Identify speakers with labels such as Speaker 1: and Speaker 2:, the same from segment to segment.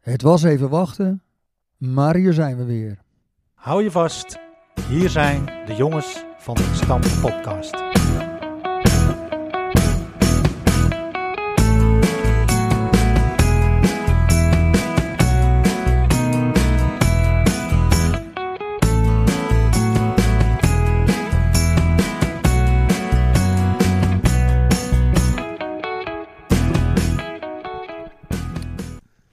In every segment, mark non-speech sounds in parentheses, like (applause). Speaker 1: Het was even wachten, maar hier zijn we weer.
Speaker 2: Hou je vast, hier zijn de jongens van de Stam Podcast.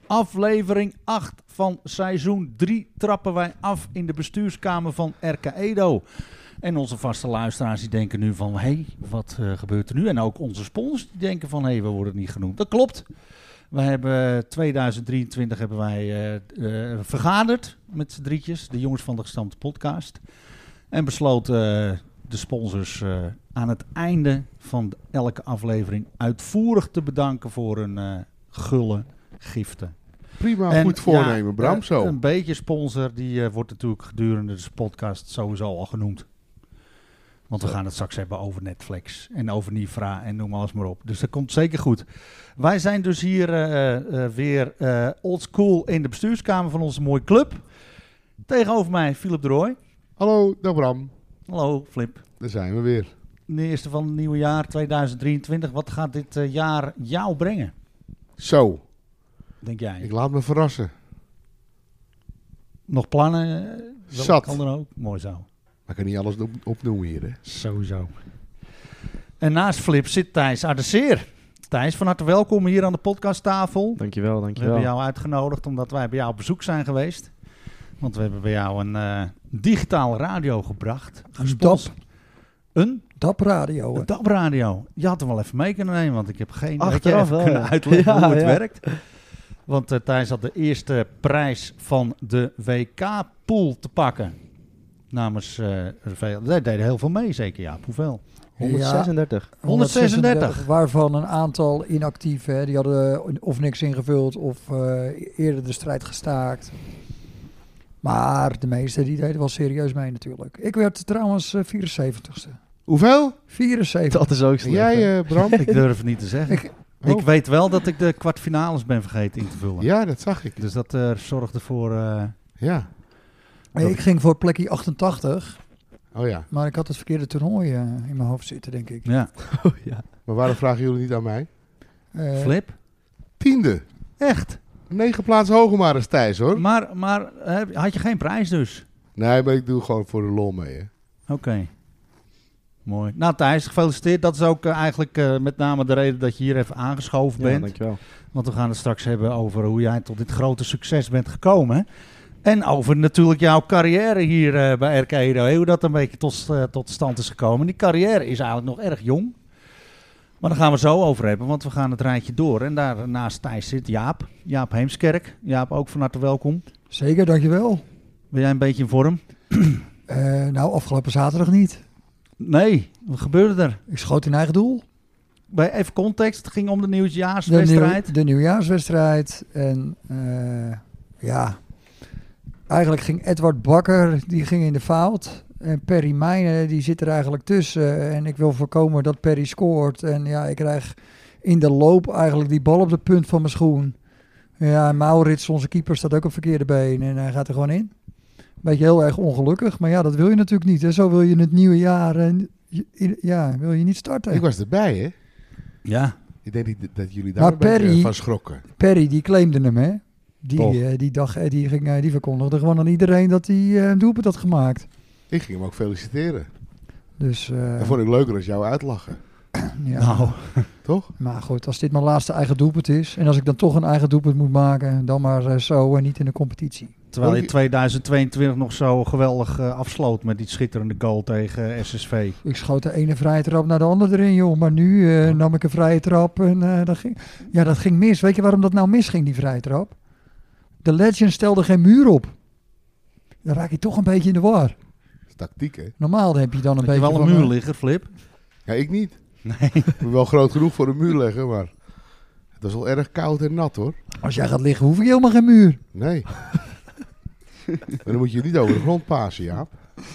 Speaker 2: Aflevering 8 van seizoen 3 trappen wij af in de bestuurskamer van RK Edo. En onze vaste luisteraars die denken nu van, hé, hey, wat eh, gebeurt er nu? En ook onze sponsors die denken van, hé, hey, we worden niet genoemd. Dat klopt. We hebben eh, 2023 hebben wij eh, eh, vergaderd met z'n drietjes, de jongens van de gestampte podcast. En besloten eh, de sponsors eh, aan het einde van elke aflevering uitvoerig te bedanken voor hun eh gulle giften.
Speaker 3: Prima,
Speaker 2: En,
Speaker 3: Nou, goed voornemen,
Speaker 2: ja,
Speaker 3: Bram.
Speaker 2: eh,
Speaker 3: Zo.
Speaker 2: Een beetje sponsor, die eh, wordt natuurlijk gedurende de podcast sowieso al genoemd. Want we gaan het straks hebben over Netflix en over Nifra en noem alles maar op. Dus dat komt zeker goed. Wij zijn dus hier eh, eh, weer eh old school in de bestuurskamer van onze mooie club. Tegenover mij Philip de Rooij.
Speaker 3: Hallo, dag Bram.
Speaker 2: Hallo Flip.
Speaker 3: Daar zijn we weer.
Speaker 2: De eerste van het nieuwe jaar 2023. Wat gaat dit eh, jaar jou brengen,
Speaker 3: Zo,
Speaker 2: denk jij?
Speaker 3: ik laat me verrassen.
Speaker 2: Nog plannen? eh, welke
Speaker 3: Zat.
Speaker 2: kant dan ook? Mooi zo.
Speaker 3: Maar ik kan niet alles op- opnoemen hier, hè.
Speaker 2: Sowieso. En naast Flip zit Thijs Aderseer. Thijs, van harte welkom hier aan de podcasttafel.
Speaker 4: Dankjewel,
Speaker 2: We
Speaker 4: dankjewel.
Speaker 2: hebben jou uitgenodigd omdat wij bij jou op bezoek zijn geweest. Want we hebben bij jou een eh digitale radio gebracht. Gespons- Een,
Speaker 1: Dap radio.
Speaker 2: een
Speaker 1: hè.
Speaker 2: DAB-radio. Je had hem wel even mee kunnen nemen, want ik heb geen had je
Speaker 4: Achteraf
Speaker 2: even
Speaker 4: wel,
Speaker 2: kunnen
Speaker 4: ja. (laughs)
Speaker 2: uitleggen
Speaker 4: Ja,
Speaker 2: hoe het
Speaker 4: ja.
Speaker 2: werkt. Want eh, Thijs had de eerste prijs van de WK-pool te pakken. Namens eh veel. Daar deden heel veel mee, zeker. Ja, hoeveel?
Speaker 4: 136.
Speaker 2: 136.
Speaker 1: Waarvan een aantal inactief. Hè. Die hadden eh, of niks ingevuld of eh, eerder de strijd gestaakt. Maar de meeste die deden wel serieus mee natuurlijk. Ik werd trouwens eh, 74ste.
Speaker 3: Hoeveel?
Speaker 1: 74.
Speaker 4: Dat is ook
Speaker 3: En
Speaker 4: slecht.
Speaker 3: jij,
Speaker 4: hè?
Speaker 3: eh,
Speaker 2: (laughs)
Speaker 3: Bram?
Speaker 2: Ik durf het niet te zeggen. Ik,
Speaker 3: Oh.
Speaker 2: weet wel dat ik de kwartfinales ben vergeten in te vullen.
Speaker 3: Ja, dat zag ik.
Speaker 2: Dus dat eh, zorgde voor... eh,
Speaker 3: Ja.
Speaker 1: Nee, ik ging voor plekje 88,
Speaker 3: Oh ja.
Speaker 1: maar ik had het verkeerde toernooi eh, in mijn hoofd zitten, denk ik.
Speaker 2: ja.
Speaker 3: Eh.
Speaker 4: Oh, ja.
Speaker 3: Maar waarom vragen jullie niet aan mij?
Speaker 1: Eh,
Speaker 2: Flip?
Speaker 3: Tiende.
Speaker 2: Echt?
Speaker 3: Negen plaatsen hoger maar eens Thijs, hoor.
Speaker 2: Maar, maar eh, had je geen prijs dus?
Speaker 3: Nee, maar ik doe gewoon voor de lol mee, hè.
Speaker 2: Oké. Mooi. Nou Thijs, gefeliciteerd. Dat is ook eh, eigenlijk eh, met name de reden dat je hier even aangeschoven
Speaker 4: ja,
Speaker 2: bent.
Speaker 4: dankjewel.
Speaker 2: Want we gaan het straks hebben over hoe jij tot dit grote succes bent gekomen. En over natuurlijk jouw carrière hier eh, bij RK Edo. Hoe dat een beetje tot, eh, tot stand is gekomen. Die carrière is eigenlijk nog erg jong. Maar daar gaan we zo over hebben, want we gaan het rijtje door. En daar naast Thijs zit Jaap. Jaap Heemskerk. Jaap, ook van harte welkom.
Speaker 1: Zeker, dankjewel.
Speaker 2: Ben jij een beetje in vorm?
Speaker 1: Eh nou, afgelopen zaterdag niet.
Speaker 2: Nee, wat gebeurde er?
Speaker 1: Ik schoot in eigen doel.
Speaker 2: Bij even context, het ging om de
Speaker 1: De,
Speaker 2: nieuwjaarswedstrijd.
Speaker 1: nieuw- de nieuwjaarswedstrijd. En eh, ja, eigenlijk ging Edward Bakker, die ging in de fout. En Perry Mijnen, die zit er eigenlijk tussen. En ik wil voorkomen dat Perry scoort. En ja, ik krijg in de loop eigenlijk die bal op de punt van mijn schoen. Ja, en Maurits, onze keeper, staat ook op verkeerde been. En hij gaat er gewoon in. Beetje heel erg ongelukkig. Maar ja, dat wil je natuurlijk niet. Hè. Zo wil je het nieuwe jaar... eh, je- in- ja, wil je niet starten.
Speaker 3: Ik was erbij, hè.
Speaker 2: Ja,
Speaker 3: Ik denk niet dat- dat jullie daar
Speaker 1: Maar
Speaker 3: een beetje eh,
Speaker 1: Perry-
Speaker 3: van schrokken.
Speaker 1: Perry, die claimde hem, hè? Die,
Speaker 3: Toch.
Speaker 1: eh, die, dag, eh, die, ging, eh, die verkondigde gewoon aan iedereen dat hij eh, een doelpunt had gemaakt.
Speaker 3: Ik ging hem ook feliciteren.
Speaker 1: Dus, eh,
Speaker 3: Dat vond ik leuker als jou uitlachen.
Speaker 1: ja.
Speaker 2: nou,
Speaker 3: Toch?
Speaker 1: Maar goed, als dit mijn laatste eigen doelpunt is... en als ik dan toch een eigen doelpunt moet maken... dan maar eh, zo en niet in de competitie.
Speaker 2: terwijl je
Speaker 3: Hoi.
Speaker 2: 2022 nog zo geweldig eh, afsloot met die schitterende goal tegen eh, SSV.
Speaker 1: Ik schoot de ene vrije trap naar de andere erin, joh. Maar nu eh, nam ik een vrije trap en eh, dat, ging, ja, dat ging mis. Weet je waarom dat nou misging, die vrije trap? De legend stelde geen muur op. Dan raak je toch een beetje in de war.
Speaker 3: Dat is tactiek, hè.
Speaker 1: Normaal heb je dan een
Speaker 2: Heb je
Speaker 1: beetje
Speaker 2: wel een
Speaker 1: van,
Speaker 2: muur
Speaker 1: eh,
Speaker 2: liggen, Flip?
Speaker 3: Ja, ik niet.
Speaker 2: Nee.
Speaker 3: Ik ben wel groot genoeg voor een muur leggen, maar... Het was wel erg koud en nat, hoor.
Speaker 1: Als jij gaat liggen, hoef ik helemaal geen muur.
Speaker 3: Nee. maar dan moet je niet over de grond pasen, Jaap.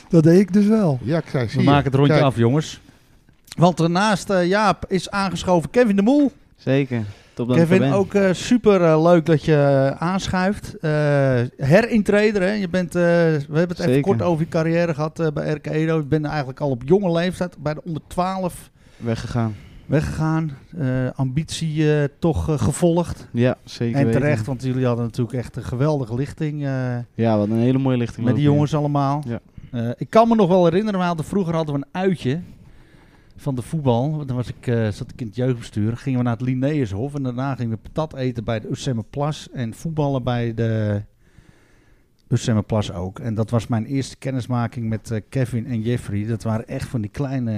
Speaker 1: Dat deed ik dus wel.
Speaker 3: Ja, ik zei, zie
Speaker 2: We
Speaker 3: je.
Speaker 2: maken het rondje
Speaker 3: Kijk,
Speaker 2: af, jongens. Want daarnaast eh, Jaap is aangeschoven Kevin de Moel.
Speaker 4: Zeker.
Speaker 5: Top dat ik er
Speaker 2: Kevin,
Speaker 5: ben.
Speaker 2: ook eh, super eh, leuk dat je eh, aanschuift. Eh herintreder, hè? Je bent, eh, we hebben het even
Speaker 5: Zeker.
Speaker 2: kort over je carrière gehad eh, bij RK Edo. Je bent eigenlijk al op jonge leeftijd bij de onder 12
Speaker 5: Weggegaan.
Speaker 2: weggegaan. Eh, ambitie eh, toch eh, gevolgd.
Speaker 5: Ja, zeker
Speaker 2: en
Speaker 5: weten.
Speaker 2: terecht, want jullie hadden natuurlijk echt een geweldige lichting. eh,
Speaker 5: Ja, wat een hele mooie lichting.
Speaker 2: met
Speaker 5: ook
Speaker 2: die
Speaker 5: weer.
Speaker 2: jongens allemaal.
Speaker 5: Ja.
Speaker 2: Eh, ik kan me nog wel herinneren, we hadden, vroeger hadden we een uitje van de voetbal. Want Dan was ik, eh, zat ik in het jeugdbestuur. Gingen we naar het Linnaeushof en daarna gingen we patat eten bij de Ussemmerplas. En voetballen bij de Ussemmerplas ook. En dat was mijn eerste kennismaking met eh, Kevin en Jeffrey. Dat waren echt van die
Speaker 5: (laughs)
Speaker 2: kleine,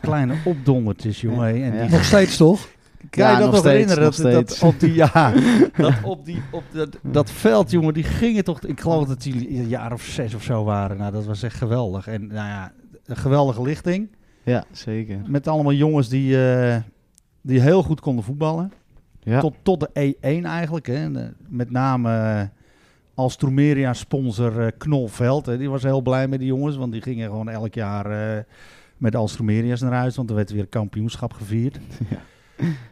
Speaker 2: kleine opdondertjes, jongen. hé. En
Speaker 5: Ja.
Speaker 2: die
Speaker 1: Nog steeds toch?
Speaker 2: kan je
Speaker 5: Ja,
Speaker 2: dat nog,
Speaker 5: nog steeds,
Speaker 2: herinneren?
Speaker 5: nog
Speaker 2: Dat, dat
Speaker 5: steeds.
Speaker 2: op die, (laughs) ja, dat op die, op dat, dat veld, jongen, die gingen toch... Ik geloof dat jullie een jaar of zes of zo waren. Nou, dat was echt geweldig. En nou ja, een geweldige lichting.
Speaker 5: Ja, zeker.
Speaker 2: Met allemaal jongens die, eh, die heel goed konden voetballen.
Speaker 5: Ja.
Speaker 2: Tot, tot de E1 eigenlijk. Hè. En, eh, met name eh, als Troemeria-sponsor eh, Knol Veld. Hè. Die was heel blij met die jongens, want die gingen gewoon elk jaar... eh, met de Alstromeria's naar huis, want er werd weer kampioenschap gevierd.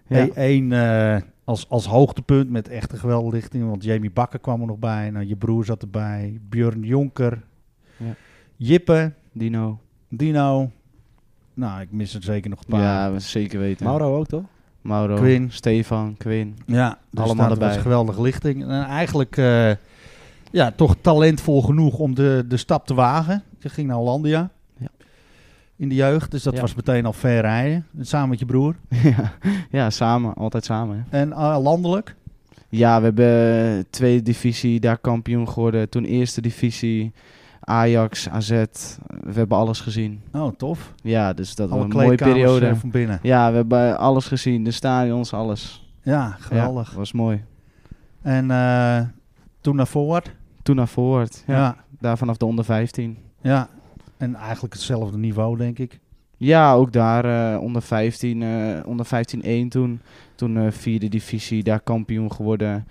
Speaker 5: Ja.
Speaker 2: Eén eh, als, als hoogtepunt met echte geweldlichting. Want Jamie Bakker kwam er nog bij. Nou, je broer zat erbij. Björn Jonker.
Speaker 5: Ja.
Speaker 2: Jippe.
Speaker 5: Dino.
Speaker 2: Dino. Nou, ik mis er zeker nog een paar.
Speaker 5: Ja, we- zeker weten.
Speaker 6: Mauro ook toch?
Speaker 5: Mauro.
Speaker 2: Quinn.
Speaker 5: Stefan. (laughs) Quinn.
Speaker 2: Ja,
Speaker 5: Allemaal
Speaker 2: allemaal erbij.
Speaker 5: erbij.
Speaker 2: Dat was geweldige lichting. En eigenlijk eh, ja, toch talentvol genoeg om de, de stap te wagen. Je ging naar Hollandia
Speaker 5: Ja.
Speaker 2: in de jeugd. Dus dat
Speaker 5: Ja.
Speaker 2: was meteen al ver rijden. Samen met je broer.
Speaker 5: ja. ja, samen. Altijd samen. Hè.
Speaker 2: En eh, landelijk.
Speaker 5: Ja, we hebben eh, tweede divisie, daar kampioen geworden. Toen eerste divisie, Ajax, AZ. eh, We hebben alles gezien.
Speaker 2: Oh, tof.
Speaker 5: Ja, dus dat was
Speaker 2: Alle
Speaker 5: een mooie
Speaker 2: kleedkamers
Speaker 5: periode.
Speaker 2: eh, van binnen.
Speaker 5: Ja, we hebben alles gezien. De stadions, alles.
Speaker 2: Ja, geweldig.
Speaker 5: Ja, was mooi.
Speaker 2: En eh, toen naar Forward.
Speaker 5: Toen naar Forward. Ja.
Speaker 2: Ja.
Speaker 5: Daar vanaf de onder 15.
Speaker 2: ja. En eigenlijk hetzelfde niveau, denk ik.
Speaker 5: Ja, ook daar eh, onder 15, eh onder 15-1 toen. Toen eh, vierde divisie, daar kampioen geworden.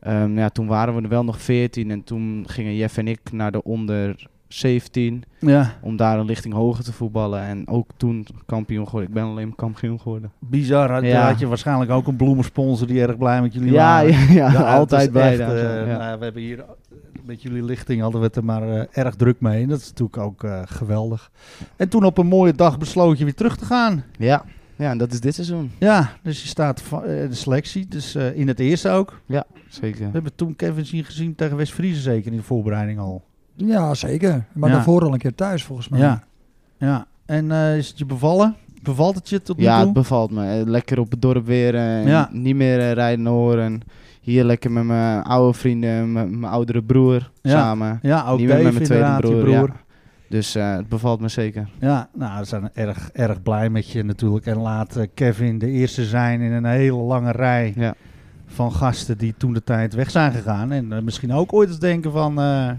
Speaker 5: Ehm, ja, toen waren we er wel nog 14 en toen gingen Jeff en ik naar de onder 17.
Speaker 2: Ja,
Speaker 5: om daar een lichting hoger te voetballen. En ook toen kampioen geworden. Ik ben alleen maar kampioen geworden.
Speaker 2: bizar. Had,
Speaker 5: Ja.
Speaker 2: had je waarschijnlijk ook een bloemensponsor die erg blij met jullie
Speaker 5: Ja,
Speaker 2: waren.
Speaker 5: ja, (laughs) ja,
Speaker 2: het (laughs) is
Speaker 5: altijd bij.
Speaker 2: echt,
Speaker 5: daar,
Speaker 2: eh,
Speaker 5: zo, ja.
Speaker 2: nou ja, we hebben hier eh, met jullie lichting hadden we het er maar eh, erg druk mee. En dat is natuurlijk ook eh, geweldig. En toen op een mooie dag besloot je weer terug te gaan.
Speaker 5: ja. ja, en dat is dit seizoen.
Speaker 2: Ja, dus je staat va- eh, de selectie. Dus eh, in het eerste ook.
Speaker 5: Zeker.
Speaker 2: We hebben toen Kevin zien gezien tegen West-Friese zeker in de voorbereiding al.
Speaker 1: Ja, zeker. Maar
Speaker 2: Ja.
Speaker 1: daarvoor al een keer thuis volgens mij.
Speaker 2: Ja, ja. En eh, is het je bevallen? Bevalt het je tot nu
Speaker 5: Ja, het
Speaker 2: toe?
Speaker 5: bevalt me. Eh, Lekker op het dorp weer. eh, en
Speaker 2: Ja.
Speaker 5: Niet meer eh, rijden en horen. Hier lekker met mijn oude vrienden, met mijn oudere broer
Speaker 2: Ja.
Speaker 5: samen.
Speaker 2: ja, ook
Speaker 5: niet meer
Speaker 2: Dave
Speaker 5: met mijn tweede
Speaker 2: inderdaad, je
Speaker 5: broer,
Speaker 2: broer. Ja.
Speaker 5: Dus eh, het bevalt me zeker.
Speaker 2: nou, we zijn erg, erg blij met je natuurlijk. En laat eh, Kevin de eerste zijn in een hele lange rij
Speaker 5: Ja.
Speaker 2: van gasten die toen de tijd weg zijn gegaan. En eh, misschien ook ooit eens denken van... eh,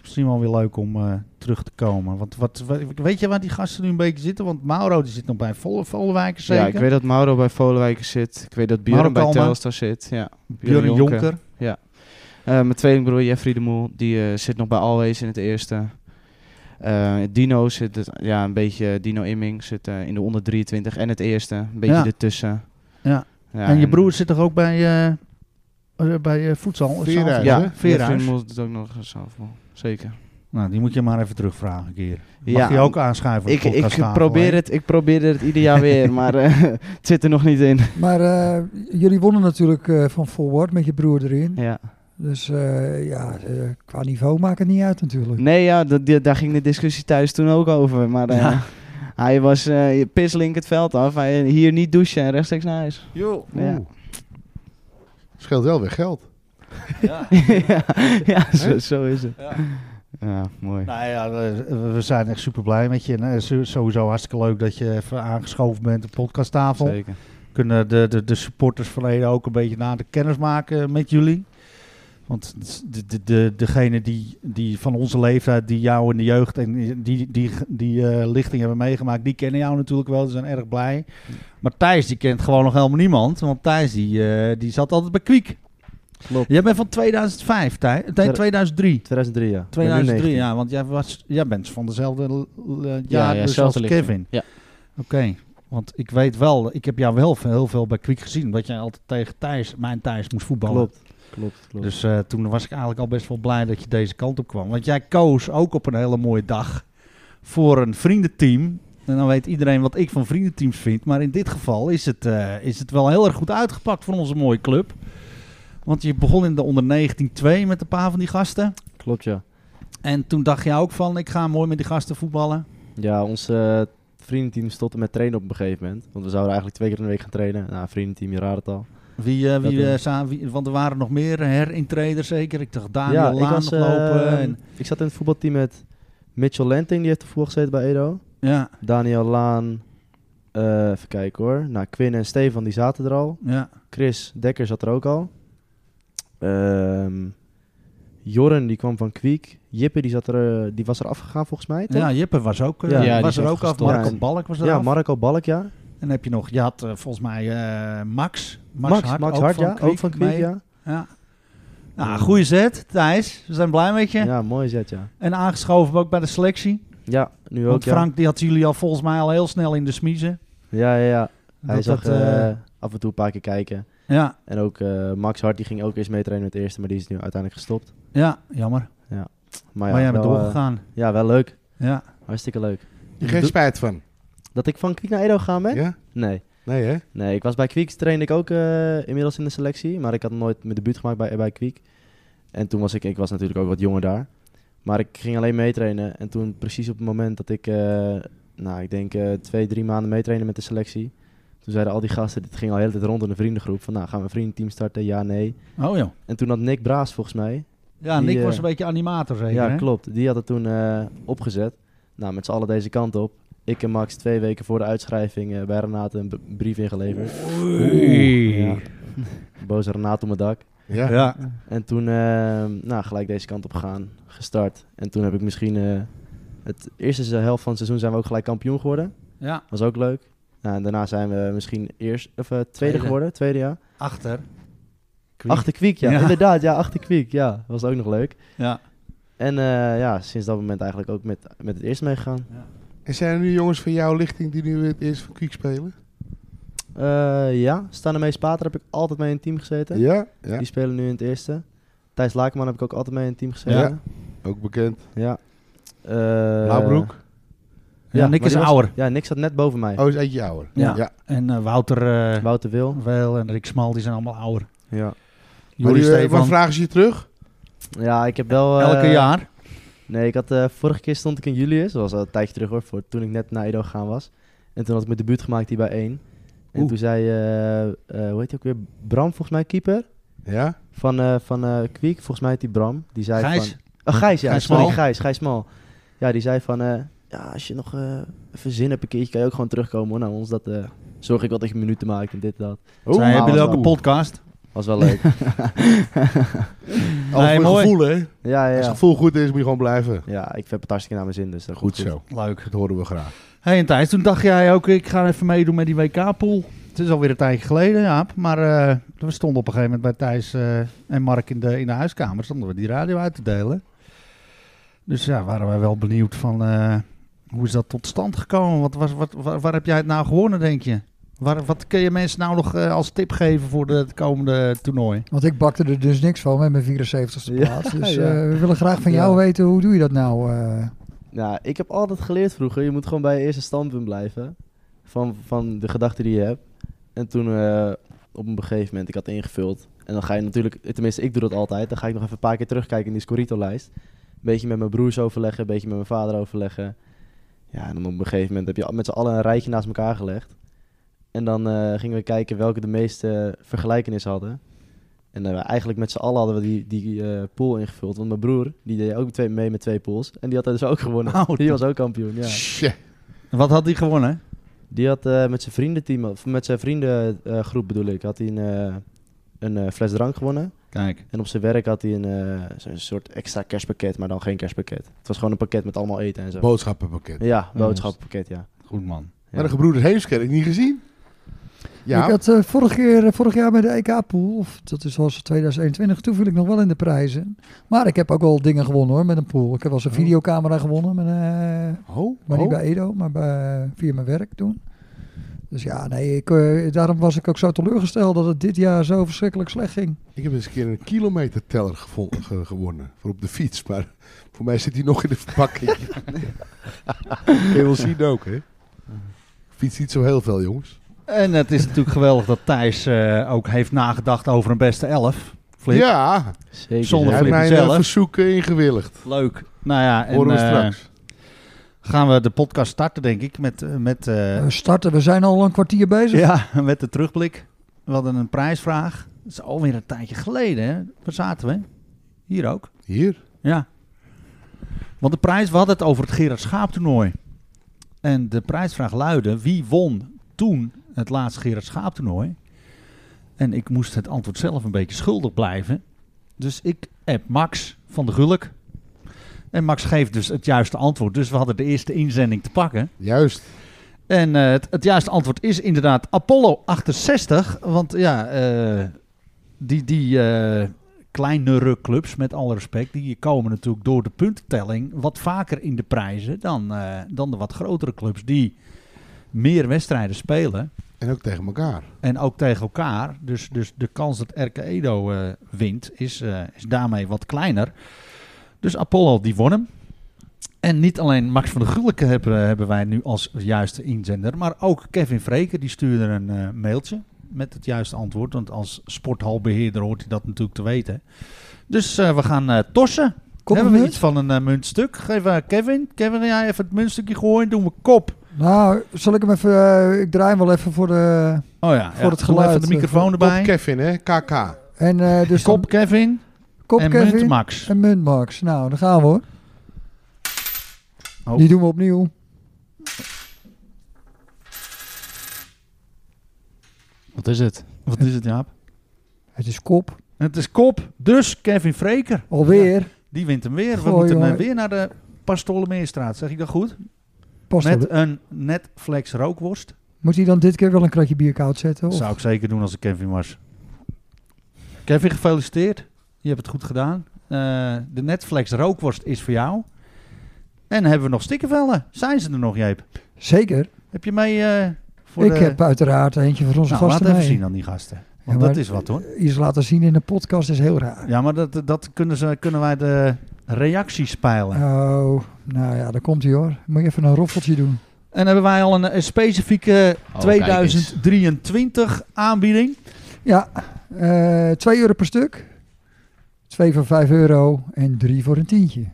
Speaker 2: Misschien wel weer leuk om eh, terug te komen. Want wat, wat- weet je waar die gasten nu een beetje zitten? Want Mauro die zit nog bij Vol Volwijk zeker.
Speaker 5: Ja, ik weet dat Mauro bij Volenwijk zit. Ik weet dat
Speaker 2: Mauro
Speaker 5: Björn bij
Speaker 2: Kalma.
Speaker 5: Telstar zit. Ja.
Speaker 2: Björn
Speaker 5: Björn
Speaker 2: Jonker.
Speaker 5: Jonker. Eh, mijn tweelingbroer Jeffrey de Moel, die eh, zit nog bij Always in het eerste. Eh, Dino zit, het, ja, een beetje, Dino Imming zit eh, in de onder 23 en het eerste. Een beetje
Speaker 2: Ja.
Speaker 5: ertussen.
Speaker 2: Ja.
Speaker 5: Ja,
Speaker 2: en je broer zit toch ook bij, eh, eh, bij eh, voedsel?
Speaker 3: Veerhuis,
Speaker 5: Ja, dus
Speaker 3: hè?
Speaker 5: Jeffrey
Speaker 2: Veerhuis.
Speaker 5: de Moel doet ook nog een softball. Zeker.
Speaker 2: Nou, die moet je maar even terugvragen een keer. Mag
Speaker 5: ja,
Speaker 2: je ook aanschuiven? op
Speaker 5: ik,
Speaker 2: de
Speaker 5: ik,
Speaker 2: podcasttafel,
Speaker 5: probeer
Speaker 2: hè?
Speaker 5: het, ik probeer het ieder jaar (laughs) weer, maar eh, het zit er nog niet in.
Speaker 1: Maar eh, jullie wonnen natuurlijk eh, van Forward met je broer erin.
Speaker 5: (laughs) Ja.
Speaker 1: Dus eh, ja, eh, qua niveau maakt het niet uit natuurlijk.
Speaker 5: Nee, ja, dat- die- daar ging de discussie thuis toen ook over. Maar eh,
Speaker 2: Ja.
Speaker 5: hij was eh pislink het veld af. Hij, hier niet douchen en rechtstreeks naar huis. Ja.
Speaker 3: Oeh. Scheelt wel weer geld.
Speaker 5: ja, (laughs) ja zo, zo is het.
Speaker 2: Ja.
Speaker 5: Ja, mooi.
Speaker 2: Nou ja, we, we zijn echt super blij met je. En eh, zo- sowieso hartstikke leuk dat je even aangeschoven bent op de podcasttafel.
Speaker 5: Zeker.
Speaker 2: Kunnen de, de, de supporters van Ede ook een beetje na de kennis maken met jullie? Want de, de, de, degene die, die van onze leeftijd, die jou in de jeugd en die, die, die, die, eh, lichting hebben meegemaakt, die kennen jou natuurlijk wel. Die zijn erg blij. Maar Thijs, die kent gewoon nog helemaal niemand. Want Thijs, die, eh, die zat altijd bij Kwiek.
Speaker 6: Klopt.
Speaker 2: Jij bent van 2005, Thij, nee,
Speaker 6: Ter-
Speaker 2: 2003.
Speaker 6: 2003, ja. Ik ben nu
Speaker 2: 2003,
Speaker 6: 19.
Speaker 2: ja, want jij, was, jij bent van dezelfde l- l- jaar
Speaker 5: ja,
Speaker 2: dus
Speaker 5: zelfde
Speaker 2: als
Speaker 5: lichting.
Speaker 2: Kevin.
Speaker 5: Ja.
Speaker 2: Oké, Want ik weet wel, ik heb jou wel veel- heel veel bij Kwiek gezien. Dat jij altijd tegen Thijs, mijn Thijs, moest voetballen.
Speaker 7: Klopt, klopt, klopt.
Speaker 2: Dus eh, toen was ik eigenlijk al best wel blij dat je deze kant op kwam. Want jij koos ook op een hele mooie dag voor een vriendenteam. En dan weet iedereen wat ik van vriendenteams vind. Maar in dit geval is het, eh, is het wel heel erg goed uitgepakt voor onze mooie club. Want je begon in de onder 19-2 met een paar van die gasten.
Speaker 5: Klopt, ja.
Speaker 2: En toen dacht jij ook van, ik ga mooi met die gasten voetballen.
Speaker 5: Ja, ons eh, vriendenteam stopte met trainen op een gegeven moment. Want we zouden eigenlijk twee keer in de week gaan trainen. Nou, vriendenteam, je raadt het al.
Speaker 2: Wie, eh, wie,
Speaker 5: Dat, eh,
Speaker 2: eh, za- wie- want er waren nog meer herintreders zeker. Ik dacht Daniel Laan nog
Speaker 5: eh,
Speaker 2: lopen. en,
Speaker 5: ik zat in het voetbalteam met Mitchell Lenting, die heeft ervoor gezeten bij Edo.
Speaker 2: ja,
Speaker 5: Daniel Laan, eh, even kijken hoor. Nou, Quinn en Stefan, die zaten er al.
Speaker 2: ja,
Speaker 5: Chris Dekker zat er ook al. Ehm Jorren, die kwam van Kwiek. Jippe, die, zat er, eh, die was er afgegaan volgens mij, toch?
Speaker 2: ja, Jippe was ook, eh,
Speaker 5: Ja,
Speaker 7: die
Speaker 2: was
Speaker 7: is
Speaker 2: er ook af.
Speaker 7: afgestopt.
Speaker 2: Marco
Speaker 5: Ja, en-
Speaker 2: Balk was er
Speaker 5: Ja,
Speaker 2: af.
Speaker 5: Marco Balk, ja.
Speaker 2: En heb je nog, je had eh, volgens mij eh, Max. Max,
Speaker 5: Max,
Speaker 2: Hart,
Speaker 5: Max
Speaker 2: ook
Speaker 5: Hart,
Speaker 2: van
Speaker 5: ja.
Speaker 2: Kwiek
Speaker 5: ook van Kwiek,
Speaker 2: mee.
Speaker 5: ja.
Speaker 2: Ja. Nou, goede zet, Thijs. We zijn blij met je.
Speaker 5: Ja, mooi zet, ja.
Speaker 2: En aangeschoven ook bij de selectie.
Speaker 5: Ja, nu ook,
Speaker 2: Want
Speaker 5: ja.
Speaker 2: Frank, die had jullie al volgens mij al heel snel in de smiezen.
Speaker 5: Ja, ja, ja. Hij
Speaker 2: Dat
Speaker 5: zag
Speaker 2: dat, eh,
Speaker 5: eh, af en toe een paar keer kijken.
Speaker 2: ja,
Speaker 5: En ook eh, Max Hart, die ging ook eens meetrainen met de eerste, maar die is nu uiteindelijk gestopt.
Speaker 2: ja, jammer.
Speaker 5: Maar,
Speaker 2: Maar,
Speaker 5: ja,
Speaker 2: jij bent
Speaker 5: wel, eh,
Speaker 2: doorgegaan.
Speaker 5: ja, wel leuk.
Speaker 2: Ja.
Speaker 5: Hartstikke leuk.
Speaker 3: Je geen
Speaker 5: Doe-
Speaker 3: spijt van?
Speaker 5: Dat ik van Kwiek naar Edo gegaan ben?
Speaker 3: Ja?
Speaker 5: Nee.
Speaker 3: Nee, hè?
Speaker 5: Nee, ik was bij Kwiek, trainde ik ook eh, inmiddels in de selectie. Maar ik had nog nooit mijn debuut gemaakt bij, bij Kwiek. En toen was ik, ik was natuurlijk ook wat jonger daar. Maar ik ging alleen meetrainen. En toen precies op het moment dat ik, eh, nou ik denk eh, twee, drie maanden meetrainen met de selectie. Toen zeiden al die gasten, dit ging al de hele tijd rond in de vriendengroep. Van nou, gaan we een vriendenteam starten? Ja, nee.
Speaker 2: Oh joh.
Speaker 5: En toen had Nick Braas volgens mij,
Speaker 2: Ja,
Speaker 5: Die,
Speaker 2: Nick
Speaker 5: eh,
Speaker 2: was een beetje animator zeker,
Speaker 5: Ja,
Speaker 2: hè?
Speaker 5: klopt. Die had het toen eh, opgezet. Nou, met z'n allen deze kant op. Ik en Max twee weken voor de uitschrijving eh, bij Renate een b- brief ingeleverd.
Speaker 2: Oei.
Speaker 5: Ja. Boze Renate op mijn dak.
Speaker 3: Ja.
Speaker 2: Ja.
Speaker 5: En toen eh, nou, gelijk deze kant op gegaan. Gestart. En toen heb ik misschien... eh, het eerste se- helft van het seizoen zijn we ook gelijk kampioen geworden.
Speaker 2: ja,
Speaker 5: Was ook leuk. Nou, en daarna zijn we misschien eerst, of, eh, tweede,
Speaker 2: Tweede.
Speaker 5: geworden. Tweede, ja.
Speaker 2: achter. Kwiek.
Speaker 5: Achter Kwiek, ja.
Speaker 2: Ja.
Speaker 5: Inderdaad, ja. Achter Kwiek, ja. Was ook nog leuk.
Speaker 2: Ja.
Speaker 5: En eh, ja, sinds dat moment eigenlijk ook met, met het eerste meegegaan.
Speaker 3: En zijn er nu jongens van jouw lichting die nu het eerst van Kwiek spelen?
Speaker 5: Eh, ja, Stanemees Pater heb ik altijd mee in het team gezeten.
Speaker 3: Ja, ja.
Speaker 5: Die spelen nu in het eerste. Thijs Lakenman heb ik ook altijd mee in het team
Speaker 3: Ja.
Speaker 5: gezeten.
Speaker 3: Ook bekend.
Speaker 5: Ja. Eh
Speaker 3: Blauwbroek.
Speaker 2: Ja, Nick
Speaker 5: maar
Speaker 2: is
Speaker 5: die was-
Speaker 2: ouder.
Speaker 5: Ja, Nick zat net boven mij.
Speaker 3: Oh, is eentje ouder.
Speaker 2: Ja.
Speaker 3: ja.
Speaker 2: En eh, Wouter eh,
Speaker 5: Wouter Wil.
Speaker 2: Wel en Rick Smal, die zijn allemaal ouder.
Speaker 5: Ja.
Speaker 3: Maar
Speaker 2: Jullie
Speaker 3: die, eh,
Speaker 2: Stefan,
Speaker 3: wat vragen ze je terug?
Speaker 5: ja, ik heb wel... eh,
Speaker 2: elke jaar.
Speaker 5: Nee, ik had, eh, vorige keer stond ik in Julius. Dat was al een tijdje terug hoor, voor, toen ik net naar Edo gegaan was. En toen had ik mijn debuut gemaakt hier bij 1. En
Speaker 2: Oeh.
Speaker 5: toen zei, eh, eh, hoe heet hij ook weer? Bram volgens mij, keeper.
Speaker 3: Ja.
Speaker 5: Van, eh van eh Kwiek, volgens mij heet die Bram. Die zei
Speaker 2: Gijs.
Speaker 5: Van, Oh, Gijs, ja.
Speaker 2: Gijs
Speaker 5: sorry,
Speaker 2: Mal.
Speaker 5: Gijs, Gijs Mal. Ja, die zei van... eh, ja, als je nog eh even zin hebt een keertje, kan je ook gewoon terugkomen hoor, naar ons. Dat eh, zorg ik wel dat je minuten maakt en dit en dat.
Speaker 3: Oh,
Speaker 2: Zij
Speaker 5: maar
Speaker 2: hebben jullie ook
Speaker 5: was
Speaker 2: een
Speaker 5: wel-
Speaker 2: podcast.
Speaker 5: Was wel leek.
Speaker 3: Al
Speaker 2: Nee,
Speaker 3: voor
Speaker 2: mooi.
Speaker 3: gevoel, hè?
Speaker 5: (laughs) ja, ja,
Speaker 3: Als het
Speaker 5: ja.
Speaker 3: gevoel goed is, moet je gewoon blijven.
Speaker 5: Ja, ik heb het hartstikke naar mijn zin, dus dat
Speaker 3: Goed
Speaker 5: komt
Speaker 3: zo.
Speaker 2: Leuk.
Speaker 3: Dat horen we graag.
Speaker 2: Hé hey, en Thijs, toen dacht jij ook, ik ga even meedoen met die WK-pool. Het is alweer een tijdje geleden, Jaap. Maar eh, we stonden op een gegeven moment bij Thijs eh, en Mark in de, in de huiskamer. Stonden we die radio uit te delen. Dus ja, waren wij wel benieuwd van eh, hoe is dat tot stand gekomen? Wat, was, wat, waar, waar heb jij het nou gewonnen, denk je? Waar, wat kun je mensen nou nog eh, als tip geven voor de, het komende toernooi?
Speaker 1: Want ik bakte er dus niks van met mijn 74ste
Speaker 5: Ja,
Speaker 1: plaats. Dus
Speaker 5: ja.
Speaker 1: eh, we willen graag van jou
Speaker 5: Ja.
Speaker 1: weten, hoe doe je dat nou? eh?
Speaker 5: Nou, ik heb altijd geleerd vroeger, je moet gewoon bij je eerste standpunt blijven. Van, van de gedachten die je hebt. En toen eh, op een gegeven moment, ik had ingevuld. En dan ga je natuurlijk, tenminste ik doe dat altijd, dan ga ik nog even een paar keer terugkijken in die Scorito-lijst. Een beetje met mijn broers overleggen, een beetje met mijn vader overleggen. Ja, en dan op een gegeven moment heb je met z'n allen een rijtje naast elkaar gelegd. En dan eh, gingen we kijken welke de meeste vergelijkenissen hadden. En eh, eigenlijk met z'n allen hadden we die, die eh, pool ingevuld. Want mijn broer, die deed ook twee, mee met twee pools. En die had er dus ook gewonnen.
Speaker 2: Oh,
Speaker 5: die was ook kampioen, ja.
Speaker 3: Tje.
Speaker 2: Wat had hij gewonnen?
Speaker 5: Die had eh, met zijn vriendenteam, of met zijn vriendengroep bedoel ik, had hij een, eh, een eh, fles drank gewonnen.
Speaker 2: Kijk.
Speaker 5: En op zijn werk had hij een eh, zo'n soort extra kerstpakket, maar dan geen kerstpakket. Het was gewoon een pakket met allemaal eten en zo.
Speaker 3: Boodschappenpakket.
Speaker 5: ja, boodschappenpakket, ja.
Speaker 2: Goed man.
Speaker 5: ja.
Speaker 3: Maar de gebroeders Heemskerk niet gezien? Ja.
Speaker 1: Ik had eh, vorig, keer, vorig jaar bij de EK-pool, of dat is was 2021, toen viel ik nog wel in de prijzen. Maar ik heb ook wel dingen gewonnen hoor, met een pool. Ik heb wel eens een
Speaker 3: Oh.
Speaker 1: videocamera gewonnen, met, eh,
Speaker 3: Oh,
Speaker 1: maar niet
Speaker 3: oh.
Speaker 1: bij Edo, maar bij, via mijn werk toen. Dus ja, nee, ik, eh, daarom was ik ook zo teleurgesteld dat het dit jaar zo verschrikkelijk slecht ging.
Speaker 3: Ik heb eens een keer een kilometerteller gevonden, ge- gewonnen voor op de fiets. Maar voor mij zit hij nog in de verpakking. Je wil zien ook, hè? Ik fiets niet zo heel veel, jongens.
Speaker 2: En het is natuurlijk geweldig dat Thijs eh, ook heeft nagedacht over een beste elf. Flip.
Speaker 3: Ja,
Speaker 6: Zeker.
Speaker 2: Zonder-
Speaker 3: hij heeft
Speaker 2: Flip
Speaker 3: mijn
Speaker 2: zelf.
Speaker 3: eh, verzoeken ingewilligd.
Speaker 2: Leuk. Nou ja, en
Speaker 3: Horen we
Speaker 2: eh,
Speaker 3: straks.
Speaker 2: gaan we de podcast starten, denk ik, met, eh, met, eh,
Speaker 3: Oh,
Speaker 1: We starten, we zijn al een kwartier bezig.
Speaker 2: ja, (laughs) met de terugblik. We hadden een prijsvraag. Dat is alweer een tijdje geleden, hè? Waar zaten we? Hier ook.
Speaker 3: Hier?
Speaker 2: Ja. Want de prijs, we hadden het over het Gerard Schaap toernooi. En de prijsvraag luidde, wie won toen het laatste Gerard Schaap toernooi? En ik moest het antwoord zelf een beetje schuldig blijven. Dus ik app Max van de Gulk. En Max geeft dus het juiste antwoord. Dus we hadden de eerste inzending te pakken.
Speaker 3: Juist.
Speaker 2: En eh, het, het juiste antwoord is inderdaad Apollo 68. Want ja, eh, die, die eh kleinere clubs, met alle respect, die komen natuurlijk door de puntentelling wat vaker in de prijzen dan, eh, dan de wat grotere clubs die meer wedstrijden spelen.
Speaker 3: En ook tegen elkaar.
Speaker 2: En ook tegen elkaar. Dus, dus de kans dat RK Edo eh, wint is, eh, is daarmee wat kleiner. Dus Apollo die won hem. En niet alleen Max van der Gulik hebben, hebben wij nu als juiste inzender. Maar ook Kevin Vreken die stuurde een eh, mailtje met het juiste antwoord. Want als sporthalbeheerder hoort hij dat natuurlijk te weten. Dus eh, we gaan eh, tossen.
Speaker 1: Kom
Speaker 2: hebben we
Speaker 1: niet.
Speaker 2: iets van een eh, muntstuk? Geef eh, Kevin. Kevin, jij even het muntstukje gooien. Doen we kop.
Speaker 1: Nou, zal ik hem even, eh, ik draai hem wel even voor de...
Speaker 2: Oh
Speaker 1: Voor het
Speaker 2: ja, Doe maar Even
Speaker 1: geluid,
Speaker 2: de microfoon
Speaker 3: Bob
Speaker 2: erbij.
Speaker 3: Kevin, hè? KK.
Speaker 1: En eh dus
Speaker 2: Kop Kevin.
Speaker 1: dan kop
Speaker 2: en
Speaker 1: Kevin
Speaker 2: munt Max.
Speaker 1: en munt Max. Nou, dan gaan we hoor.
Speaker 2: Oh.
Speaker 1: Die doen we opnieuw.
Speaker 4: Wat is het?
Speaker 2: Wat is het, Jaap?
Speaker 1: Het is kop.
Speaker 2: Het is kop, dus Kevin Freker.
Speaker 1: Alweer.
Speaker 2: Die wint hem weer. We
Speaker 1: Goh,
Speaker 2: moeten hem
Speaker 1: jongen.
Speaker 2: eh, weer naar de Pastolemeerstraat, zeg ik dat goed?
Speaker 1: Pas op.
Speaker 2: Met een Netflix rookworst.
Speaker 1: Moet hij dan dit keer wel een kratje bier koud zetten?
Speaker 2: Dat
Speaker 1: Of?
Speaker 2: zou ik zeker doen als ik Kevin was. Kevin, gefeliciteerd. Je hebt het goed gedaan. Eh, de Netflix rookworst is voor jou. En hebben we nog stikkenvellen. Zijn ze er nog, Jeep?
Speaker 1: Zeker.
Speaker 2: Heb je mee eh, voor
Speaker 1: ik
Speaker 2: de...
Speaker 1: heb uiteraard eentje van onze
Speaker 2: nou, laat
Speaker 1: gasten
Speaker 2: even
Speaker 1: mee.
Speaker 2: zien aan die gasten.
Speaker 1: Ja,
Speaker 2: Want
Speaker 1: maar-
Speaker 2: dat is wat, hoor.
Speaker 1: Iets laten zien in de podcast is heel raar.
Speaker 2: Ja, maar dat, dat kunnen, ze, kunnen wij de reacties peilen.
Speaker 1: Oh, nou ja, daar komt hij hoor. Moet je even een roffeltje doen.
Speaker 2: En hebben wij al een, een specifieke
Speaker 4: Oh,
Speaker 2: 2023 aanbieding.
Speaker 1: Ja, eh 2 euro per stuk. Twee voor 5 euro en drie voor een tientje.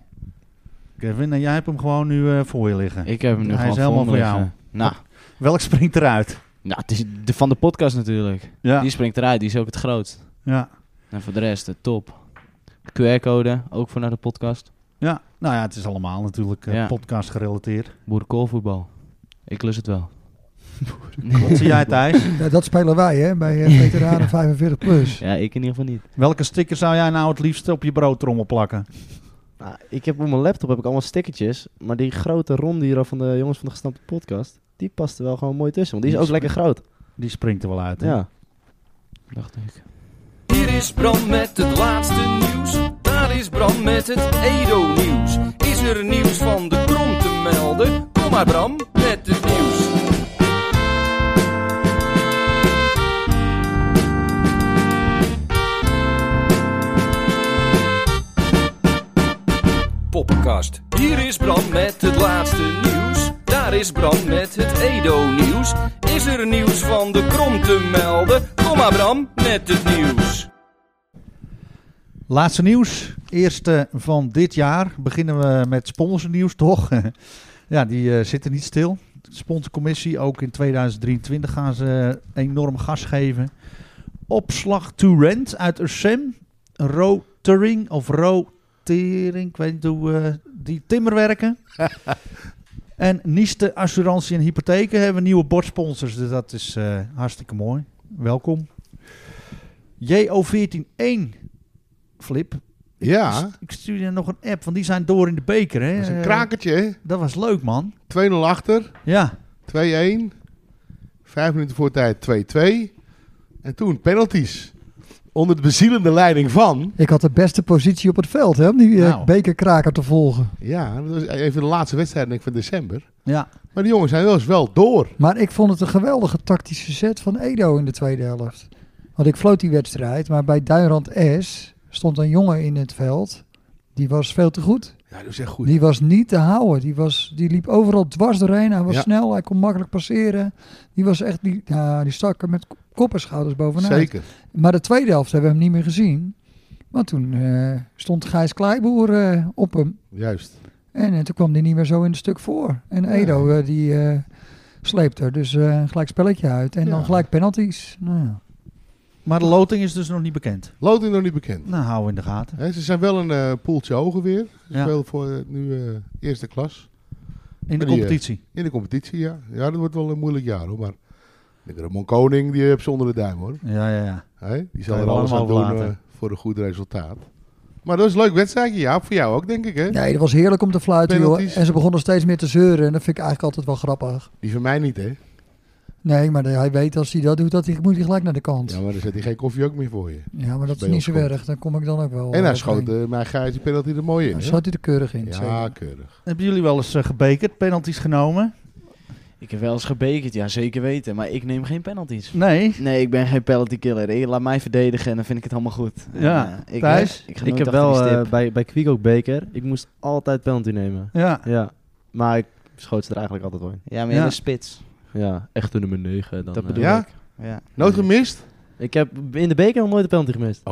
Speaker 2: Kevin, en jij hebt hem gewoon nu eh, voor je liggen.
Speaker 4: Ik heb hem nu
Speaker 2: Hij
Speaker 4: gewoon
Speaker 2: is helemaal
Speaker 4: voor me
Speaker 2: voor jou.
Speaker 4: liggen. Nou,
Speaker 2: Welk springt eruit?
Speaker 4: nou het is de, van de podcast natuurlijk.
Speaker 2: Ja.
Speaker 4: Die springt eruit, die is ook het grootst.
Speaker 2: ja.
Speaker 4: En voor de rest, eh, top. QR-code, ook voor naar de podcast.
Speaker 2: ja. Nou ja, het is allemaal natuurlijk eh,
Speaker 4: Ja.
Speaker 2: podcast gerelateerd.
Speaker 4: Boerenkoolvoetbal. Ik lust het wel.
Speaker 2: Wat zie jij (laughs) Thijs?
Speaker 1: Ja, dat spelen wij hè, bij eh, veteranen 45 plus.
Speaker 4: Ja, ik in ieder geval niet.
Speaker 2: Welke sticker zou jij nou het liefst op je broodtrommel plakken?
Speaker 6: Nou, ik heb op mijn laptop heb ik allemaal stickertjes, maar die grote ronde hier al van de jongens van de gestampte podcast, die past er wel gewoon mooi tussen, want die is ook lekker groot.
Speaker 2: Die springt er wel uit. hè?
Speaker 6: Ja.
Speaker 4: Dacht ik.
Speaker 8: Hier is Bram met het laatste nieuws. Daar is Bram met het Edo-nieuws. Is er nieuws van de krom te melden? Eh, Kom maar Bram met het nieuws. Poppenkast. Hier is Bram met het laatste nieuws. Daar is Bram met het Edo-nieuws. Is er nieuws van de krom te melden? Kom maar Bram met het nieuws.
Speaker 2: Laatste nieuws. Eerste van dit jaar. Beginnen we met sponsornieuws, toch? (laughs) ja, die eh, zitten niet stil. De sponsorcommissie, ook in 2023 gaan ze enorm gas geven. Opslag to rent uit Ursem. Rotering of rotering, ik weet niet hoe eh, die timmerwerken. en Nieste Assurantie en Hypotheken hebben nieuwe bordsponsors. Dus dat is eh, hartstikke mooi. Welkom. JO141 Flip. Ik
Speaker 3: Ja.
Speaker 2: st- Ik stuur je nog een app, want die zijn door in de beker. Hè?
Speaker 3: Dat is een
Speaker 2: Eh,
Speaker 3: krakertje, hè?
Speaker 2: dat was leuk, man.
Speaker 3: 2-0 achter, 2-1.
Speaker 2: Ja,
Speaker 3: Vijf minuten voor tijd 2-2. En toen penalties. onder de bezielende leiding van...
Speaker 1: Ik had de beste positie op het veld hè, om die eh,
Speaker 2: Nou.
Speaker 1: bekerkraker te volgen.
Speaker 3: Ja, dat was even de laatste wedstrijd denk ik, van december.
Speaker 2: Ja,
Speaker 3: Maar die jongens zijn wel eens wel door.
Speaker 1: Maar ik vond het een geweldige tactische zet van Edo in de tweede helft. Want ik floot die wedstrijd, maar bij Duinrand S stond een jongen in het veld. Die was veel te goed.
Speaker 3: Ja, dat is echt goed.
Speaker 1: Die was niet te houden. Die, was, die liep overal dwars doorheen. Hij was
Speaker 3: Ja.
Speaker 1: snel, hij kon makkelijk passeren. Die was echt, die, nou, die stak er met kop en schouders bovenuit.
Speaker 3: Zeker.
Speaker 1: Maar de tweede helft hebben we hem niet meer gezien. Want toen eh, stond Gijs Kleiboer eh, op hem.
Speaker 3: Juist.
Speaker 1: En eh, toen kwam hij niet meer zo in het stuk voor. En Edo eh, die eh, sleept er dus eh, een gelijk spelletje uit. En
Speaker 3: Ja.
Speaker 1: dan gelijk penalties. Nou, ja.
Speaker 2: maar de loting is dus nog niet bekend.
Speaker 3: Loting nog niet bekend.
Speaker 2: Nou, hou in de gaten.
Speaker 3: Hè, ze zijn wel een eh, poeltje hoger weer. Ze
Speaker 2: Ja.
Speaker 3: spelen voor eh, nu eh, eerste klas.
Speaker 2: In de
Speaker 3: Die, eh,
Speaker 2: competitie.
Speaker 3: In de competitie, ja. Ja, dat wordt wel een moeilijk jaar hoor. Maar de Ramon Koning, die heb ze onder de duim hoor.
Speaker 2: Ja, ja, ja.
Speaker 3: Hè, die
Speaker 2: Kan
Speaker 3: zal
Speaker 2: je
Speaker 3: er
Speaker 2: wel
Speaker 3: alles aan
Speaker 2: allemaal
Speaker 3: doen
Speaker 2: laten.
Speaker 3: eh, voor een goed resultaat. Maar dat is een leuk wedstrijdje, ja. Voor jou ook, denk ik hè.
Speaker 1: Nee, dat was heerlijk om te fluiten. Joh.
Speaker 3: Penalties.
Speaker 1: En ze begonnen steeds meer te zeuren. En dat vind ik eigenlijk altijd wel grappig.
Speaker 3: Die van mij niet hè.
Speaker 1: Nee, maar hij weet als hij dat doet, dat hij, moet hij gelijk naar de kant.
Speaker 3: Ja,
Speaker 1: Ja,
Speaker 3: maar dan zet hij geen koffie ook meer voor je.
Speaker 1: maar dat is
Speaker 3: Bij
Speaker 1: niet
Speaker 3: ons
Speaker 1: zo
Speaker 3: komt.
Speaker 1: erg. Dan kom ik dan ook wel.
Speaker 3: en hij
Speaker 1: eh,
Speaker 3: schoot
Speaker 1: overheen.
Speaker 3: eh, mijn gaatje penalty er mooi in.
Speaker 1: Hij
Speaker 3: hè?
Speaker 1: schoot hij er keurig in.
Speaker 3: Ja,
Speaker 1: zeker.
Speaker 3: keurig.
Speaker 2: Hebben jullie wel eens eh, gebekerd, penalties genomen?
Speaker 6: Ik heb wel eens gebekerd, ja zeker weten. Maar ik neem geen penalties.
Speaker 2: Nee.
Speaker 6: Nee, ik ben geen penalty killer. Ik laat mij verdedigen en dan vind ik het helemaal goed.
Speaker 2: Ja,
Speaker 6: En, eh, ik,
Speaker 2: Thijs?
Speaker 6: Ik,
Speaker 5: Ik heb wel eh,
Speaker 6: bij...
Speaker 5: bij, bij Quico Beker, ik moest altijd penalty nemen.
Speaker 2: Ja.
Speaker 5: Ja, maar ik schoot ze er eigenlijk altijd wel in.
Speaker 4: Ja, maar
Speaker 2: Ja.
Speaker 4: ja. de spits.
Speaker 5: Ja, echte nummer 9. Dan,
Speaker 4: Dat
Speaker 5: eh.
Speaker 4: bedoel
Speaker 3: ja?
Speaker 4: ik. Ja.
Speaker 3: Nooit gemist,
Speaker 5: Ik heb in de beker nog nooit een penalty gemist.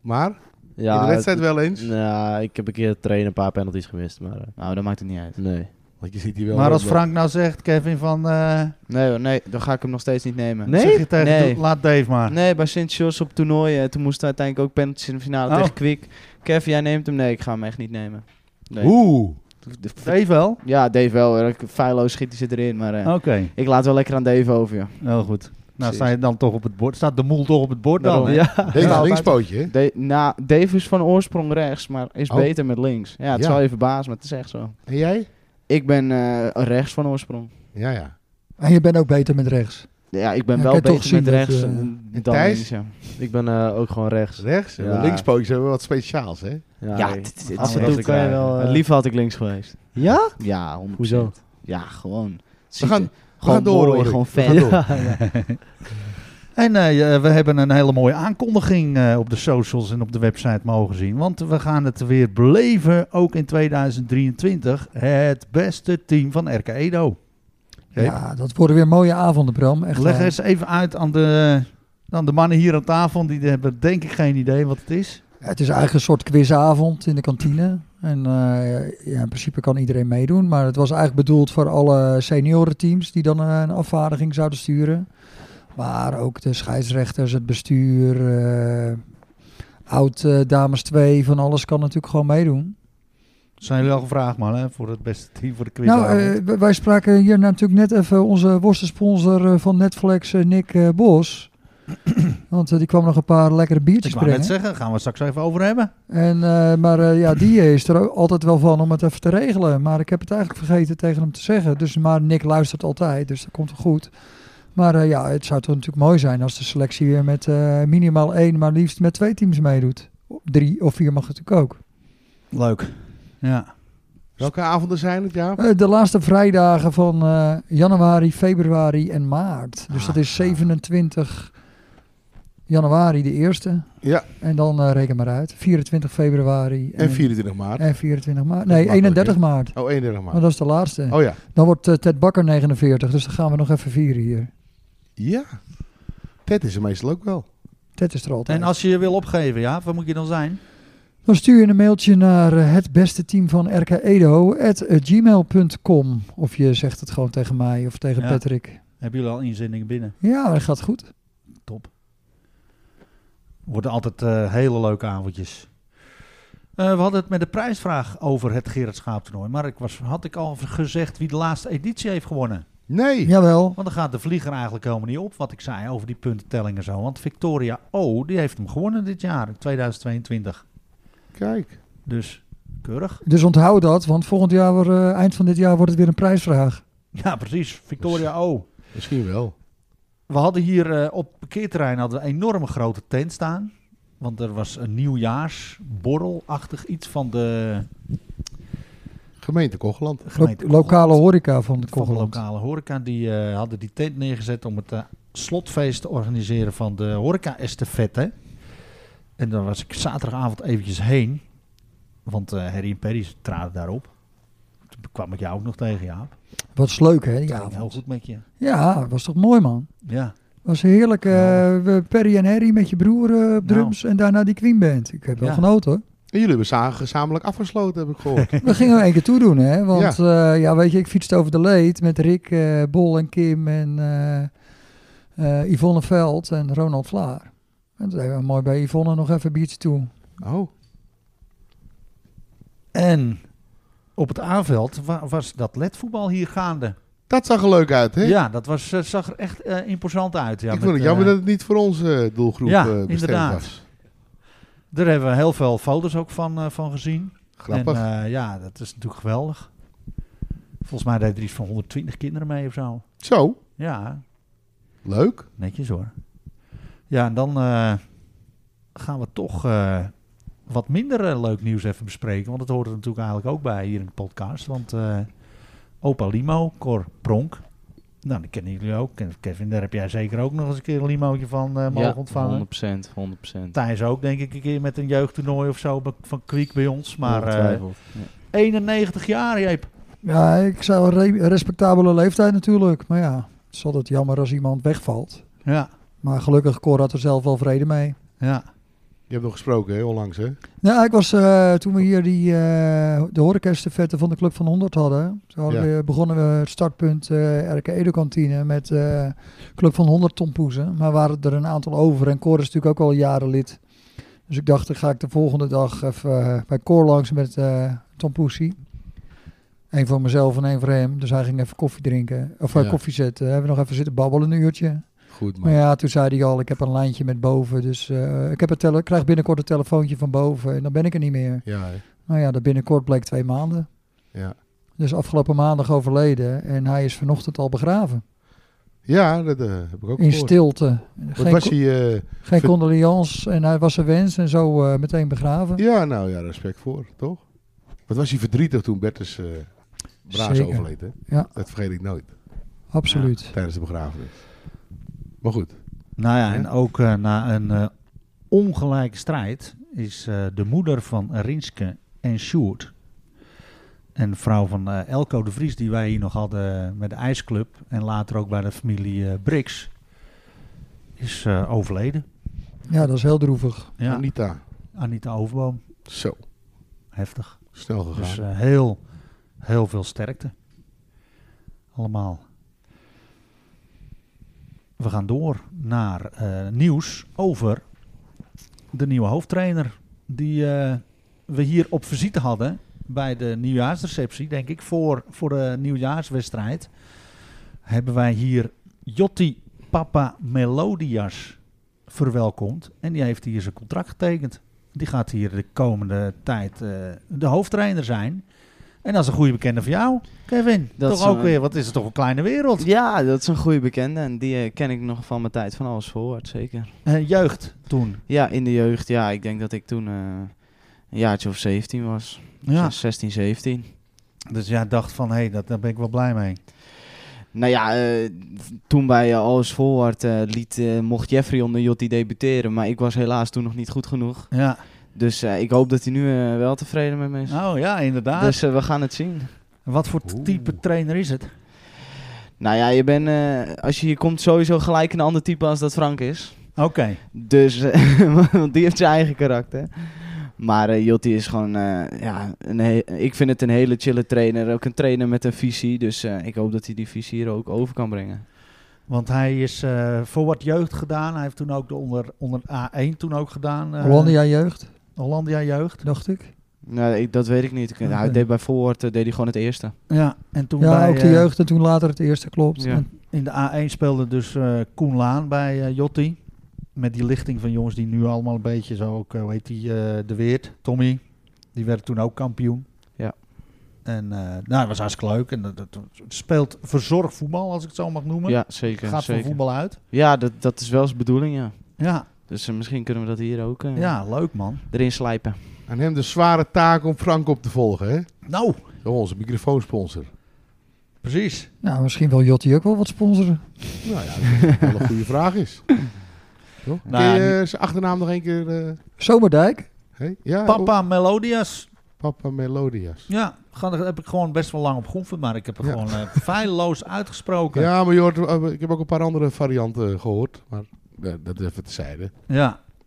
Speaker 3: maar
Speaker 5: Ja,
Speaker 3: in de wedstrijd wel eens.
Speaker 5: Nou, ik heb een keer trainen een paar penalties gemist, maar eh,
Speaker 4: Nou, dat maakt het niet uit.
Speaker 5: nee.
Speaker 3: Want je ziet die wel
Speaker 2: Maar als
Speaker 3: rondlopen.
Speaker 2: Frank nou zegt, Kevin, van... eh,
Speaker 4: Nee, hoor, nee, dan ga ik hem nog steeds niet nemen.
Speaker 2: Zeg je tegen,
Speaker 4: Nee.
Speaker 2: doe- laat Dave maar.
Speaker 4: Nee, bij Sint-Jos op toernooi. eh, toen moesten we uiteindelijk ook penalties in de finale
Speaker 2: Oh.
Speaker 4: tegen Kwik. Kev, jij neemt hem? Nee, ik ga hem echt niet nemen. Nee.
Speaker 3: Oeh.
Speaker 4: De- de-
Speaker 2: Dave wel?
Speaker 4: Ja, Dave wel. hoor. Ik- Feilo schiet hij erin, maar eh,
Speaker 2: Oké,
Speaker 4: ik laat wel lekker aan Dave over. joh.
Speaker 2: heel goed. Nou,
Speaker 4: Precies.
Speaker 2: sta je dan toch op het bord? Staat de moel toch op het bord dan?
Speaker 4: Daarom,
Speaker 2: hè?
Speaker 4: hè?
Speaker 3: Deze
Speaker 1: Ja,
Speaker 3: linkspootje, hè?
Speaker 4: De- nou, Dave is van oorsprong rechts, maar is
Speaker 3: Oh.
Speaker 4: beter met links. Ja, het
Speaker 3: Ja.
Speaker 4: zal even baas, maar het is echt zo.
Speaker 3: En jij?
Speaker 4: Ik ben eh, rechts van oorsprong.
Speaker 3: Ja, ja.
Speaker 1: En je bent ook beter met rechts.
Speaker 4: Ja, ik ben
Speaker 1: Ja,
Speaker 4: wel
Speaker 1: kan je toch
Speaker 4: beter met
Speaker 1: zien dat,
Speaker 4: rechts
Speaker 1: eh,
Speaker 4: dan
Speaker 3: En
Speaker 4: dan
Speaker 3: Thijs?
Speaker 4: links. Ja,
Speaker 5: Ik ben eh, ook gewoon rechts.
Speaker 3: Rechts. En
Speaker 5: Ja.
Speaker 3: de Linkspootjes hebben wat speciaals, hè?
Speaker 5: Ja,
Speaker 4: ja
Speaker 5: nee.
Speaker 4: dit- dit-
Speaker 5: Af en
Speaker 4: dit-
Speaker 5: toe kan je wel... eh,
Speaker 4: Liever had ik links geweest.
Speaker 5: Ja?
Speaker 4: Ja, 100%.
Speaker 5: Hoezo?
Speaker 4: Ja, gewoon.
Speaker 3: We gaan, we
Speaker 4: gewoon
Speaker 3: gaan door,
Speaker 4: mooi,
Speaker 3: hoor ik.
Speaker 4: gewoon
Speaker 3: We
Speaker 4: vet.
Speaker 3: gaan
Speaker 2: (laughs)
Speaker 3: door.
Speaker 2: En eh, je- we hebben een hele mooie aankondiging eh, op de socials en op de website mogen zien. Want we gaan het weer beleven, ook in 2023. Het beste team van RK Edo. Oké.
Speaker 1: Ja, dat worden weer mooie avonden, Bram. Echt eh,
Speaker 2: Leg
Speaker 1: waar.
Speaker 2: eens even uit aan de, aan de mannen hier aan tafel. Die hebben denk ik geen idee wat het is.
Speaker 1: Het is eigenlijk een soort quizavond in de kantine. En eh, ja, in principe kan iedereen meedoen. Maar het was eigenlijk bedoeld voor alle seniorenteams die dan eh, een afvaardiging zouden sturen. Maar ook de scheidsrechters, het bestuur, eh, oud eh, dames 2, van alles kan natuurlijk gewoon meedoen.
Speaker 2: Zijn jullie al gevraagd, man, hè, voor het beste team voor de quiz?
Speaker 1: Nou, eh, w- wij spraken hier natuurlijk net even onze worstensponsor eh, van Netflix, eh, Nick eh,
Speaker 2: (clears throat)
Speaker 1: Bos. Want eh, die kwam nog een paar lekkere biertjes
Speaker 2: ik wou net
Speaker 1: brengen.
Speaker 2: zeggen, gaan we het straks even over hebben.
Speaker 1: En, eh, maar eh, ja,
Speaker 2: (clears throat)
Speaker 1: die is er ook altijd wel van om het even te regelen. Maar ik heb het eigenlijk vergeten tegen hem te zeggen. Dus, maar Nick luistert altijd, dus dat komt wel goed. Maar eh, ja, het zou toch natuurlijk mooi zijn als de selectie weer met eh, minimaal één, maar liefst met twee teams meedoet. Drie of vier mag natuurlijk ook.
Speaker 2: Leuk. Ja.
Speaker 3: Welke avonden zijn het, ja?
Speaker 1: Eh, de laatste vrijdagen van eh, januari, februari en maart. Dus dat
Speaker 3: Ah,
Speaker 1: is 27 januari de eerste.
Speaker 3: Ja.
Speaker 1: En dan eh, reken maar uit. 24 februari
Speaker 3: En 24 maart.
Speaker 1: en 24 maart.
Speaker 3: Dat is
Speaker 1: Nee,
Speaker 3: makkelijk,
Speaker 1: 31 maart.
Speaker 3: Oh, 31
Speaker 1: Maar
Speaker 3: maart.
Speaker 1: dat is de laatste.
Speaker 3: Oh ja.
Speaker 1: Dan wordt eh, Ted Bakker 49, dus dan gaan we nog even vieren hier.
Speaker 3: Ja. Ted is er meestal ook wel.
Speaker 1: Ted is er altijd.
Speaker 2: En als je je wil opgeven, ja, waar moet je dan zijn?
Speaker 1: Dan stuur je een mailtje naar eh, het beste team van RK Edo at eh, gmail.com. Of je zegt het gewoon tegen mij of tegen
Speaker 2: Ja.
Speaker 1: Patrick.
Speaker 2: Hebben jullie al inzendingen binnen?
Speaker 1: Ja, dat gaat goed.
Speaker 2: Top. Worden altijd eh, hele leuke avondjes. Eh, we hadden het met de prijsvraag over het Gerard Schaap toernooi. Maar ik was, had ik al gezegd wie de laatste editie heeft gewonnen?
Speaker 3: Nee.
Speaker 1: Jawel.
Speaker 2: Want dan gaat de vlieger eigenlijk helemaal niet op wat ik zei over die puntentellingen en zo. Want Victoria O, die heeft hem gewonnen dit jaar, in 2022.
Speaker 3: Kijk.
Speaker 2: Dus keurig. (laughs)
Speaker 1: Dus onthoud dat, want volgend jaar, wordt, eh, eind van dit jaar, wordt het weer een prijsvraag.
Speaker 2: Ja, precies. Victoria
Speaker 1: Dus-
Speaker 2: O.
Speaker 3: Misschien wel.
Speaker 2: We hadden hier eh, op het parkeerterrein hadden we een enorme grote tent staan. Want er was een nieuwjaarsborrelachtig iets van de
Speaker 3: Gemeente Kogeland.
Speaker 2: gemeente
Speaker 1: Lo- lokale
Speaker 2: Kogeland.
Speaker 1: horeca van de
Speaker 2: Van de
Speaker 1: Kogeland.
Speaker 2: lokale horeca. Die eh, hadden die tent neergezet om het eh, slotfeest te organiseren van de horeca-estafette. En daar was ik zaterdagavond eventjes heen. Want eh Harry en Perry traden daarop. Toen kwam ik jou ook nog tegen, Jaap.
Speaker 1: Wat is leuk hè, die
Speaker 2: Ja, heel
Speaker 1: avond.
Speaker 2: goed met je.
Speaker 1: Ja, was toch mooi man.
Speaker 2: Ja.
Speaker 1: Was heerlijk. eh,
Speaker 2: Ja.
Speaker 1: we- Perry en Harry met je broer eh, op
Speaker 2: Nou.
Speaker 1: drums en daarna die Queen Band. Ik heb wel
Speaker 2: Ja.
Speaker 1: genoten
Speaker 2: (laughs)
Speaker 1: hoor.
Speaker 3: En jullie hebben sa- gezamenlijk afgesloten, heb ik
Speaker 1: (laughs)
Speaker 3: gehoord.
Speaker 1: We gingen er één keer toe doen hè. Want ja. ja, weet je, ik fietste over de leed met Rick, eh, Bol en Kim en eh, eh, Yvonne Veld en Ronald Vlaar. En toen hebben we mooi bij Yvonne nog even een biertje toe.
Speaker 3: oh,
Speaker 2: En op het aanveld wa- was dat ledvoetbal hier gaande.
Speaker 3: dat zag er leuk uit, hè?
Speaker 2: Ja, dat was, eh, zag er echt eh, imposant uit. Ja,
Speaker 3: ik
Speaker 2: met,
Speaker 3: vond het
Speaker 2: eh,
Speaker 3: jammer dat het niet voor onze doelgroep
Speaker 2: ja,
Speaker 3: eh, bestemd
Speaker 2: inderdaad.
Speaker 3: was.
Speaker 2: Daar hebben we heel veel foto's ook van, eh, van gezien.
Speaker 3: Grappig.
Speaker 2: En eh, ja, dat is natuurlijk geweldig. Volgens mij deed er iets van 120 kinderen mee of zo.
Speaker 3: Zo,
Speaker 2: Ja,
Speaker 3: leuk.
Speaker 2: netjes hoor. Ja, en dan eh, gaan we toch eh, wat minder eh, leuk nieuws even bespreken. Want dat hoort er natuurlijk eigenlijk ook bij hier in de podcast. Want eh, opa Limo, Cor Pronk. Nou, die kennen jullie ook. Ken- Kevin, daar heb jij zeker ook nog eens een keer een limootje van eh, mogen ontvangen.
Speaker 4: 100%, 100%.
Speaker 2: Thijs ook, denk ik, een keer met een jeugdtoernooi of zo be- van Kwiek bij ons. Maar eh,
Speaker 4: Ongetwijfeld.
Speaker 2: 91 jaar, Jeep.
Speaker 1: Ja, ik zou een re- respectabele leeftijd natuurlijk. Maar ja, het is altijd jammer als iemand wegvalt.
Speaker 2: Ja,
Speaker 1: Maar gelukkig, Cor had er zelf wel vrede mee.
Speaker 2: ja.
Speaker 3: Je hebt nog gesproken, hè, onlangs, hè?
Speaker 1: Nou, ik was eh, toen we hier die, eh de horecastafette van de Club van 100 hadden. Toen hadden
Speaker 3: Ja.
Speaker 1: we, begonnen we het startpunt eh RK Edukantine met eh, Club van 100 tompoezen. Maar waren er een aantal over en Cor is natuurlijk ook al jaren lid. Dus ik dacht, dan ga ik de volgende dag even eh, bij Cor langs met eh tompoesie. Eén voor mezelf en één voor hem. Dus hij ging even koffie drinken. Of eh,
Speaker 3: Ja.
Speaker 1: koffie zetten. Hebben we nog even zitten babbelen een uurtje.
Speaker 3: Goed,
Speaker 1: Maar
Speaker 3: man.
Speaker 1: ja, toen zei hij al, ik heb een lijntje met boven. Dus eh, ik heb een tele- krijg binnenkort een telefoontje van boven en dan ben ik er niet meer.
Speaker 3: Ja, hè.
Speaker 1: Nou ja, dat binnenkort bleek twee maanden.
Speaker 3: ja.
Speaker 1: Dus afgelopen maandag overleden en hij is vanochtend al begraven.
Speaker 3: ja dat eh, heb ik ook
Speaker 1: In
Speaker 3: gehoord.
Speaker 1: stilte.
Speaker 3: Wat
Speaker 1: Geen,
Speaker 3: was
Speaker 1: co-
Speaker 3: hij... eh,
Speaker 1: geen
Speaker 3: ver-
Speaker 1: condoleance en hij was zijn wens en zo eh, meteen begraven.
Speaker 3: ja, nou ja, respect voor, toch? Wat was hij verdrietig toen Bertus eh Braas
Speaker 1: Zeker.
Speaker 3: overleed, hè?
Speaker 1: Ja.
Speaker 3: Dat vergeet ik nooit,
Speaker 1: Absoluut.
Speaker 3: tijdens de begrafenis. Maar goed,
Speaker 2: Nou ja, en
Speaker 3: Ja.
Speaker 2: ook eh, na een eh, ongelijke strijd is eh, de moeder van Rinske en Sjoerd. En de vrouw van eh, Elko de Vries, die wij hier nog hadden eh, met de IJsclub. En later ook bij de familie eh Brix. Is eh, overleden.
Speaker 1: Ja, dat is heel droevig.
Speaker 2: Ja,
Speaker 3: Anita.
Speaker 2: Anita Overboom.
Speaker 3: Zo,
Speaker 2: Heftig.
Speaker 3: snel gegaan.
Speaker 2: Dus eh, heel, heel veel sterkte. Allemaal. We gaan door naar eh, nieuws over de nieuwe hoofdtrainer. Die eh, we hier op visite hadden bij de nieuwjaarsreceptie, denk ik. Voor, voor de nieuwjaarswedstrijd hebben wij hier Jotti Papa Melodias verwelkomd. En die heeft hier zijn contract getekend. Die gaat hier de komende tijd eh, de hoofdtrainer zijn. En dat is een goede bekende van jou, Kevin.
Speaker 4: Dat
Speaker 2: toch
Speaker 4: is
Speaker 2: ook
Speaker 4: een-
Speaker 2: weer, wat is het toch een eh, kleine wereld?
Speaker 4: Ja, dat is een goede bekende en die eh, ken ik nog van mijn tijd van alles voorwaarts, zeker.
Speaker 2: Eh, jeugd toen.
Speaker 4: Ja, in de jeugd, ja, ik denk dat ik toen eh, een jaartje of 17 was.
Speaker 2: Ja.
Speaker 4: 16, 17.
Speaker 2: Dus jij dacht van, hé, hey, dat- daar ben ik wel blij mee.
Speaker 4: Nou ja, eh, toen bij eh, Alles Voorwaard eh, liet, eh, mocht Jeffrey onder Jotti debuteren, maar ik was helaas toen nog niet goed genoeg.
Speaker 2: Ja.
Speaker 4: Dus eh, ik hoop dat hij nu eh, wel tevreden met me is.
Speaker 2: Oh ja, inderdaad.
Speaker 4: Dus eh, we gaan het zien.
Speaker 2: wat voor
Speaker 3: Oeh.
Speaker 2: type trainer is het?
Speaker 4: Nou ja, je bent, eh, als je hier komt sowieso gelijk een ander type als dat Frank is.
Speaker 2: Oké.
Speaker 4: Dus, eh, (laughs) want die heeft zijn eigen karakter. Maar eh, Jotti is gewoon, eh, ja, een he- ik vind het een hele chille trainer. Ook een trainer met een visie. Dus eh, ik hoop dat hij die visie hier ook over kan brengen.
Speaker 2: Want hij is eh, voor wat jeugd gedaan. Hij heeft toen ook de onder, onder A1 toen ook gedaan. eh,
Speaker 1: Hollandia jeugd,
Speaker 2: Hollandia jeugd.
Speaker 1: dacht ik.
Speaker 4: Nou, ik, dat weet ik niet. Ik, nou, hij
Speaker 1: Oké.
Speaker 4: deed bij Voorwoord eh, deed hij gewoon het eerste.
Speaker 2: Ja, en toen
Speaker 1: Ja,
Speaker 2: bij,
Speaker 1: ook de
Speaker 2: eh,
Speaker 1: jeugd en toen later het eerste klopt.
Speaker 4: Ja.
Speaker 1: En-
Speaker 2: In de A1 speelde dus eh, Koen Laan bij eh, Jotti. Met die lichting van jongens die nu allemaal een beetje zo, ook, eh, hoe heet die, eh, De Weert, Tommy. Die werd toen ook kampioen.
Speaker 4: Ja.
Speaker 2: En eh, nou, dat was hartstikke leuk. En dat, dat- het speelt verzorgd voetbal, als ik het zo mag noemen.
Speaker 4: Ja, zeker.
Speaker 2: Gaat van
Speaker 4: zeker.
Speaker 2: voetbal uit.
Speaker 4: Ja, dat, dat is wel zijn bedoeling, ja.
Speaker 2: Ja.
Speaker 4: Dus eh, misschien kunnen we dat hier ook eh,
Speaker 2: Ja, leuk man.
Speaker 4: erin slijpen. Oh,
Speaker 2: eh,
Speaker 3: Aan hem de zware taak om Frank op te volgen, hè?
Speaker 2: Nou,
Speaker 3: Oh, onze microfoonsponsor.
Speaker 2: precies.
Speaker 1: Nou, misschien wil Jotti ook wel wat sponsoren.
Speaker 3: Nou ja, dat is wel
Speaker 2: (laughs)
Speaker 3: een goede vraag is. Toch?
Speaker 2: Nou,
Speaker 3: Kun je eh, zijn achternaam nog een keer... eh,
Speaker 1: Zomerdijk.
Speaker 3: hè? Ja, oh,
Speaker 2: Papa Melodias.
Speaker 3: Papa Melodias.
Speaker 2: Ja, ga- daar heb ik gewoon best wel lang op geoefend, maar ik heb er
Speaker 3: Ja.
Speaker 2: gewoon eh, feilloos uitgesproken. Ja.
Speaker 3: Ja, maar je hoort, eh, ik heb ook een paar andere varianten gehoord. Maar eh, dat even terzijde.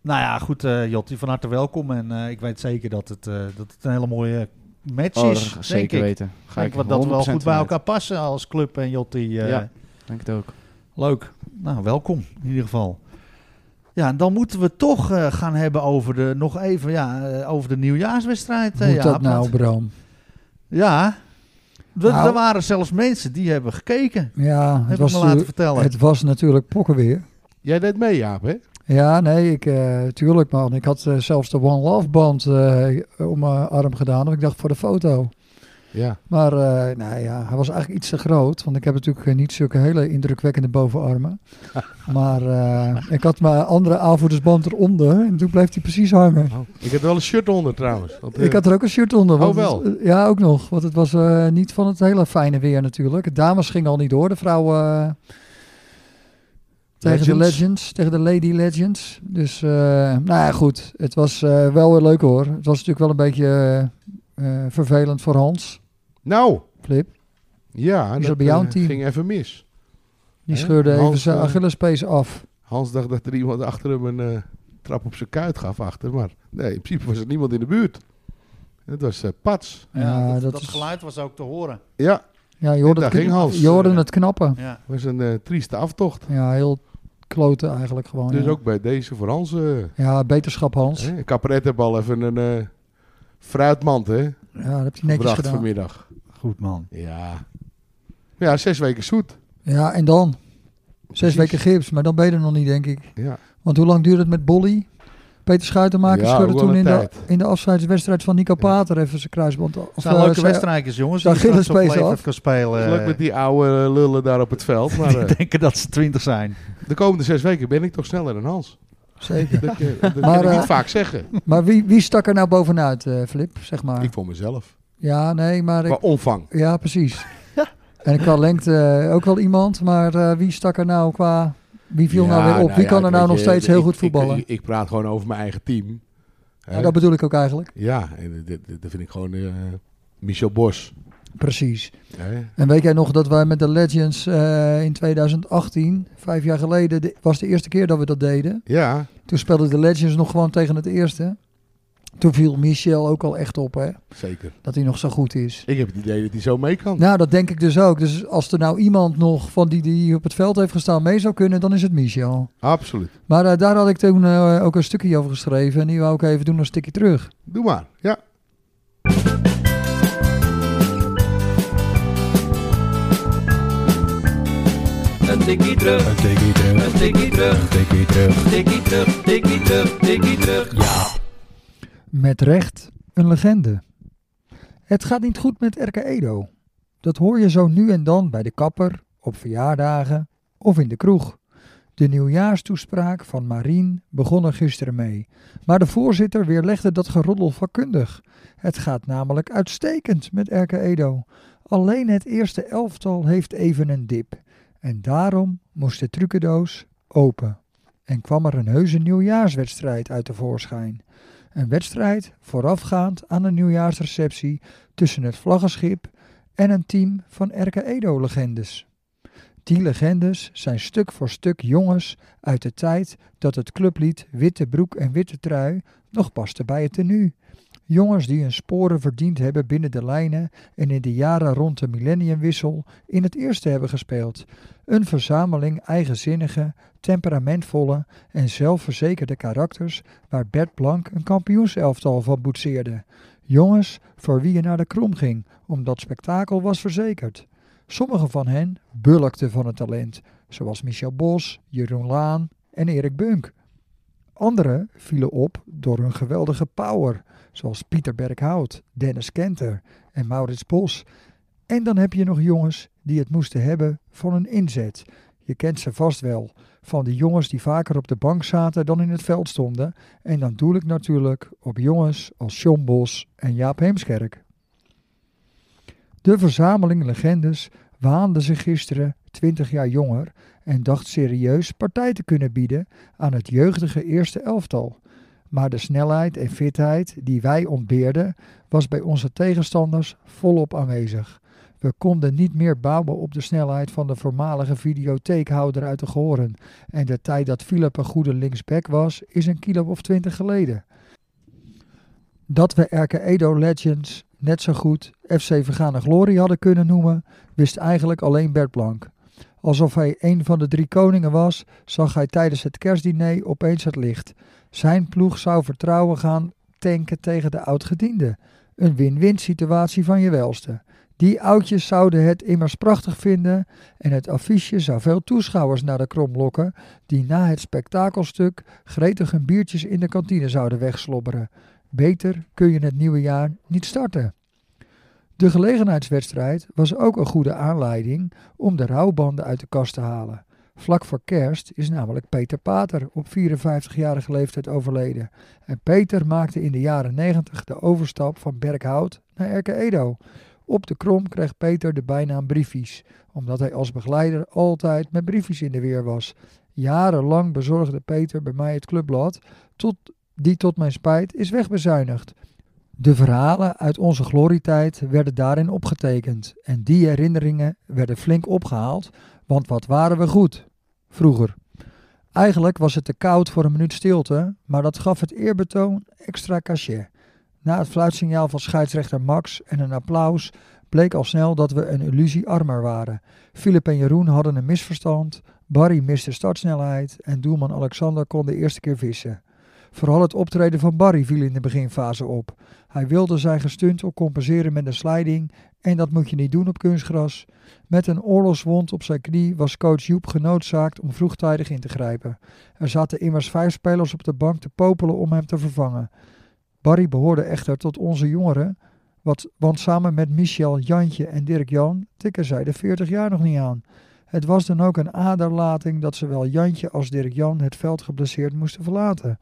Speaker 2: Nou ja, goed, eh Jotti, van harte welkom. En eh, ik weet zeker dat het, eh, dat het een hele mooie match
Speaker 4: Oh, dat ga
Speaker 2: is.
Speaker 4: ik
Speaker 2: denk
Speaker 4: zeker
Speaker 2: ik.
Speaker 4: weten. Ga
Speaker 2: ik wat dat we wel
Speaker 4: 100%
Speaker 2: goed bij
Speaker 4: vanuit.
Speaker 2: elkaar passen als club en Jotti. eh,
Speaker 4: Ja. Denk het ook.
Speaker 2: Leuk. Nou, welkom in ieder geval. Ja, en dan moeten we toch eh, gaan hebben over de, nog even, ja, eh, over de nieuwjaarswedstrijd. eh,
Speaker 1: Moet dat
Speaker 2: Jaap.
Speaker 1: nou, Bram?
Speaker 2: Ja. Er-
Speaker 1: Nou.
Speaker 2: Er waren zelfs mensen die hebben gekeken.
Speaker 1: Ja, het
Speaker 2: Heb
Speaker 1: was,
Speaker 2: ik me laten
Speaker 1: natuurlijk-
Speaker 2: vertellen.
Speaker 1: het was natuurlijk pokkenweer.
Speaker 3: Jij deed mee, Jaap, hè?
Speaker 1: Ja, nee, ik, eh, tuurlijk man. Ik had eh, zelfs de One Love band eh, om mijn arm gedaan. Want ik dacht voor de foto.
Speaker 3: Ja.
Speaker 1: Maar eh, nou ja, hij was eigenlijk iets te groot. Want ik heb natuurlijk eh, niet zulke hele indrukwekkende
Speaker 3: (laughs)
Speaker 1: bovenarmen. maar eh, ik had mijn andere aanvoerdersband eronder. En toen bleef hij precies hangen.
Speaker 3: Oh. Ik heb er wel een shirt onder, trouwens. Want, eh,
Speaker 1: Ik had er ook een shirt onder. want
Speaker 3: Oh, wel?
Speaker 1: het- ja, ook nog. Want het was eh, niet van het hele fijne weer natuurlijk. De dames gingen al niet door. De vrouwen eh, tegen de
Speaker 3: Legends.
Speaker 1: legends. Tegen de lady legends. Dus eh, nou ja, goed. Het was eh, wel weer leuk hoor. Het was natuurlijk wel een beetje eh, eh, vervelend voor Hans.
Speaker 3: Nou,
Speaker 1: Flip.
Speaker 3: ja.
Speaker 1: Is
Speaker 3: dat
Speaker 1: dat bij jouw
Speaker 3: eh,
Speaker 1: team?
Speaker 3: ging even mis.
Speaker 1: Die
Speaker 3: Hè?
Speaker 1: scheurde even
Speaker 3: Hans,
Speaker 1: zijn
Speaker 3: eh,
Speaker 1: Achillespees af.
Speaker 3: Hans dacht dat er iemand achter hem een eh, trap op zijn kuit gaf achter. Maar nee, in principe was er niemand in de buurt. En het was eh, Pats.
Speaker 1: Ja, Ja, dat- dat dat is-
Speaker 2: geluid was ook te horen.
Speaker 3: Ja,
Speaker 1: Ja, je hoorde,
Speaker 3: daar
Speaker 1: het, kn-
Speaker 3: ging Hans. eh,
Speaker 1: je hoorde het knappen.
Speaker 2: Ja.
Speaker 3: was een eh, trieste aftocht.
Speaker 1: Ja, heel kloten eigenlijk gewoon.
Speaker 3: Dus
Speaker 1: Oh, ja.
Speaker 3: ook bij deze voor Hans. eh
Speaker 1: Ja, beterschap Hans.
Speaker 3: hè, Cabaret heeft al even een eh, fruitmand, hè?
Speaker 1: Ja, dat heb hij netjes
Speaker 3: gebracht
Speaker 1: gedaan.
Speaker 3: vanmiddag.
Speaker 2: Goed man.
Speaker 3: Ja. Ja, zes weken zoet.
Speaker 1: Ja, en dan? Zes
Speaker 3: Precies.
Speaker 1: weken gips, maar dan ben je er nog niet, denk ik.
Speaker 3: Ja.
Speaker 1: Want hoe lang duurde het met Bolly? Peter Schuitenmaker
Speaker 3: Ja,
Speaker 1: scheurde
Speaker 3: ook wel
Speaker 1: toen
Speaker 3: een
Speaker 1: in de,
Speaker 3: tijd.
Speaker 1: in de afscheidswedstrijd van Nico Pater even zijn kruisband. Of,
Speaker 2: Het zijn
Speaker 1: eh,
Speaker 2: leuke
Speaker 1: zijn-
Speaker 2: wedstrijdjes jongens.
Speaker 1: zijn
Speaker 2: die straks op
Speaker 1: Gillespie's
Speaker 2: leeftijd
Speaker 1: af?
Speaker 2: kan spelen.
Speaker 3: Is leuk met die oude eh, lullen daar op het
Speaker 1: (laughs)
Speaker 3: veld.
Speaker 2: (laughs)
Speaker 3: Maar eh,
Speaker 2: die denken dat ze twintig zijn.
Speaker 3: de komende zes weken ben ik toch sneller dan
Speaker 1: (laughs)
Speaker 3: Hans.
Speaker 1: Zeker.
Speaker 3: Dat, eh,
Speaker 1: (laughs)
Speaker 3: dat
Speaker 1: Maar,
Speaker 3: kan ik
Speaker 1: eh,
Speaker 3: niet vaak zeggen.
Speaker 1: maar wie, wie stak er nou bovenuit, eh, Flip? Zeg maar.
Speaker 3: Ik voor mezelf.
Speaker 1: Ja, nee, maar
Speaker 3: Qua
Speaker 1: ik,
Speaker 3: omvang.
Speaker 1: ja, precies. en qua lengte eh, ook wel iemand, maar eh, wie stak er nou qua... Wie viel nou
Speaker 3: Ja,
Speaker 1: weer op? wie
Speaker 3: ja,
Speaker 1: kan er nou
Speaker 3: weet
Speaker 1: nog
Speaker 3: je,
Speaker 1: steeds heel
Speaker 3: ik-
Speaker 1: goed
Speaker 3: ik-
Speaker 1: voetballen?
Speaker 3: Ik, ik praat gewoon over mijn eigen team.
Speaker 1: ja,
Speaker 3: Hè?
Speaker 1: dat bedoel ik ook eigenlijk.
Speaker 3: Ja, en dat- dat dat vind ik gewoon eh, Michel Bos.
Speaker 1: Precies.
Speaker 3: Hè?
Speaker 1: En weet jij nog dat wij met de Legends eh, in 2018, vijf jaar geleden, de- was de eerste keer dat we dat deden.
Speaker 3: Ja,
Speaker 1: Toen speelden de Legends nog gewoon tegen het eerste. Toen viel Michel ook al echt op, hè,
Speaker 3: zeker.
Speaker 1: dat hij nog zo goed is.
Speaker 3: Ik heb het idee dat hij zo mee kan.
Speaker 1: Nou, dat denk ik dus ook. Dus als er nou iemand nog van die die op het veld heeft gestaan mee zou kunnen, dan is het Michel.
Speaker 3: Absoluut.
Speaker 1: Maar eh, daar had ik toen eh, ook een stukje over geschreven en die wou ik even doen, een stukje terug.
Speaker 3: Doe maar. Ja.
Speaker 8: Een tikkie terug,
Speaker 2: Een tikkie terug,
Speaker 8: een tikkie terug,
Speaker 2: een tikkie terug.
Speaker 8: tikkie terug, tikkie terug, tikkie terug.
Speaker 1: Met recht een legende. Het gaat niet goed met RK Edo. Dat hoor je zo nu en dan bij de kapper, op verjaardagen of in de kroeg. De nieuwjaarstoespraak van Marien begon er gisteren mee. Maar de voorzitter weerlegde dat geroddel vakkundig. Het gaat namelijk uitstekend met RK Edo. Alleen het eerste elftal heeft even een dip. En daarom moest de trucendoos open. En kwam er een heuse nieuwjaarswedstrijd uit de voorschijn. Een wedstrijd voorafgaand aan een nieuwjaarsreceptie tussen het vlaggenschip en een team van RK Edo-legendes. Die legendes zijn stuk voor stuk jongens uit de tijd dat het clublied Witte Broek en Witte Trui nog paste bij het tenue. Jongens die hun sporen verdiend hebben binnen de lijnen en in de jaren rond de millenniumwissel in het eerste hebben gespeeld. Een verzameling eigenzinnige, temperamentvolle en zelfverzekerde karakters waar Bert Blank een kampioenselftal van boetseerde. Jongens voor wie je naar de krom ging, omdat spektakel was verzekerd. Sommigen van hen bulkten van het talent, zoals Michel Bos, Jeroen Laan en Erik Bunk. Anderen vielen op door hun geweldige power, zoals Pieter Berkhout, Dennis Kenter en Maurits Bos. En dan heb je nog jongens die het moesten hebben van hun inzet. Je kent ze vast wel. Van die jongens die vaker op de bank zaten dan in het veld stonden. En dan doe ik natuurlijk op jongens als John Bos en Jaap Heemskerk. De verzameling legendes waande zich gisteren 20 jaar jonger en dacht serieus partij te kunnen bieden aan het jeugdige eerste elftal. Maar de snelheid en fitheid die wij ontbeerden, was bij onze tegenstanders volop aanwezig. We konden niet meer bouwen op de snelheid van de voormalige videotheekhouder uit de Goren. En de tijd dat Philip een goede linksback was, is een kilo of twintig geleden. Dat we Erke Edo Legends net zo goed FC Vergane Glorie hadden kunnen noemen, wist eigenlijk alleen Bert Blank. Alsof hij een van de drie koningen was, zag hij tijdens het kerstdiner opeens het licht. Zijn ploeg zou vertrouwen gaan tanken tegen de oudgediende. Een win-win situatie van je welste. Die oudjes zouden het immers prachtig vinden en het affiche zou veel toeschouwers naar de krom lokken, die na het spektakelstuk gretig hun biertjes in de kantine zouden wegslobberen. Beter kun je het nieuwe jaar niet starten. De gelegenheidswedstrijd was ook een goede aanleiding om de rouwbanden uit de kast te halen. Vlak voor kerst is namelijk Peter Pater op 54-jarige leeftijd overleden. En Peter maakte in de jaren 90 de overstap van Berkhout naar Erke Edo. Op de krom kreeg Peter de bijnaam Briefies, omdat hij als begeleider altijd met briefjes in de weer was. Jarenlang bezorgde Peter bij mij het clubblad, tot, die tot mijn spijt is wegbezuinigd. De verhalen uit onze glorietijd werden daarin opgetekend en die herinneringen werden flink opgehaald, want wat waren we goed vroeger. Eigenlijk was het te koud voor een minuut stilte, maar dat gaf het eerbetoon extra cachet. Na het fluitsignaal van scheidsrechter Max en een applaus bleek al snel dat we een illusie armer waren. Philip en Jeroen hadden een misverstand, Barry miste startsnelheid en doelman Alexander kon de eerste keer vissen. Vooral het optreden van Barry viel in de beginfase op. Hij wilde zijn gestuntel compenseren met een sliding en dat moet je niet doen op kunstgras. Met een oorlogswond op zijn knie was coach Joep genoodzaakt om vroegtijdig in te grijpen. Er zaten immers vijf spelers op de bank te popelen om hem te vervangen. Barry behoorde echter tot onze jongeren, wat, want samen met Michel, Jantje en Dirk Jan tikken zij de 40 jaar nog niet aan. Het was dan ook een aderlating dat zowel Jantje als Dirk Jan het veld geblesseerd moesten verlaten.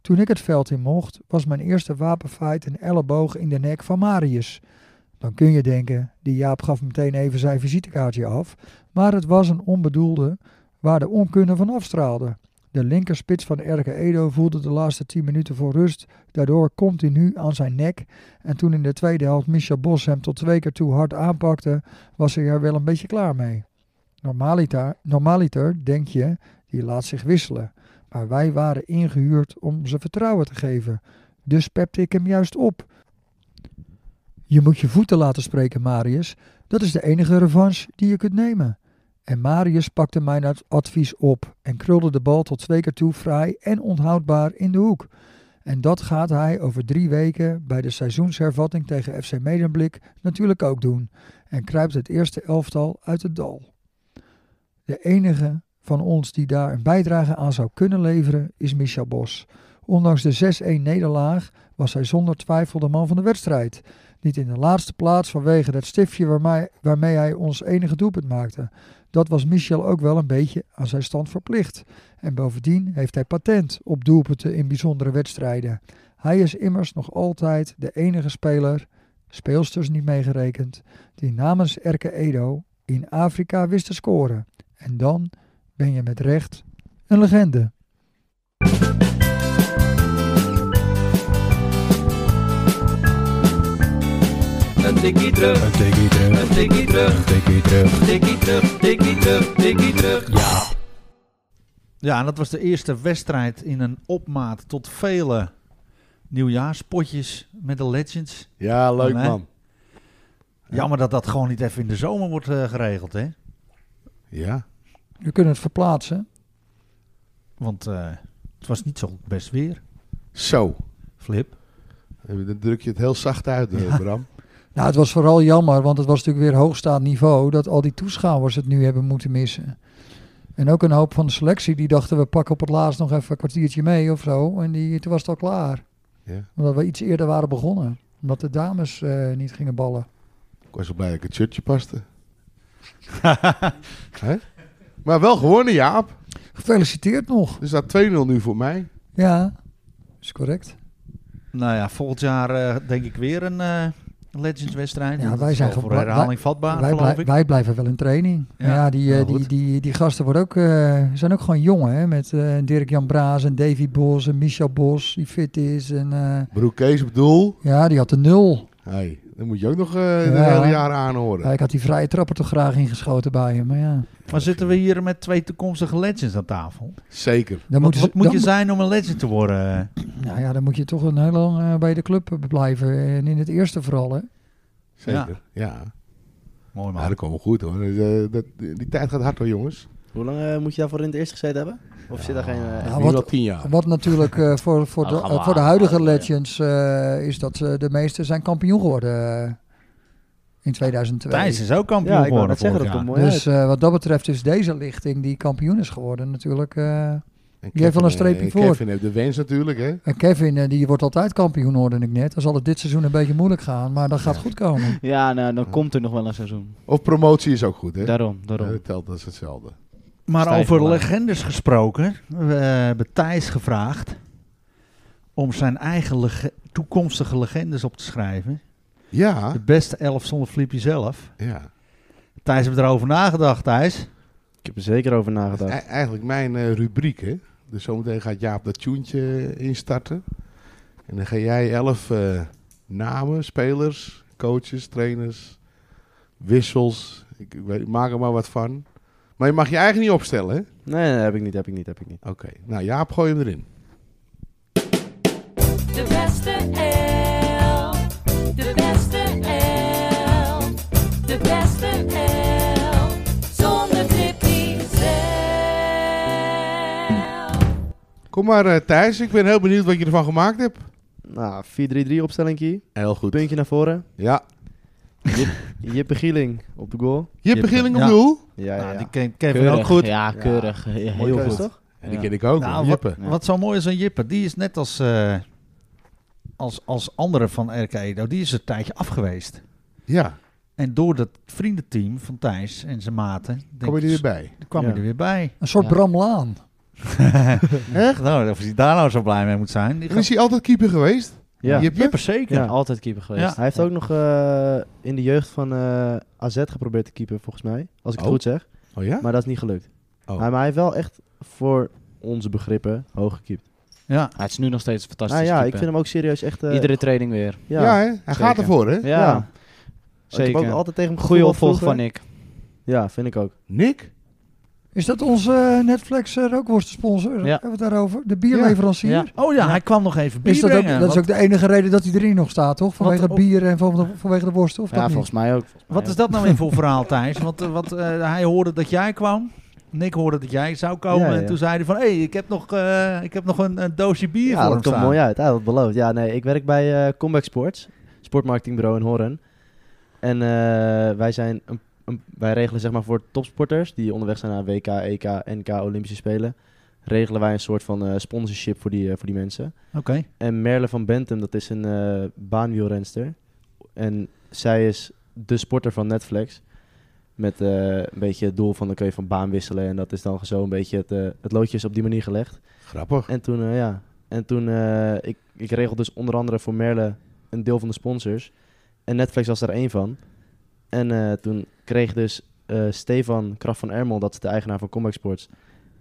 Speaker 1: Toen ik het veld in mocht, was mijn eerste wapenfeit een elleboog in de nek van Marius. Dan kun je denken, die Jaap gaf meteen even zijn visitekaartje af, maar het was een onbedoelde waar de onkunde van afstraalde. De linkerspits van Erke Edo voelde de laatste 10 minuten voor rust, daardoor continu aan zijn nek. En toen in de tweede helft Michel Bos hem tot twee keer toe hard aanpakte, was hij er wel een beetje klaar mee. Normaliter, normaliter denk je, die laat zich wisselen maar wij waren ingehuurd om ze vertrouwen te geven. Dus pepte ik hem juist op. Je moet je voeten laten spreken, Marius. Dat is de enige revanche die je kunt nemen. En Marius pakte mijn ad- advies op en krulde de bal tot twee keer toe vrij en onhoudbaar in de hoek. En dat gaat hij over drie weken bij de seizoenshervatting tegen FC Medemblik natuurlijk ook doen. En kruipt het eerste elftal uit het dal. De enige van ons die daar een bijdrage aan zou kunnen leveren is Michel Bos. Ondanks de 6-1 nederlaag was hij zonder twijfel de man van de wedstrijd. Niet in de laatste plaats vanwege dat stiftje waarmee, waarmee hij ons enige doelpunt maakte. Dat was Michel ook wel een beetje aan zijn stand verplicht. En bovendien heeft hij patent op doelpunten in bijzondere wedstrijden. Hij is immers nog altijd de enige speler, speelsters niet meegerekend, die namens Erke Edo in Afrika wist te scoren. En dan ben je met recht een legende.
Speaker 8: Een tikkie terug,
Speaker 9: Een tikkie terug,
Speaker 8: een tikkie terug,
Speaker 9: een tikkie terug.
Speaker 8: tikkie terug, tikkie terug, tikkie terug. Ja.
Speaker 2: Ja, en dat was de eerste wedstrijd in een opmaat tot vele nieuwjaarspotjes met de Legends.
Speaker 3: Ja, leuk
Speaker 2: Nee.
Speaker 3: man.
Speaker 2: Jammer dat dat gewoon niet even in de zomer wordt eh, geregeld, hè?
Speaker 3: Ja.
Speaker 1: We kunnen het verplaatsen.
Speaker 2: Want eh, het was niet zo best weer.
Speaker 3: Zo.
Speaker 2: Flip. (laughs)
Speaker 3: En Dan druk je het heel zacht uit, eh, Bram.
Speaker 1: Nou, het was vooral jammer, want het was natuurlijk weer hoogstaand niveau dat al die toeschouwers het nu hebben moeten missen. En ook een hoop van de selectie die dachten we pakken op het laatst nog even een kwartiertje mee of zo. En die, toen was het al klaar.
Speaker 3: Ja.
Speaker 1: Omdat we iets eerder waren begonnen. Omdat de dames eh, niet gingen ballen.
Speaker 3: Ik was al blij dat ik het shirtje paste. Hè? Maar wel gewonnen, Jaap.
Speaker 1: Gefeliciteerd nog.
Speaker 3: Dus dat 2-0 nu voor mij.
Speaker 1: Ja, is correct.
Speaker 2: Nou ja, volgend jaar eh, denk ik weer een eh, Legends-wedstrijd.
Speaker 1: Ja,
Speaker 2: Dat
Speaker 1: wij
Speaker 2: is
Speaker 1: zijn
Speaker 2: wel
Speaker 1: ge-
Speaker 2: voor
Speaker 1: wij-
Speaker 2: herhaling
Speaker 1: wij-
Speaker 2: vatbaar,
Speaker 1: wij,
Speaker 2: geloof
Speaker 1: blij-
Speaker 2: ik.
Speaker 1: wij blijven wel in training.
Speaker 2: Ja,
Speaker 1: Ja, die, eh,
Speaker 2: nou,
Speaker 1: die,
Speaker 2: goed.
Speaker 1: die, die gasten worden ook, eh, zijn ook gewoon jong. Hè? Met eh, Dirk-Jan Braas en Davy Bos en Michel Bos, die fit is. En, eh,
Speaker 3: Broek Kees op doel.
Speaker 1: ja, die had de nul.
Speaker 3: Hey, dat moet je ook nog eh de
Speaker 1: Ja.
Speaker 3: hele jaren aanhoren.
Speaker 1: Ja, ik had die vrije trapper toch graag ingeschoten bij hem. Maar ja,
Speaker 2: Maar zitten we hier met twee toekomstige Legends aan tafel?
Speaker 3: Zeker.
Speaker 1: dan
Speaker 2: Wat,
Speaker 1: moeten ze-
Speaker 2: wat moet
Speaker 1: dan
Speaker 2: je zijn om een Legend te worden?
Speaker 1: Nou ja, dan moet je toch een heel lang eh, bij de club blijven. En in het eerste vooral, hè.
Speaker 3: Zeker. Ja,
Speaker 2: Mooi
Speaker 3: maar
Speaker 2: man.
Speaker 3: dat komt wel goed hoor. Dus, eh, dat, die tijd gaat hard hoor, jongens.
Speaker 6: Hoe lang eh, moet je daarvoor in het eerste gezeten hebben? Of zit daar geen... eh,
Speaker 1: Ja,
Speaker 3: Nu
Speaker 1: wat-
Speaker 3: wel tien jaar.
Speaker 1: Wat natuurlijk eh, voor,
Speaker 6: (laughs)
Speaker 1: voor, de,
Speaker 6: Nou, gaan we
Speaker 1: eh, voor de
Speaker 6: aan-
Speaker 1: huidige
Speaker 6: aan- ja.
Speaker 1: Legends eh, is dat eh, de meesten zijn kampioen geworden eh, in 2002.
Speaker 2: Thijs is ook kampioen
Speaker 5: Ja, ik wou
Speaker 2: geworden
Speaker 5: net zeggen,
Speaker 2: vorig
Speaker 5: dat
Speaker 2: jaar.
Speaker 5: komt mooi uit.
Speaker 1: Dus eh, wat dat betreft is deze lichting die kampioen is geworden natuurlijk. eh,
Speaker 3: En
Speaker 1: Die heeft wel een
Speaker 3: Kevin, eh,
Speaker 1: streepje voor.
Speaker 3: Kevin heeft de wens natuurlijk, hè.
Speaker 1: en Kevin eh, die wordt altijd kampioen, hoorde ik net. Dan zal het dit seizoen een beetje moeilijk gaan, maar dat gaat goed
Speaker 4: (laughs)
Speaker 1: komen.
Speaker 4: Ja, nou, dan komt er nog wel een seizoen.
Speaker 3: Of promotie is ook goed, hè.
Speaker 4: Daarom,
Speaker 3: Ja,
Speaker 4: daarom.
Speaker 3: dat telt, dat is hetzelfde.
Speaker 2: Maar
Speaker 4: Stijf
Speaker 2: over
Speaker 4: omlaag.
Speaker 2: legendes gesproken. We eh, hebben Thijs gevraagd om zijn eigen lege- toekomstige legendes op te schrijven.
Speaker 3: Ja,
Speaker 2: De beste elf zonder Flipje zelf.
Speaker 3: ja.
Speaker 2: Thijs heeft erover nagedacht, Thijs.
Speaker 5: Ik heb er zeker over
Speaker 3: Dat is
Speaker 5: nagedacht.
Speaker 3: ei- eigenlijk mijn eh, rubriek, hè. Dus zometeen gaat Jaap dat tuentje instarten. En dan ga jij elf eh, namen, spelers, coaches, trainers, wissels. Ik, ik weet- maak er maar wat van. Maar je mag je eigen niet opstellen, hè.
Speaker 5: Nee, nee, heb ik niet, heb ik niet, heb ik niet.
Speaker 3: Oké, nou Jaap, gooi hem erin.
Speaker 9: De beste elf. De beste elf. De beste elf. Zonder Tippy zelf.
Speaker 3: Kom maar eh, Thijs, ik ben heel benieuwd wat je ervan gemaakt hebt.
Speaker 5: Nou, 4-3-3 opstelling.
Speaker 3: Heel goed.
Speaker 5: Puntje naar voren.
Speaker 3: Ja.
Speaker 5: Jippe Gieling op de goal.
Speaker 3: Jippe Gieling op
Speaker 2: Ja.
Speaker 3: doel.
Speaker 5: Ja,
Speaker 2: nou,
Speaker 5: ja.
Speaker 2: die ken Kevin ook goed.
Speaker 4: Ja, keurig. Ja,
Speaker 5: Mooie
Speaker 4: heel
Speaker 5: keuze,
Speaker 4: goed.
Speaker 5: toch?
Speaker 3: En die
Speaker 5: Ja.
Speaker 3: ken ik ook,
Speaker 2: Nou,
Speaker 3: hoor, Jippe.
Speaker 4: Ja.
Speaker 2: Wat zo mooi is aan Jippe, die is net als, eh als, als anderen van RK Edo, die is een tijdje af geweest.
Speaker 3: Ja,
Speaker 2: En door dat vriendenteam van Thijs en zijn maten
Speaker 3: kom je
Speaker 2: ik,
Speaker 3: er weer bij.
Speaker 2: kwam hij
Speaker 5: Ja.
Speaker 2: er weer bij.
Speaker 1: Een soort
Speaker 4: Ja.
Speaker 1: Bram Laan.
Speaker 2: Echt? Nou, of hij daar nou zo blij mee moet zijn. Die
Speaker 3: En is hij altijd keeper geweest?
Speaker 5: Ja.
Speaker 3: Jippe?
Speaker 2: Jippe zeker.
Speaker 5: Ja.
Speaker 4: Altijd keeper geweest.
Speaker 2: Ja.
Speaker 5: Hij heeft ook nog eh, in de jeugd van eh, AZ geprobeerd te keepen, volgens mij. Als ik het
Speaker 3: Oh.
Speaker 5: goed zeg.
Speaker 3: Oh ja?
Speaker 5: Maar dat is niet gelukt.
Speaker 3: Oh.
Speaker 5: Maar, maar hij heeft wel echt voor onze begrippen hoog gekiept.
Speaker 2: Ja.
Speaker 4: Hij is nu nog steeds een fantastisch
Speaker 5: Nou ja, ik
Speaker 4: keeper.
Speaker 5: vind hem ook serieus echt... eh,
Speaker 4: Iedere training weer.
Speaker 3: Ja,
Speaker 5: Ja,
Speaker 3: hè? hij gaat ervoor, hè?
Speaker 4: Ja,
Speaker 5: Ja. Ik heb ook
Speaker 4: zeker.
Speaker 5: altijd tegen hem
Speaker 4: Goeie
Speaker 5: gevoetbald
Speaker 4: opvolg
Speaker 5: vroeger.
Speaker 4: van ik.
Speaker 5: Ja, vind ik ook.
Speaker 3: Nick?
Speaker 1: Is dat onze eh, Netflix uh, rookworstensponsor? Hebben we het daarover? De bierleverancier?
Speaker 4: Ja.
Speaker 2: Oh ja, hij kwam nog even bier
Speaker 1: Is dat, ook,
Speaker 2: brengen.
Speaker 1: dat is
Speaker 2: Wat-
Speaker 1: ook de enige reden dat hij erin nog staat, toch? Vanwege
Speaker 2: Wat-
Speaker 1: het bier en van- vanwege de worsten, of
Speaker 4: Ja,
Speaker 1: dat niet?
Speaker 4: volgens mij ook.
Speaker 2: Wat is dat nou weer
Speaker 4: (laughs)
Speaker 2: voor verhaal, Thijs? Want eh, wat, eh, hij hoorde dat jij kwam. Nick hoorde dat jij zou komen.
Speaker 5: Ja, ja.
Speaker 2: En toen zei hij van, hé, hey, ik heb nog, eh, ik heb nog een, een doosje bier
Speaker 5: Ja,
Speaker 2: voor
Speaker 5: dat
Speaker 2: hem
Speaker 5: komt
Speaker 2: staan.
Speaker 5: mooi uit. Ja, dat beloofd. Ja, nee, ik werk bij eh, Comeback Sports, sportmarketingbureau in Horen. En eh, wij zijn een, een- wij regelen zeg maar voor topsporters die onderweg zijn naar E WK, EK, NK, Olympische Spelen. Regelen wij een soort van eh, sponsorship voor die, eh, voor die mensen.
Speaker 2: Oké.
Speaker 5: En Merle van Bentum, dat is een eh, baanwielrenster. En zij is de sporter van Netflix. Met eh, een beetje het doel van dan kun je van baan wisselen. En dat is dan zo een beetje het, eh, het loodje is op die manier gelegd.
Speaker 3: Grappig.
Speaker 5: En toen, eh, ja. En toen, eh, ik, ik regel dus onder andere voor Merle een deel van de sponsors. En Netflix was daar één van. En eh, toen kreeg dus eh, Stefan Kraft van Ermel, dat is de eigenaar van Comeback Sports.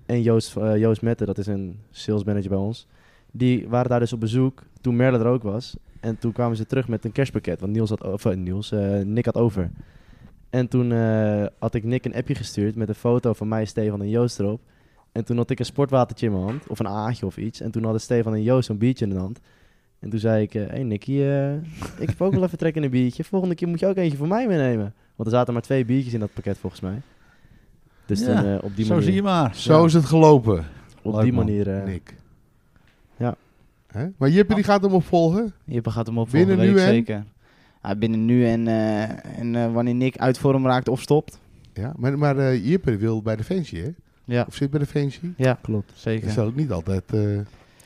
Speaker 5: En Joost, eh, Joost Mette, dat is een sales manager bij ons. Die waren daar dus op bezoek toen Merle er ook was. En toen kwamen ze terug met een kerstpakket. Want Niels had, o- of, eh, Niels, eh, Nick had over. En toen eh, had ik Nick een appje gestuurd met een foto van mij, Stefan en Joost erop. En toen had ik een sportwatertje in mijn hand, of een aatje of iets. En toen hadden Stefan en Joost een biertje in de hand. En toen zei ik, hé hey Nicky, eh, ik heb ook wel even trek in een biertje. Volgende keer moet je ook eentje voor mij meenemen. Want er zaten maar twee biertjes in dat pakket volgens mij. Dus
Speaker 2: Ja,
Speaker 5: toen, eh, op die
Speaker 2: Zo
Speaker 5: manier,
Speaker 2: zie je maar.
Speaker 3: Zo is het gelopen,
Speaker 5: op
Speaker 2: Leuk,
Speaker 5: die
Speaker 2: man.
Speaker 5: manier eh,
Speaker 3: Nick.
Speaker 5: Ja.
Speaker 3: Hè? Maar Jippe die gaat hem opvolgen.
Speaker 4: Jippe gaat hem op
Speaker 3: Binnen
Speaker 4: volgende week
Speaker 3: nu en?
Speaker 4: zeker. Ja, binnen nu en, eh, en eh, wanneer Nick uit vorm raakt of stopt.
Speaker 3: Ja, maar, maar eh, Jippe wil bij Defensie, hè?
Speaker 4: Ja,
Speaker 3: Of zit bij Defensie?
Speaker 4: ja
Speaker 5: klopt.
Speaker 3: Dat
Speaker 4: zeker.
Speaker 3: is ook niet altijd eh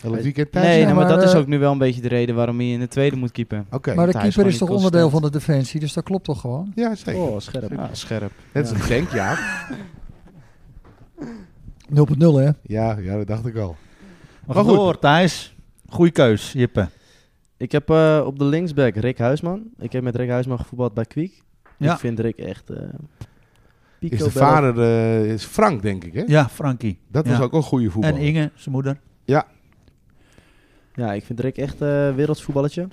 Speaker 3: elk weekend thuis.
Speaker 4: Nee,
Speaker 1: Ja,
Speaker 4: nee, maar
Speaker 1: maar,
Speaker 4: dat is
Speaker 1: eh,
Speaker 4: ook nu wel een beetje de reden waarom hij in de tweede moet keepen.
Speaker 3: Oké,
Speaker 1: Maar
Speaker 4: Thijs
Speaker 1: de keeper
Speaker 4: gewoon
Speaker 1: is
Speaker 4: niet
Speaker 1: toch onderdeel van de
Speaker 4: consistent.
Speaker 1: defensie, dus dat klopt toch gewoon?
Speaker 3: ja zeker.
Speaker 5: Oh, scherp.
Speaker 4: Ja, scherp.
Speaker 3: Net als een tank, ja.
Speaker 1: 0.0 hè?
Speaker 3: Ja, ja, dat dacht ik al.
Speaker 2: Maar
Speaker 3: Maar
Speaker 2: goed,
Speaker 3: goed.
Speaker 2: hoor, Thijs. Goeie keus, Jippe.
Speaker 5: Ik heb eh, op de linksback Rick Huisman. Ik heb met Rick Huisman gevoetbald bij Kwiek.
Speaker 2: Ja.
Speaker 5: Ik vind Rick echt... eh,
Speaker 3: Is
Speaker 5: pico
Speaker 3: de
Speaker 5: bello.
Speaker 3: vader eh, is Frank, denk ik, hè?
Speaker 2: Ja, Frankie.
Speaker 3: Dat was
Speaker 2: Ja.
Speaker 3: ook een goede voetbal.
Speaker 2: En Inge, zijn moeder.
Speaker 5: Ja, ik vind Rick echt eh wereldvoetballetje.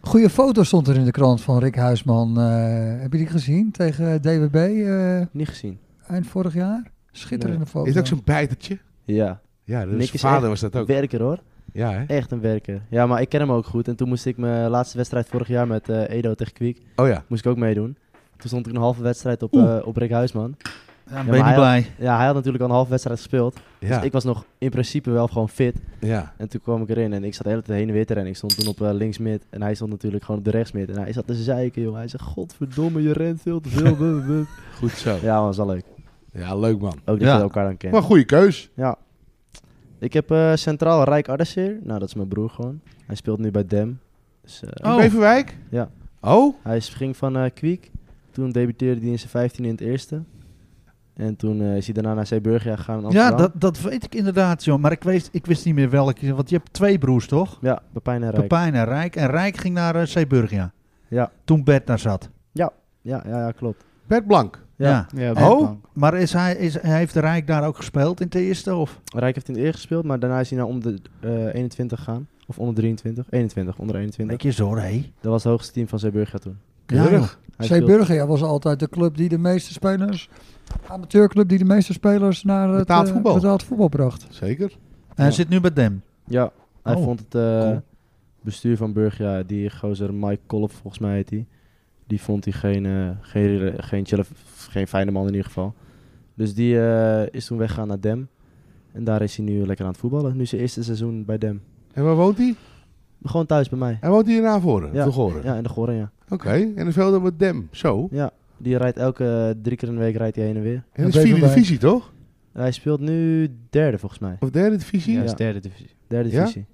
Speaker 1: Goede foto stond er in de krant van Rick Huisman. eh, heb je die gezien tegen DWB eh,
Speaker 5: Niet gezien.
Speaker 1: eind vorig jaar? Schitterende foto.
Speaker 3: Is dat ook zo'n bijtertje?
Speaker 5: Ja,
Speaker 3: Ja, dat
Speaker 5: Nick
Speaker 3: is
Speaker 5: is
Speaker 3: vader was dat ook.
Speaker 5: werker hoor.
Speaker 3: Ja, hè?
Speaker 5: Echt een werker. Ja, maar ik ken hem ook goed. En toen moest ik mijn laatste wedstrijd vorig jaar met eh, Edo tegen Kwiek,
Speaker 3: Oh ja.
Speaker 5: moest ik ook meedoen. Toen stond ik een halve wedstrijd op,
Speaker 2: Oeh.
Speaker 5: eh, op Rick Huisman.
Speaker 2: Ja, dan
Speaker 5: Ja,
Speaker 2: ben je
Speaker 5: maar
Speaker 2: niet
Speaker 5: hij
Speaker 2: blij.
Speaker 5: Ja, hij had natuurlijk al een halve wedstrijd gespeeld.
Speaker 3: Ja,
Speaker 5: Dus ik was nog in principe wel gewoon fit.
Speaker 3: ja.
Speaker 5: En toen kwam ik erin en ik zat de hele tijd heen en weer te rennen. Ik stond toen op eh, linksmid en hij stond natuurlijk gewoon op de rechtsmid. En hij zat te zeiken, joh. Hij zei, godverdomme, je rent veel te veel.
Speaker 2: (laughs)
Speaker 5: Buh, buh.
Speaker 3: goed zo.
Speaker 5: ja, man, dat is wel leuk.
Speaker 3: Ja, leuk man.
Speaker 5: Ook dat
Speaker 2: Ja.
Speaker 5: je elkaar dan kent.
Speaker 3: Maar goede keus.
Speaker 5: Ja. Ik heb eh, centraal Rijk Ardesseer. Nou, dat is mijn broer gewoon. Hij speelt nu bij Dem. Dus, eh,
Speaker 2: Oh.
Speaker 3: In Beverwijk?
Speaker 5: Ja.
Speaker 3: Oh?
Speaker 5: Hij is- ging van eh Kwiek. Toen debuteerde hij in zijn 15 in het eerste. En toen eh, is hij daarna naar Zeeburgia gegaan in
Speaker 2: Ja,
Speaker 5: Amsterdam.
Speaker 2: dat, dat weet ik inderdaad, joh. Maar ik wist, ik wist niet meer welke. Want je hebt twee broers, toch?
Speaker 5: Ja, Pepijn en Rijk.
Speaker 2: Pepijn en Rijk. En Rijk ging naar eh, Zeeburgia.
Speaker 5: Ja.
Speaker 2: Toen Bert daar zat.
Speaker 5: Ja, ja, ja, klopt.
Speaker 3: Bert Blank.
Speaker 2: Ja.
Speaker 5: Ja.
Speaker 4: Ja,
Speaker 2: Oh.
Speaker 4: Blank.
Speaker 2: Maar is hij, is, heeft Rijk daar ook gespeeld in het eerste? Of?
Speaker 5: Rijk heeft in het eerste gespeeld, maar daarna is hij naar onder de eh, 21 gegaan. Of onder 23. 21, onder 21.
Speaker 2: Netjes hoor, hé.
Speaker 5: Dat was het hoogste team van Zeeburgia toen.
Speaker 3: Keurig.
Speaker 5: Hij speelt-
Speaker 1: Zeeburger ja, was altijd de club die de meeste spelers, amateurclub die de meeste spelers naar het
Speaker 3: Betaald
Speaker 1: eh,
Speaker 3: voetbal.
Speaker 1: betaald voetbal bracht.
Speaker 3: Zeker.
Speaker 2: Hij
Speaker 5: Ja.
Speaker 2: zit nu bij Dem.
Speaker 5: Ja, hij
Speaker 2: Oh,
Speaker 5: vond het eh,
Speaker 2: cool.
Speaker 5: bestuur van Burgia, die gozer Mike Kolop volgens mij heet die. Die vond hij geen, eh, geen, geen, chille, geen fijne man in ieder geval. Dus die eh, is toen weggegaan naar Dem. En daar is hij nu lekker aan het voetballen. Nu zijn eerste seizoen bij Dem.
Speaker 3: En waar woont hij?
Speaker 5: Gewoon thuis bij mij.
Speaker 3: Hij woont hier in Avoren.
Speaker 5: Ja.
Speaker 3: te horen.
Speaker 5: Ja, in de Goren, ja.
Speaker 3: Oké. En dan veel dan met Dem. Zo.
Speaker 5: Die rijdt elke eh, drie keer in de week rijdt hij heen en weer.
Speaker 3: En dat is
Speaker 1: Ja,
Speaker 3: vierde
Speaker 1: Beverwijk.
Speaker 3: divisie, toch?
Speaker 5: En hij speelt nu derde volgens mij.
Speaker 3: Of derde divisie?
Speaker 4: Ja,
Speaker 3: Ja,
Speaker 4: is derde divisie.
Speaker 5: Derde
Speaker 3: Ja?
Speaker 5: divisie.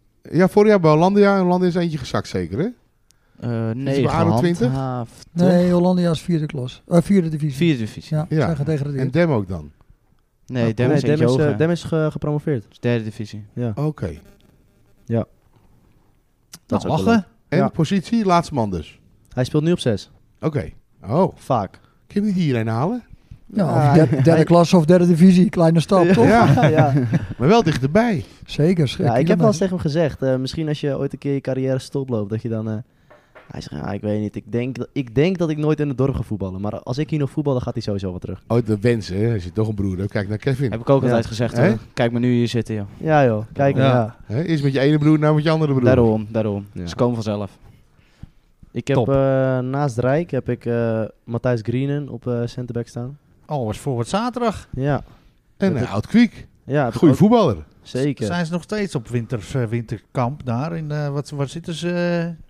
Speaker 3: vorig jaar bij Hollandia. En Hollandia is eentje gezakt, zeker, hè?
Speaker 4: Eh
Speaker 3: bij
Speaker 4: nee,
Speaker 3: ADO 20?
Speaker 4: gehandhaafd.
Speaker 1: Nee, Hollandia is vierde klas. eh, vierde divisie.
Speaker 4: Vierde divisie.
Speaker 1: Ja,
Speaker 3: Ja.
Speaker 1: zijn
Speaker 3: En
Speaker 1: gedegradeerd.
Speaker 3: Dem ook dan.
Speaker 4: Nee, Dem
Speaker 5: Nee,
Speaker 4: is
Speaker 5: Dem is, eh,
Speaker 4: Eindhoven.
Speaker 5: Dem is ge- gepromoveerd.
Speaker 4: is derde divisie.
Speaker 5: Ja.
Speaker 3: Oké.
Speaker 5: Dat
Speaker 2: Dat
Speaker 5: is ook wel
Speaker 2: lachen.
Speaker 3: En
Speaker 5: Ja.
Speaker 3: positie? Laatste man dus.
Speaker 5: Hij speelt nu op zes.
Speaker 3: Oké. Oh.
Speaker 5: Vaak.
Speaker 3: Kun je niet hierheen halen?
Speaker 1: Ah, Ja, of derde, derde klas of derde divisie, kleine stap, toch?
Speaker 3: Ja.
Speaker 5: (laughs) (laughs) ja.
Speaker 3: Maar wel dichterbij.
Speaker 1: Zeker. schrik
Speaker 5: Ja, ik heb
Speaker 1: kilometer.
Speaker 5: wel eens tegen hem gezegd, eh, misschien als je ooit een keer je carrière stoploopt, dat je dan... eh, hij zegt, ja, ik weet niet, ik denk, dat- ik denk dat ik nooit in het dorp ga voetballen. Maar als ik hier nog voetbal, dan gaat hij sowieso wel terug.
Speaker 3: Oh, de wens, hè? Als je toch een broer hebt. Kijk naar Kevin.
Speaker 4: Heb ik ook
Speaker 5: Ja.
Speaker 4: altijd gezegd
Speaker 3: Hè?
Speaker 4: hoor. Kijk me nu hier zitten joh.
Speaker 5: Ja joh, kijk
Speaker 2: Ja.
Speaker 5: ja.
Speaker 3: Hè? Eerst met je ene broer, nou met je andere broer.
Speaker 4: Daarom, daarom.
Speaker 5: Ja.
Speaker 4: Ze komen vanzelf.
Speaker 5: Ik heb
Speaker 2: Top.
Speaker 5: eh, naast Rijk heb ik eh, Matthijs Grienen op eh centerback staan.
Speaker 2: Oh, was voor het zaterdag.
Speaker 5: Ja,
Speaker 3: En
Speaker 5: Dat
Speaker 3: een oud kwiek.
Speaker 5: ja heb ik
Speaker 3: Goeie
Speaker 5: ook-
Speaker 3: voetballer.
Speaker 5: Zeker.
Speaker 2: Zijn ze nog steeds op winters, eh, winterkamp daar? In, eh, wat, waar zitten ze? eh?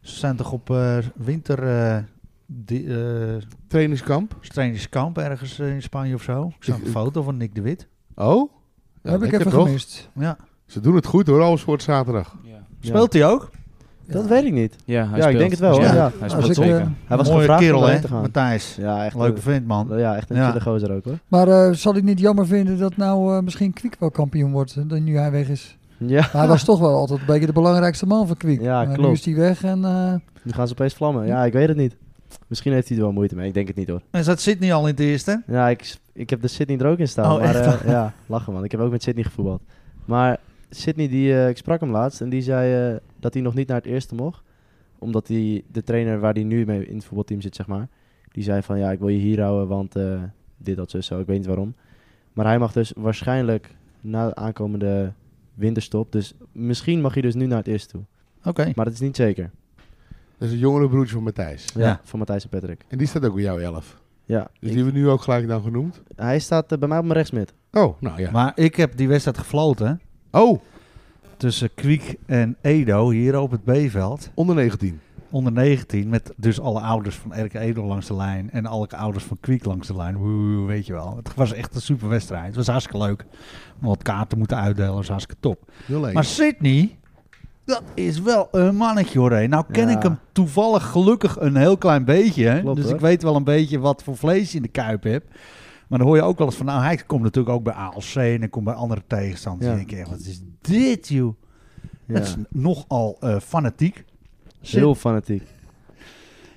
Speaker 2: ze zijn toch op eh, winter... eh, di- eh,
Speaker 3: Trainingskamp.
Speaker 2: trainingskamp ergens eh, in Spanje of zo. Ik zag
Speaker 3: Ik-
Speaker 2: een foto van Nick de Wit.
Speaker 3: Oh? Ja,
Speaker 1: heb ik
Speaker 3: lekker
Speaker 1: even
Speaker 3: toch?
Speaker 1: gemist.
Speaker 2: Ja.
Speaker 3: Ze doen het goed hoor, alles voor het zaterdag.
Speaker 4: Ja,
Speaker 2: Speelt hij ook?
Speaker 5: Dat
Speaker 1: Ja.
Speaker 5: weet ik niet.
Speaker 4: ja, hij
Speaker 5: Ja, ik
Speaker 4: speelt.
Speaker 5: denk het wel, hoor.
Speaker 4: Ja,
Speaker 5: Ja.
Speaker 4: Hij
Speaker 1: Als
Speaker 4: speelt
Speaker 1: ik,
Speaker 4: zeker.
Speaker 1: eh,
Speaker 5: Hij was
Speaker 2: Mooie
Speaker 5: gevraagd
Speaker 2: kerel,
Speaker 5: om
Speaker 2: hè,
Speaker 5: heen te gaan.
Speaker 2: Matthijs.
Speaker 5: Ja, echt
Speaker 2: Leuke vent, man.
Speaker 5: een, ja, echt een
Speaker 2: Ja.
Speaker 5: chille gozer ook hoor.
Speaker 1: Maar eh, zal ik niet jammer vinden dat nou eh, misschien Kwiek wel kampioen wordt, eh, dan nu hij weg is?
Speaker 5: Ja,
Speaker 1: Maar hij was toch wel altijd een beetje de belangrijkste man van Kwiek.
Speaker 5: Ja,
Speaker 1: Maar Nu
Speaker 5: klopt.
Speaker 1: is hij weg en eh,
Speaker 5: nu gaan ze opeens vlammen. Ja, ik weet het niet. Misschien heeft hij er wel moeite mee, ik denk het niet hoor.
Speaker 2: En dat zit niet al in het eerste.
Speaker 5: Ja, ik, ik heb de Sydney er ook in staan.
Speaker 2: Oh,
Speaker 5: maar,
Speaker 2: echt?
Speaker 5: eh, ja, lachen man. Ik heb ook met Sydney gevoetbald. Maar Sydney, die, eh, ik sprak hem laatst en die zei eh, dat hij nog niet naar het eerste mocht. Omdat hij, de trainer waar hij nu mee in het voetbalteam zit, zeg maar. Die zei van ja, ik wil je hier houden, want eh, dit, dat, zo, zo. Ik weet niet waarom. Maar hij mag dus waarschijnlijk na de aankomende winterstop. Dus misschien mag hij dus nu naar het eerste toe.
Speaker 2: Oké.
Speaker 5: Maar dat is niet zeker.
Speaker 3: Dat is een jongere broertje van Matthijs.
Speaker 2: Ja.
Speaker 5: Voor Matthijs en Patrick.
Speaker 3: En die staat ook bij jou elf.
Speaker 5: Ja.
Speaker 3: Dus
Speaker 5: ik-
Speaker 3: die hebben we nu ook gelijk dan genoemd.
Speaker 5: hij staat eh, bij mij op mijn rechtsmid.
Speaker 3: Oh, nou ja.
Speaker 2: Maar ik heb die wedstrijd gefloten
Speaker 3: Oh,
Speaker 2: tussen Kwiek en Edo hier op het B-veld.
Speaker 3: onder 19.
Speaker 2: Onder 19 met dus alle ouders van Erke Edo langs de lijn en alle ouders van Kwiek langs de lijn. Woe, weet je wel. Het was echt een super wedstrijd. Het was hartstikke leuk. Om wat kaarten moeten uitdelen was hartstikke top.
Speaker 3: 0-1.
Speaker 2: Maar Sydney, dat is wel een mannetje hoor. hé. Nou ken
Speaker 5: Ja.
Speaker 2: ik hem toevallig gelukkig een heel klein beetje. hè.
Speaker 5: Klopt,
Speaker 2: dus
Speaker 5: hoor.
Speaker 2: ik weet wel een beetje wat voor vlees je in de kuip heb.
Speaker 6: Maar dan hoor je ook wel eens van, nou, hij komt natuurlijk ook bij ALC en hij komt bij andere tegenstanders.
Speaker 5: Ja.
Speaker 6: En ik denk, wat is dit, joh? Dat is nogal eh, fanatiek.
Speaker 5: Heel fanatiek.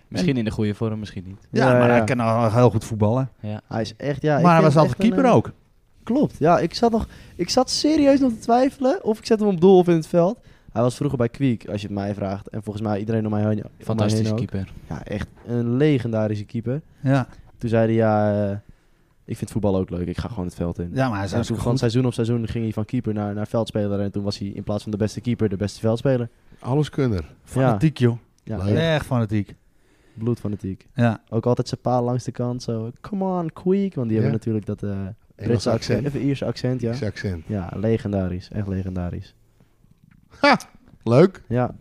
Speaker 2: Misschien in de goede vorm, misschien niet.
Speaker 6: Ja,
Speaker 5: Ja,
Speaker 6: maar
Speaker 5: ja.
Speaker 6: hij kan al heel goed voetballen.
Speaker 5: Hij is echt, ja... ik
Speaker 6: maar hij was
Speaker 5: vind hem
Speaker 6: altijd
Speaker 5: echt een,
Speaker 6: keeper
Speaker 5: eh,
Speaker 6: ook.
Speaker 5: Klopt, ja. Ik zat, nog, ik zat serieus nog te twijfelen of ik zet hem op doel of in het veld. Hij was vroeger bij Kwiek, als je het mij vraagt. En volgens mij iedereen om mij heen om mij heen
Speaker 2: Fantastische
Speaker 5: ook.
Speaker 2: keeper.
Speaker 5: Ja, echt een legendarische keeper.
Speaker 6: Ja.
Speaker 5: Toen zei hij, ja, eh, ik vind voetbal ook leuk. Ik ga gewoon het veld in.
Speaker 6: ja, maar hij is
Speaker 5: en toen
Speaker 6: hartstikke
Speaker 5: gewoon
Speaker 6: goed.
Speaker 5: seizoen op seizoen ging hij van keeper naar, naar veldspeler. En toen was hij in plaats van de beste keeper, de beste veldspeler.
Speaker 3: Alleskunner.
Speaker 6: Fanatiek, joh.
Speaker 5: Ja,
Speaker 3: Leuk.
Speaker 5: echt
Speaker 6: Echt fanatiek.
Speaker 5: bloedfanatiek.
Speaker 6: Ja.
Speaker 5: Ook altijd zijn pa langs de kant, zo, come on, Kwiek. Want die
Speaker 3: Ja.
Speaker 5: hebben natuurlijk dat eh
Speaker 3: Engels
Speaker 5: Britse accent,
Speaker 3: accent.
Speaker 5: even Ierse accent, ja.
Speaker 3: Engels accent.
Speaker 5: Ja, legendarisch. Echt legendarisch.
Speaker 3: Leuk.
Speaker 5: Ja.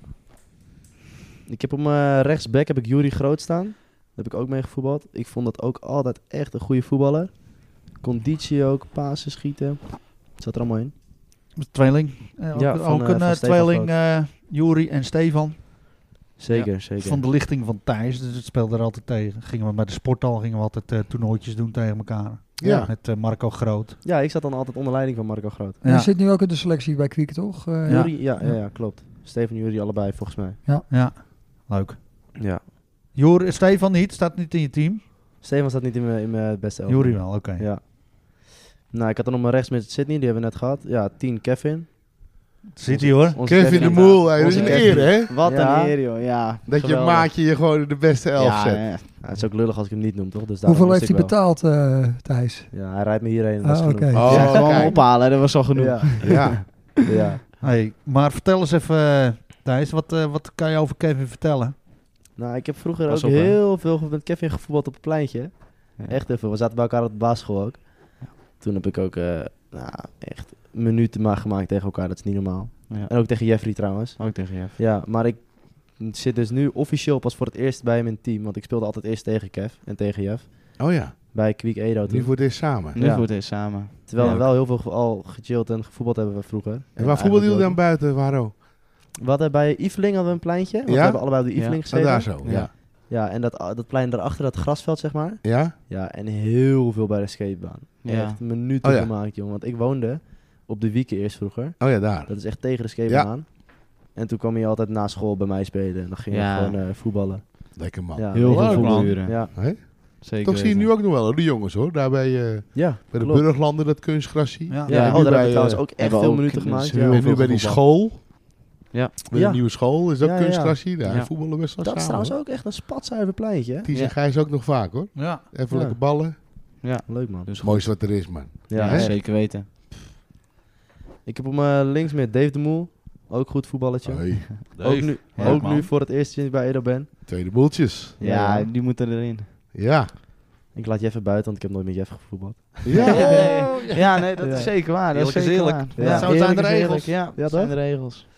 Speaker 5: Ik heb hem eh, rechtsback, heb ik Jury Groot staan. Daar heb ik ook mee gevoetbald. Ik vond dat ook altijd echt een goede voetballer. Conditie ook, pasen, schieten. Zat er allemaal in.
Speaker 6: Tweeling. Eh, ook
Speaker 5: Ja,
Speaker 6: ook
Speaker 5: van, eh,
Speaker 6: een
Speaker 5: van
Speaker 6: eh,
Speaker 5: Stefan
Speaker 6: tweeling,
Speaker 5: Groot.
Speaker 6: eh Jury en Stefan.
Speaker 5: Zeker, zeker.
Speaker 6: Van de lichting van Thijs. Dus het speelde er altijd tegen. Gingen we bij de sportal gingen we altijd eh, toernooitjes doen tegen elkaar.
Speaker 3: Ja.
Speaker 6: Met eh, Marco Groot.
Speaker 5: Ja, ik zat dan altijd onder leiding van Marco Groot.
Speaker 6: Ja.
Speaker 1: Hij zit nu ook in de selectie bij Kwiek, toch? Eh,
Speaker 6: Ja.
Speaker 5: Jury, ja, ja, ja, klopt. Steven en Jury allebei, volgens mij.
Speaker 6: Ja, leuk.
Speaker 5: Ja.
Speaker 6: Jor, Stefan niet, staat niet in je team.
Speaker 5: Steven staat niet in mijn in mijn beste elf.
Speaker 6: Jury wel, oké.
Speaker 5: Ja. Nou, ik had dan op mijn rechts met Sydney, die hebben we net gehad. Ja, 10 Kevin.
Speaker 6: Zit hij hoor.
Speaker 5: Onze
Speaker 3: Kevin de Moel, hè. dat is
Speaker 5: Onze
Speaker 3: een
Speaker 5: Kevin.
Speaker 3: eer, hè?
Speaker 10: Wat
Speaker 5: Ja.
Speaker 10: een eer, joh. Ja,
Speaker 3: Dat je
Speaker 10: geweldig.
Speaker 3: maatje je gewoon in de beste elf
Speaker 10: ja,
Speaker 3: zet.
Speaker 10: ja.
Speaker 5: Ja, het is ook lullig als ik hem niet noem, toch? Dus daarom
Speaker 1: Hoeveel
Speaker 5: wist
Speaker 1: heeft
Speaker 5: ik
Speaker 1: hij betaald, eh, Thijs?
Speaker 5: wel. Ja, hij rijdt me hierheen.
Speaker 1: Ah, oké.
Speaker 5: oké.
Speaker 3: Oh,
Speaker 10: ja, gewoon
Speaker 3: kijk.
Speaker 10: ophalen, dat was al genoeg.
Speaker 5: Ja,
Speaker 3: Ja.
Speaker 5: (laughs) ja.
Speaker 6: Hey, maar vertel eens even, eh, Thijs, wat, eh, wat kan je over Kevin vertellen?
Speaker 5: Nou, ik heb vroeger
Speaker 2: Pas
Speaker 5: ook
Speaker 2: op, hè.
Speaker 5: heel veel met Kevin gevoetbald op het pleintje.
Speaker 2: Ja.
Speaker 5: Echt even. We zaten bij elkaar op de basisschool ook. Toen heb ik ook eh, nou, echt minuten maar gemaakt tegen elkaar. Dat is niet normaal.
Speaker 2: Ja. Oh.
Speaker 5: En ook tegen Jeffrey trouwens.
Speaker 2: Ook tegen Jeff.
Speaker 5: Ja, maar ik zit dus nu officieel pas voor het eerst bij hem in het team. Want ik speelde altijd eerst tegen Kev en tegen Jeff.
Speaker 3: Oh ja.
Speaker 5: Bij Kwiek Edo toen.
Speaker 3: Nu voor dit samen.
Speaker 2: Nu
Speaker 5: Ja.
Speaker 2: voor deze samen.
Speaker 5: Terwijl
Speaker 2: Ja.
Speaker 5: we wel heel veel ge- al gechilled en gevoetbald hebben we vroeger.
Speaker 3: En waar voetbalde jullie dan buiten, Ah, Waro?
Speaker 5: We hadden bij Yveling hadden we een pleintje. Want
Speaker 3: Ja?
Speaker 5: we hebben allebei op de
Speaker 2: Ja.
Speaker 5: Yveling
Speaker 3: Ah,
Speaker 5: gezeten.
Speaker 3: daar zo. Ja.
Speaker 2: Ja.
Speaker 5: Ja, en dat, dat plein daarachter, dat grasveld zeg maar.
Speaker 3: Ja?
Speaker 5: Ja, en heel veel bij de skatebaan.
Speaker 2: Ja.
Speaker 5: Echt minuten
Speaker 3: Oh ja.
Speaker 5: gemaakt, jongen. Want ik woonde op de wieken eerst vroeger.
Speaker 3: Oh ja, daar.
Speaker 5: Dat is echt tegen de skatebaan aan. En toen kwam je altijd na school bij mij spelen. En dan ging je
Speaker 2: Ja.
Speaker 5: gewoon eh, voetballen.
Speaker 3: Lekker man.
Speaker 5: Ja.
Speaker 2: Heel
Speaker 6: Leuk,
Speaker 2: veel
Speaker 6: man.
Speaker 2: voetbaluren.
Speaker 5: Ja,
Speaker 3: Hé?
Speaker 2: Zeker
Speaker 3: Toch zie je
Speaker 2: weten.
Speaker 3: nu ook nog wel hoor, de jongens hoor. Daar bij, eh,
Speaker 5: ja
Speaker 3: bij de
Speaker 5: klopt.
Speaker 3: Burglanden, dat kunstgrasje.
Speaker 6: Ja.
Speaker 5: Ja,
Speaker 3: en
Speaker 5: oh,
Speaker 3: nu
Speaker 5: daar
Speaker 3: bij,
Speaker 5: heb ik trouwens
Speaker 3: eh,
Speaker 5: ook echt
Speaker 2: hebben we
Speaker 5: veel
Speaker 2: ook
Speaker 5: minuten
Speaker 2: kinderen,
Speaker 5: gemaakt.
Speaker 2: heel
Speaker 5: ja.
Speaker 3: en nu bij die school.
Speaker 2: Ja.
Speaker 3: Bij
Speaker 5: Ja.
Speaker 3: de nieuwe school. Is dat
Speaker 5: Ja, ja, ja.
Speaker 3: kunstgrasje? Daar
Speaker 2: Ja.
Speaker 3: voetballen best wel
Speaker 5: Dat is
Speaker 3: samen.
Speaker 5: trouwens ook echt een spatzuiver pleintje. hè?
Speaker 3: Die
Speaker 2: Ja.
Speaker 3: zijn Gijs ook nog vaak hoor.
Speaker 6: Ja.
Speaker 3: Even
Speaker 5: Ja.
Speaker 3: lekker ballen.
Speaker 5: Leuk man.
Speaker 3: Het mooiste wat er is man.
Speaker 5: Ja,
Speaker 2: Ja,
Speaker 5: hè?
Speaker 2: zeker weten.
Speaker 5: Ik heb op mijn links met Dave de Moel. Ook goed voetballetje.
Speaker 3: Hoi.
Speaker 5: ook nu,
Speaker 2: Oh, Ja,
Speaker 5: ook
Speaker 2: man.
Speaker 5: nu voor het eerst sinds ik bij Edo ben.
Speaker 3: Tweede boeltjes.
Speaker 5: Ja,
Speaker 2: Ja, die moeten erin.
Speaker 3: Oh, Ja.
Speaker 5: Ik laat Jeff even buiten, want ik heb nooit met Jeff gevoetbald.
Speaker 3: Ja.
Speaker 2: Ja, nee, dat
Speaker 5: Ja.
Speaker 2: is zeker waar. Dat
Speaker 6: Eerlijk is
Speaker 2: is zeker
Speaker 6: eerlijk.
Speaker 2: waar.
Speaker 5: Ja,
Speaker 2: Ja.
Speaker 6: Zo zijn de
Speaker 5: eerlijk is
Speaker 6: regels.
Speaker 5: eerlijk, Ja,
Speaker 2: Dat
Speaker 5: dat
Speaker 2: zijn de regels.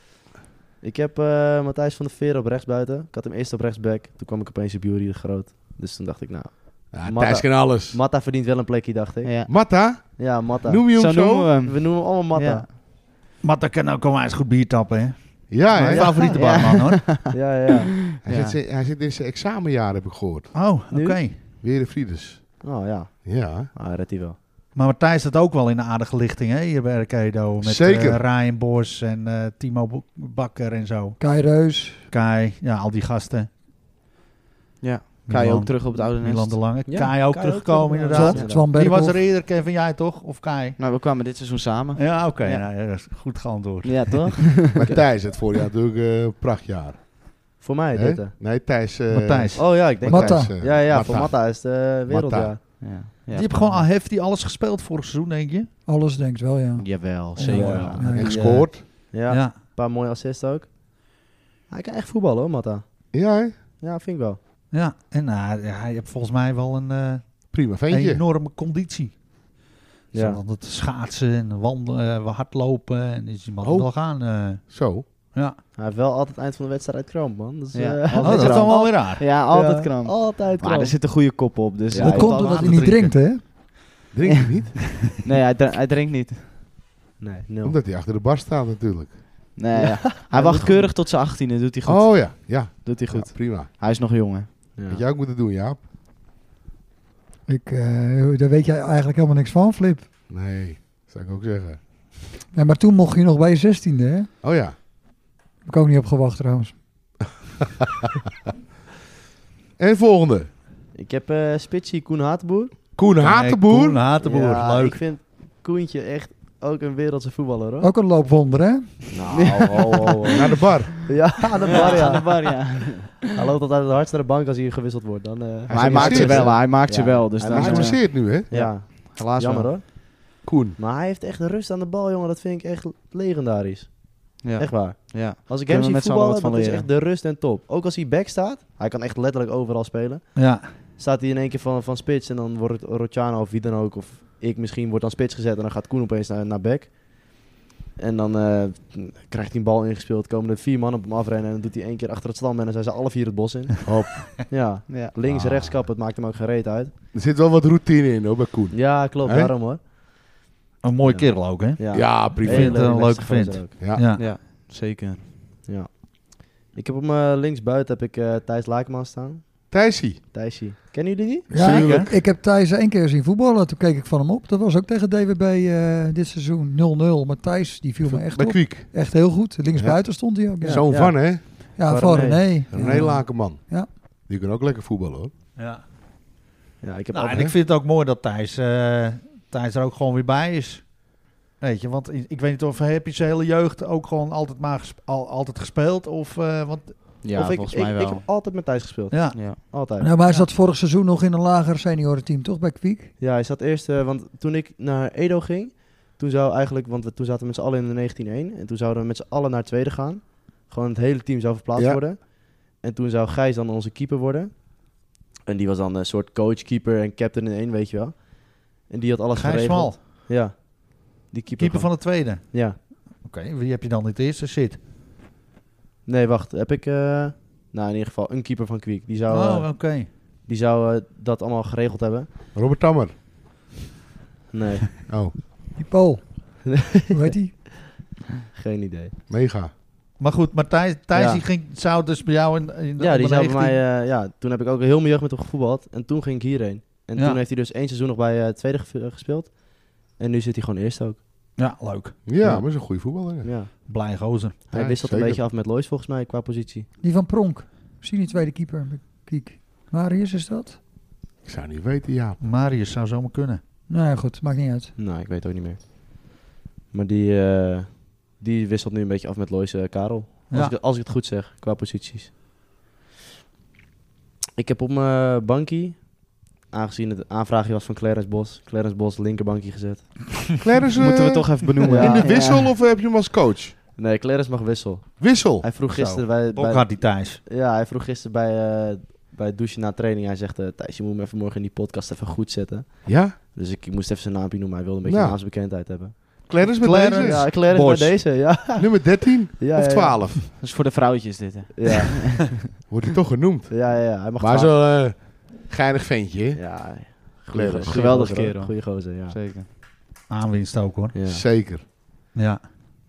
Speaker 5: Ik heb eh, Matthijs van der Veer op rechts buiten. Ik had hem eerst op rechtsback. Toen kwam ik opeens op Jury de Groot. Dus toen dacht ik, nou,
Speaker 3: Ja,
Speaker 5: Matta.
Speaker 3: Ah, Thijs kan alles.
Speaker 5: Matta verdient wel een plekje, dacht ik.
Speaker 2: Ja.
Speaker 3: Matta?
Speaker 5: Ja, Matta.
Speaker 3: Noem je
Speaker 2: Zo
Speaker 3: hem
Speaker 2: noemen
Speaker 3: zo?
Speaker 2: we hem.
Speaker 5: We noemen hem allemaal Matta.
Speaker 6: Maar dan kan ook wel eens goed bier tappen, hè?
Speaker 3: Ja,
Speaker 6: Mijn
Speaker 3: hè?
Speaker 6: favoriete barman,
Speaker 3: (laughs)
Speaker 6: hoor.
Speaker 5: Ja, ja, ja.
Speaker 3: Hij,
Speaker 2: Ja.
Speaker 3: zit, zijn- hij zit in zijn examenjaar, heb ik gehoord.
Speaker 6: Oh, oké.
Speaker 5: Nu?
Speaker 3: Weer de Friedes.
Speaker 5: Oh ja,
Speaker 3: Ja.
Speaker 5: ah, redt hij wel.
Speaker 6: Maar Matthijs staat ook wel in een aardige lichting, hè? Hier bij Arcado. Met
Speaker 3: Zeker.
Speaker 6: eh, Ryan Bos en eh, Timo Bo- Bakker en zo.
Speaker 1: Kai Reus.
Speaker 6: Kai, ja, al die gasten.
Speaker 2: Ja. Kai
Speaker 6: Milan-
Speaker 2: ook terug op het oude
Speaker 6: Milan de
Speaker 2: nest.
Speaker 6: Lange. Kai
Speaker 5: Ja,
Speaker 6: ook
Speaker 5: Kai ook
Speaker 6: teruggekomen,
Speaker 5: terug, ja.
Speaker 6: inderdaad.
Speaker 1: Zwan, Zwan
Speaker 6: Die was er
Speaker 1: Berkel.
Speaker 6: eerder, Kevin, jij toch? Of Kai?
Speaker 2: Nou, we kwamen dit seizoen samen.
Speaker 6: Ja, oké.
Speaker 2: Ja.
Speaker 6: nou, dat is goed geantwoord.
Speaker 2: Ja, toch?
Speaker 3: Maar Thijs, het voorjaar natuurlijk eh, een prachtjaar.
Speaker 5: (laughs) Voor mij
Speaker 3: Hè?
Speaker 5: dit. hè.
Speaker 3: Nee, Thijs. eh,
Speaker 6: Matthijs.
Speaker 5: Oh ja, ik denk
Speaker 1: Matta.
Speaker 3: Matthijs, eh,
Speaker 5: Ja, ja, voor Matta is de
Speaker 3: Matta.
Speaker 5: wereldjaar.
Speaker 2: ja.
Speaker 6: Die heeft gewoon al heeft die alles gespeeld vorig seizoen, denk je?
Speaker 1: Alles denkt wel, ja.
Speaker 2: Jawel, zeker
Speaker 5: Ja.
Speaker 2: wel.
Speaker 3: En
Speaker 1: Ja.
Speaker 3: gescoord.
Speaker 5: Ja, een paar mooie assists ook. Hij kan echt voetballen hoor, Matta.
Speaker 3: Ja, hè?
Speaker 5: Ja, vind ik wel.
Speaker 6: Ja, en nou, hij heeft volgens mij wel een eh,
Speaker 3: prima ventje.
Speaker 6: enorme conditie.
Speaker 5: Ja.
Speaker 6: Ja. het schaatsen en wandelen, eh, hardlopen. En is iemand
Speaker 3: Oh.
Speaker 6: wel gaan. eh.
Speaker 3: Zo.
Speaker 6: ja.
Speaker 5: Hij heeft wel altijd eind van de wedstrijd kramp, man. Dus,
Speaker 2: Ja.
Speaker 5: eh,
Speaker 2: Oh,
Speaker 6: dat is
Speaker 2: kramp.
Speaker 6: dan wel weer raar.
Speaker 2: Ja, altijd kramp.
Speaker 5: Altijd
Speaker 2: Maar
Speaker 5: kramp.
Speaker 2: er zit een goede kop op, dus...
Speaker 5: Ja,
Speaker 1: dat
Speaker 5: je
Speaker 1: komt
Speaker 5: moet
Speaker 1: omdat
Speaker 6: water
Speaker 1: hij niet
Speaker 6: drinken.
Speaker 1: drinkt, hè?
Speaker 3: Drink je niet?
Speaker 2: Nee, hij, dr- hij drinkt niet.
Speaker 5: Nee, nul.
Speaker 3: Omdat hij achter de bar staat natuurlijk.
Speaker 2: Nee,
Speaker 5: (laughs)
Speaker 2: ja. Hij wacht keurig tot zijn 18e, doet hij goed.
Speaker 3: Oh ja, ja.
Speaker 2: Doet hij goed.
Speaker 3: Ja, prima.
Speaker 2: Hij is nog jong, hè.
Speaker 5: Ja.
Speaker 3: Had jij ook moeten doen, Jaap.
Speaker 1: Ik, eh, daar weet jij eigenlijk helemaal niks van, Flip.
Speaker 3: Nee, zou ik ook zeggen.
Speaker 1: Nee, maar toen mocht je nog bij je zestiende, hè?
Speaker 3: Oh ja.
Speaker 1: Heb ik ook niet op gewacht trouwens.
Speaker 3: En volgende.
Speaker 5: Ik heb eh spitsie Koen Hatenboer.
Speaker 3: Koen Hatenboer.
Speaker 2: Koen Hatenboer,
Speaker 5: Ja,
Speaker 2: leuk.
Speaker 5: Ik vind Koentje echt ook een wereldse voetballer hoor.
Speaker 1: Ook een loopwonder, hè?
Speaker 5: Nou, ho, ho, ho.
Speaker 3: Naar de bar.
Speaker 5: (laughs) Ja, aan de bar
Speaker 4: Ja, de
Speaker 5: ja.
Speaker 4: bar, ja.
Speaker 5: (laughs) Hij loopt altijd het hardst naar de bank als hij gewisseld wordt. Dan, eh,
Speaker 4: Maar hij maakt ze
Speaker 3: geblesseerd,
Speaker 4: wel, hij maakt ze
Speaker 5: Ja.
Speaker 4: wel. Dus
Speaker 3: Hij
Speaker 4: dan,
Speaker 3: is
Speaker 4: eh,
Speaker 3: geblesseerd nu, hè?
Speaker 5: Ja,
Speaker 4: helaas
Speaker 5: jammer
Speaker 4: wel.
Speaker 5: hoor.
Speaker 3: Koen.
Speaker 5: Maar hij heeft echt rust aan de bal jongen. Dat vind ik echt legendarisch.
Speaker 4: Ja,
Speaker 5: Echt waar.
Speaker 4: ja.
Speaker 5: Als
Speaker 4: Kunnen
Speaker 5: ik hem
Speaker 4: we
Speaker 5: zie
Speaker 4: met z'n allen wat
Speaker 5: voetballen,
Speaker 4: van
Speaker 5: dat is
Speaker 4: leren.
Speaker 5: echt de rust en top. Ook als hij back staat, hij kan echt letterlijk overal spelen.
Speaker 2: Ja.
Speaker 5: staat hij in één keer van, van spits en dan wordt het Rociano of wie dan ook, of ik misschien, wordt dan spits gezet en dan gaat Koen opeens naar, naar back. En dan eh, krijgt hij een bal ingespeeld, komen er vier mannen op hem afrennen en dan doet hij één keer achter het stam en dan zijn ze alle vier het bos in. Hop. (laughs) Ja,
Speaker 4: Ja.
Speaker 5: links,
Speaker 3: Ah.
Speaker 5: rechts kappen, het maakt hem ook geen reet uit.
Speaker 3: Er zit wel wat routine in, hoor, bij Koen.
Speaker 5: Ja, klopt,
Speaker 3: Hè?
Speaker 5: daarom hoor.
Speaker 2: Een mooi
Speaker 5: Ja.
Speaker 2: kerel ook, hè?
Speaker 5: Ja,
Speaker 3: Ja,
Speaker 2: Ik
Speaker 3: prima.
Speaker 5: Hele
Speaker 2: vind het een
Speaker 5: relaxte
Speaker 2: leuke vent.
Speaker 5: gozer ook.
Speaker 3: Ja.
Speaker 2: Ja.
Speaker 4: Ja, zeker.
Speaker 5: Ja. Ik heb op mijn linksbuiten heb ik eh, Thijs Laakman staan.
Speaker 3: Thijsie.
Speaker 5: Thijsie, kennen jullie die?
Speaker 1: Ja,
Speaker 2: Zeker.
Speaker 1: ik, ik heb Thijs één keer zien voetballen. Toen keek ik van hem op. Dat was ook tegen DWB eh, dit seizoen 0-0. Maar Thijs, die viel me echt
Speaker 3: bij
Speaker 1: op.
Speaker 3: Kwiek.
Speaker 1: Echt heel goed. Linksbuiten stond hij ook. Ja,
Speaker 3: Zoon
Speaker 5: Ja.
Speaker 3: van, hè?
Speaker 1: ja
Speaker 5: Van
Speaker 1: van
Speaker 5: René.
Speaker 1: René.
Speaker 3: René Lakenman.
Speaker 1: Ja.
Speaker 3: Die kan ook lekker voetballen, hoor.
Speaker 2: Ja.
Speaker 5: Ja, ik heb
Speaker 2: Nou,
Speaker 5: ook-
Speaker 2: en ik vind het ook mooi dat Thijs, eh, Thijs er ook gewoon weer bij is. Weet je, want i- ik weet niet of heb je zijn hele jeugd ook gewoon altijd maar gesp- al, altijd gespeeld of eh, want
Speaker 4: Ja,
Speaker 5: of ik,
Speaker 4: volgens
Speaker 5: ik,
Speaker 4: mij
Speaker 5: ik
Speaker 4: wel.
Speaker 5: heb altijd met Thijs gespeeld.
Speaker 2: ja,
Speaker 4: ja.
Speaker 5: Altijd.
Speaker 1: Nou, maar hij zat vorig seizoen nog in een lager seniorenteam, toch? Bij Kwiek?
Speaker 5: Ja, hij zat eerst, eh, want toen ik naar Edo ging, toen zou eigenlijk, want we, toen zaten we met z'n allen in de 19-1 en toen zouden we met z'n allen naar het tweede gaan. Gewoon het hele team zou verplaatst
Speaker 3: Ja.
Speaker 5: worden. En toen zou Gijs dan onze keeper worden. En die was dan een soort coach, keeper en captain in één, weet je wel. En die had alles
Speaker 2: Gijs
Speaker 5: geregeld.
Speaker 2: Smal,
Speaker 5: Ja. Die keeper,
Speaker 2: keeper van de tweede.
Speaker 5: gewoon. Ja.
Speaker 2: Oké, wie heb je dan in het eerste zit?
Speaker 5: Nee, wacht. Heb ik... eh, nou, in ieder geval een keeper van Kwiek. Die zou,
Speaker 2: Oh,
Speaker 5: eh,
Speaker 2: oké.
Speaker 5: die zou eh, dat allemaal geregeld hebben.
Speaker 3: Robert Tammer.
Speaker 5: Nee, (laughs)
Speaker 3: Oh,
Speaker 1: Die Paul. Hoe heet die?
Speaker 5: geen idee.
Speaker 3: mega.
Speaker 2: Maar goed, maar Thijs, Thijs
Speaker 5: Ja.
Speaker 2: die ging, zou dus bij jou in, in de
Speaker 5: Ja, die zou bij
Speaker 2: 19
Speaker 5: mij, eh, ja, toen heb ik ook heel mijn jeugd met hem gevoetbald. En toen ging ik hierheen. En
Speaker 2: Ja.
Speaker 5: toen heeft hij dus één seizoen nog bij eh, het tweede ge- eh, gespeeld. En nu zit hij gewoon eerst ook.
Speaker 2: Ja, leuk.
Speaker 3: Ja,
Speaker 5: Ja.
Speaker 3: maar is een goede voetballer. hè.
Speaker 5: Ja.
Speaker 2: Blij gozer.
Speaker 5: Hij
Speaker 3: Ja,
Speaker 5: wisselt
Speaker 3: zeker.
Speaker 5: een beetje af met Lois volgens mij qua positie.
Speaker 1: Die van Pronk. Zie die tweede keeper bij Kwiek. Marius is dat?
Speaker 3: Ik zou niet weten, Jaap.
Speaker 2: Marius zou zomaar kunnen.
Speaker 1: Nou ja, goed. Maakt niet uit.
Speaker 5: Nou, ik weet het ook niet meer. Maar die, eh, die wisselt nu een beetje af met Lois eh, Karel. Als,
Speaker 2: Ja.
Speaker 5: ik, als ik het goed zeg, qua posities. Ik heb op mijn bankie, aangezien het aanvraagje was van Clarence Bos, Clarence Bos linkerbankie gezet. (laughs)
Speaker 3: Clarence, eh,
Speaker 4: Moeten we toch even benoemen.
Speaker 5: Ja.
Speaker 3: in de wissel of heb je hem als coach?
Speaker 5: Nee, Clarence mag wissel.
Speaker 3: Wissel.
Speaker 5: Hij vroeg
Speaker 2: Zo.
Speaker 5: gisteren bij,
Speaker 2: Ook
Speaker 5: bij,
Speaker 2: had die Thijs.
Speaker 5: Ja, hij vroeg gisteren bij, eh, bij het douchen na training. Hij zegt, eh, Thijs, je moet hem even morgen in die podcast even goed zetten.
Speaker 3: Ja?
Speaker 5: Dus ik, ik moest even zijn naampje noemen. Hij wilde een beetje
Speaker 3: Ja.
Speaker 5: naamsbekendheid hebben.
Speaker 3: Clarence met
Speaker 2: Clarence.
Speaker 3: deze?
Speaker 5: Ja, Clarence
Speaker 2: Bos.
Speaker 5: bij deze, ja.
Speaker 3: Nummer 13
Speaker 5: ja
Speaker 3: of 12?
Speaker 4: Dat is voor de vrouwtjes dit, hè.
Speaker 5: Ja, ja,
Speaker 3: Wordt hij toch genoemd.
Speaker 5: ja, ja, ja. Hij mag
Speaker 3: Maar
Speaker 5: twaalf.
Speaker 3: zo'n eh, geinig ventje, hè?
Speaker 5: Ja, goeie
Speaker 3: Clarence.
Speaker 5: gozer,
Speaker 4: Geweldig
Speaker 5: hoor.
Speaker 4: kerel.
Speaker 5: Goeie gozer, ja.
Speaker 4: Zeker.
Speaker 2: Aanwinst ook hoor.
Speaker 5: ja.
Speaker 3: Zeker.
Speaker 2: Ja.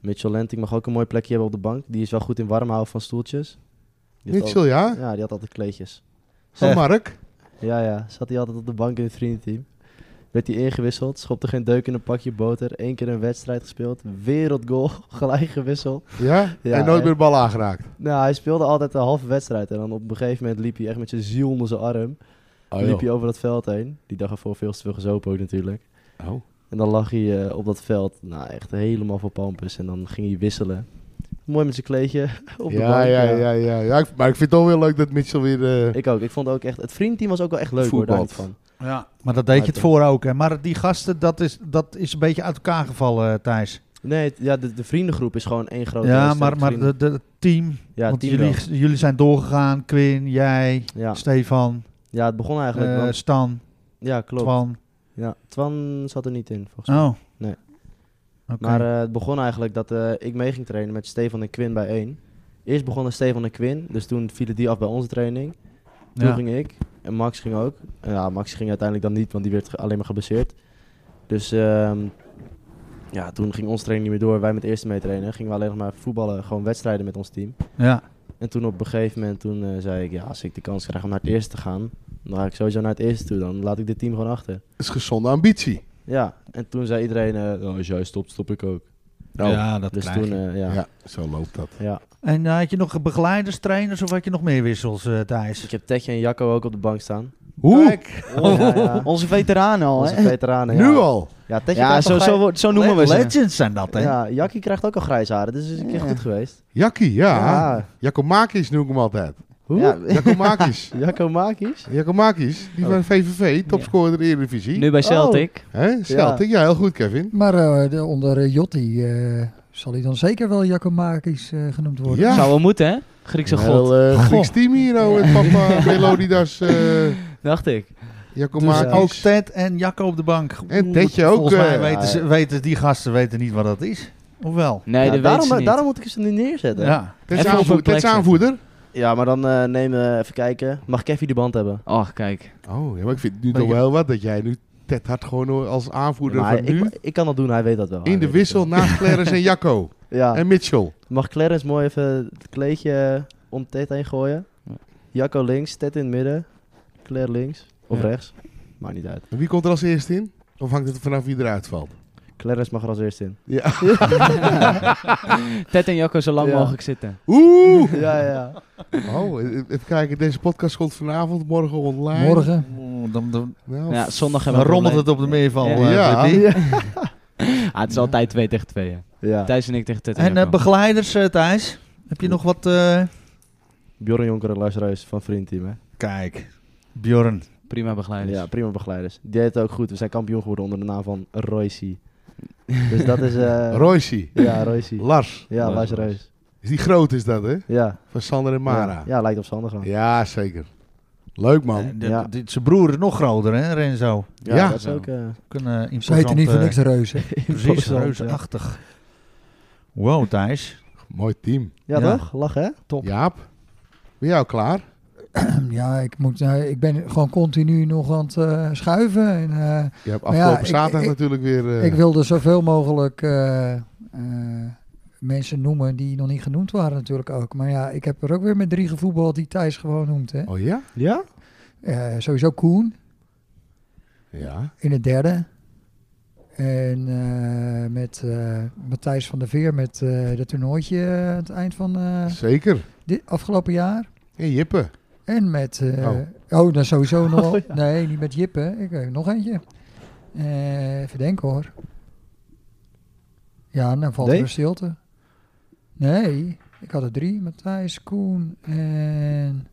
Speaker 5: Mitchell Lenting mag ook een mooi plekje hebben op de bank. Die is wel goed in warm houden van stoeltjes. Die heeft
Speaker 3: Mitchell, ja?
Speaker 5: al- ja, die had altijd kleedjes.
Speaker 3: Van
Speaker 2: Zeg.
Speaker 3: Mark?
Speaker 5: Ja, ja. Zat hij altijd op de bank in het vriendenteam. Werd hij ingewisseld, schopte geen deuk in een pakje boter. Eén keer een wedstrijd gespeeld. Wereldgoal, (laughs) gelijk gewisseld.
Speaker 3: Ja?
Speaker 5: Ja,
Speaker 3: en nooit
Speaker 5: hè?
Speaker 3: meer de bal aangeraakt.
Speaker 5: Nou, hij speelde altijd een halve wedstrijd. En dan op een gegeven moment liep hij echt met zijn ziel onder zijn arm.
Speaker 3: Ah,
Speaker 5: liep hij over dat veld heen. Die dag ervoor veel te veel gezopen ook natuurlijk.
Speaker 3: Oh.
Speaker 5: En dan lag hij eh, op dat veld, nou echt helemaal voor pampus. En dan ging hij wisselen. Mooi met zijn kleedje (laughs) op de
Speaker 3: ja,
Speaker 5: bank.
Speaker 3: ja, ja, ja, ja. Ik- Maar ik vind het ook wel leuk dat Mitchell weer... eh,
Speaker 5: Ik ook. Ik vond ook echt... Het vriendenteam was ook wel echt leuk hoor, daar niet van.
Speaker 3: Voetbalt.
Speaker 2: Ja, maar dat deed je het
Speaker 5: Uit-
Speaker 2: voor ook. Hè. Maar die gasten, dat is, dat is een beetje uit elkaar gevallen, eh, Thijs.
Speaker 5: Nee, het- ja, de, de vriendengroep is gewoon één grote...
Speaker 2: ja,
Speaker 5: sterke
Speaker 2: maar, maar
Speaker 5: vrienden-
Speaker 2: de, de- het team.
Speaker 5: ja,
Speaker 2: want
Speaker 5: team
Speaker 2: jullie, jullie zijn doorgegaan. Quinn, jij,
Speaker 5: wel. Ja.
Speaker 2: Stefan,
Speaker 5: ja, het begon eigenlijk...
Speaker 2: eh,
Speaker 5: want-
Speaker 2: Stan,
Speaker 5: ja, klopt.
Speaker 2: Twan.
Speaker 5: Ja, Twan zat er niet in volgens mij.
Speaker 2: Oh.
Speaker 5: Nee.
Speaker 2: Oké.
Speaker 5: Maar eh, het begon eigenlijk dat eh, ik mee ging trainen met Stefan en Quinn bij één. Eerst begonnen Stefan en Quinn, dus toen vielen die af bij onze training. Toen
Speaker 2: ja.
Speaker 5: ging ik en Max ging ook. En ja, Max ging uiteindelijk dan niet, want die werd ge- alleen maar geblesseerd. Dus ehm, ja, toen ging onze training niet meer door. Wij met de eerste mee trainen. Gingen we alleen nog maar voetballen, gewoon wedstrijden met ons team.
Speaker 2: ja.
Speaker 5: En toen op een gegeven moment toen, eh, zei ik, ja, als ik de kans krijg om naar het eerste te gaan, Dan ga ik sowieso naar het eerste toe. Dan laat ik dit team gewoon achter.
Speaker 3: is gezonde ambitie.
Speaker 5: Ja, en toen zei iedereen, eh, oh, als jij stopt, stop ik ook.
Speaker 2: Nou,
Speaker 3: Oh,
Speaker 6: ja, dat
Speaker 5: dus
Speaker 6: krijg
Speaker 5: toen,
Speaker 6: je.
Speaker 5: eh,
Speaker 3: Ja.
Speaker 5: ja. ja.
Speaker 3: zo loopt dat.
Speaker 6: En eh, had je nog begeleiders, trainers of had je nog meer wissels, eh, Thijs?
Speaker 5: Ik heb Tetje en Jacco ook op de bank staan.
Speaker 3: Hoe?
Speaker 6: Kijk,
Speaker 5: Ja, ja.
Speaker 2: Oh, Onze veteranen al,
Speaker 5: Onze
Speaker 2: hè?
Speaker 5: veteranen.
Speaker 3: Nu
Speaker 5: nou ja.
Speaker 3: al?
Speaker 5: Ja, Tetje
Speaker 2: Ja,
Speaker 5: krijgt
Speaker 2: zo,
Speaker 5: al
Speaker 2: zo,
Speaker 5: grij-
Speaker 2: wordt- zo noemen Oh, we ze.
Speaker 6: legends zijn dat, hè?
Speaker 5: Ja, Jackie krijgt ook al grijs haar. Dus is een keer
Speaker 2: Ja.
Speaker 5: goed geweest.
Speaker 3: Jakkie, ja.
Speaker 5: Ja.
Speaker 3: Jakomakis noem ik hem altijd.
Speaker 5: Hoe?
Speaker 3: Jakomakis.
Speaker 5: (laughs) Jacco Makis?
Speaker 3: Jakomakis, die van VVV, topscorer in de Eredivisie.
Speaker 2: Nu bij
Speaker 5: Oh.
Speaker 2: Celtic.
Speaker 3: Hè? Celtic, ja, heel goed Kevin.
Speaker 1: Maar eh, de- onder eh, Jotti eh, zal hij dan zeker wel Jakomakis eh, genoemd worden.
Speaker 3: Ja.
Speaker 2: Zou wel Oh, moeten, hè? Griekse
Speaker 3: Een
Speaker 2: god.
Speaker 3: heel eh, Grieks team hier, oh, het papa Melodidas, eh
Speaker 2: Dacht ik.
Speaker 3: Jakomakis.
Speaker 6: Dus, eh, Ook Ted en Jacco op de bank.
Speaker 3: En
Speaker 6: Oeh,
Speaker 3: Tedje ook,
Speaker 6: Volgens mij
Speaker 3: eh,
Speaker 6: weten, ze, weten die gasten weten niet wat dat is. Of wel?
Speaker 2: Nee,
Speaker 5: Ja,
Speaker 2: dat
Speaker 5: daarom, eh,
Speaker 2: weet ze niet.
Speaker 5: daarom moet ik ze nu neerzetten. Ja,
Speaker 6: Ja.
Speaker 3: Ted's
Speaker 2: Even op
Speaker 3: aanvoer-
Speaker 2: een plek
Speaker 3: Ted's
Speaker 2: zetten.
Speaker 3: aanvoerder.
Speaker 5: maar dan eh nemen we even kijken. Mag Kevin de band hebben?
Speaker 2: Och, kijk.
Speaker 3: Oh, ja, maar ik vind het nu
Speaker 6: Maar
Speaker 3: toch
Speaker 6: je-
Speaker 3: wel wat dat jij nu Ted had gewoon als aanvoerder
Speaker 5: Maar
Speaker 3: van nu
Speaker 5: ik, ik kan dat doen, hij weet dat wel. Hij
Speaker 3: in de
Speaker 5: weet dat
Speaker 3: wissel naast Clarence en Jacco
Speaker 5: wel. Ja.
Speaker 3: en Mitchell.
Speaker 5: Mag Clarence mooi even het kleedje eh, om Ted heen gooien? Jacco links, Ted in het midden. Claire links. Of
Speaker 6: Ja.
Speaker 5: rechts. Maakt niet uit.
Speaker 3: En wie komt er als eerste in? Of hangt het vanaf wie eruit valt?
Speaker 5: Clarence mag er als eerste in.
Speaker 3: Ja.
Speaker 2: (laughs) Ted en Jacco zo lang
Speaker 5: Ja.
Speaker 2: mogelijk zitten.
Speaker 3: Oeh!
Speaker 2: (laughs)
Speaker 5: ja, ja.
Speaker 3: Oh, e- e- even kijken. Deze podcast komt vanavond, morgen online.
Speaker 1: Morgen.
Speaker 6: Oeh, Oh, Dan, dan,
Speaker 3: Nou,
Speaker 2: Ja, zondag
Speaker 6: dan
Speaker 2: hebben we een
Speaker 6: rommelt het op de meerval.
Speaker 2: Ja.
Speaker 6: eh,
Speaker 3: Ja.
Speaker 6: Freddy.
Speaker 2: probleem. Ah, het is altijd twee tegen twee, hè.
Speaker 5: ja.
Speaker 2: Thijs en ik tegen Ted en,
Speaker 6: En eh,
Speaker 2: Jacco.
Speaker 6: begeleiders, eh, Thijs? Heb je nog wat... eh,
Speaker 5: Bjorn Jonker en Lars Reus van Vriendteam, hè?
Speaker 6: Kijk, Bjorn.
Speaker 2: Prima begeleiders.
Speaker 5: Ja, prima begeleiders. Die deed het ook goed. We zijn kampioen geworden onder de naam van Royce. dus dat is... eh
Speaker 3: Royce,
Speaker 5: Ja, Royce.
Speaker 3: Lars.
Speaker 5: Ja,
Speaker 2: Lars
Speaker 5: Lars
Speaker 2: Reus.
Speaker 5: Reus.
Speaker 3: Is die groot is dat, hè?
Speaker 5: Ja.
Speaker 3: Van Sander en Mara.
Speaker 5: Ja, ja, lijkt op Sander gaan.
Speaker 3: Ja, zeker. Leuk, man.
Speaker 6: Eh, de-
Speaker 5: Ja.
Speaker 6: de- Zijn broer is nog groter, hè, Renzo?
Speaker 5: Ja,
Speaker 3: Ja.
Speaker 5: dat is ook... eh,
Speaker 6: Ook Een,
Speaker 1: Ze
Speaker 6: eh,
Speaker 1: heten
Speaker 6: imposante-
Speaker 1: niet voor niks reuzen. (clears throat) (laughs)
Speaker 6: Precies,
Speaker 5: imposant,
Speaker 6: reusachtig. Wow, Thijs.
Speaker 3: Mooi team.
Speaker 5: Ja,
Speaker 6: Ja.
Speaker 5: toch? Lach, hè?
Speaker 6: Top.
Speaker 3: Jaap, ben jij al klaar?
Speaker 1: Ja, ik, moet, eh, ik ben gewoon continu nog aan het eh, schuiven. En, eh,
Speaker 3: Je hebt
Speaker 1: Maar ja,
Speaker 3: afgelopen
Speaker 1: ik-
Speaker 3: zaterdag
Speaker 1: ik-
Speaker 3: natuurlijk weer... eh,
Speaker 1: Ik wilde zoveel mogelijk eh, eh, mensen noemen die nog niet genoemd waren natuurlijk ook. Maar ja, ik heb er ook weer met drie gevoetbald die Thijs gewoon noemt. Hè.
Speaker 3: Oh ja?
Speaker 5: Ja?
Speaker 1: Eh, sowieso Koen
Speaker 3: Ja.
Speaker 1: in het derde. En eh, met eh, Matthijs van der Veer met eh dat toernooitje eh, aan het eind van eh,
Speaker 3: Zeker.
Speaker 1: dit afgelopen jaar.
Speaker 3: En Jippe.
Speaker 1: En met... eh,
Speaker 3: Oh.
Speaker 1: oh. dan
Speaker 6: (laughs)
Speaker 1: sowieso
Speaker 6: Oh,
Speaker 1: nog... Nee, niet met Jippe. Ik weet nog eentje. Eh even denken hoor. Ja, dan valt
Speaker 5: Nee?
Speaker 1: er een stilte. Nee, ik had er drie. Matthijs, Koen en...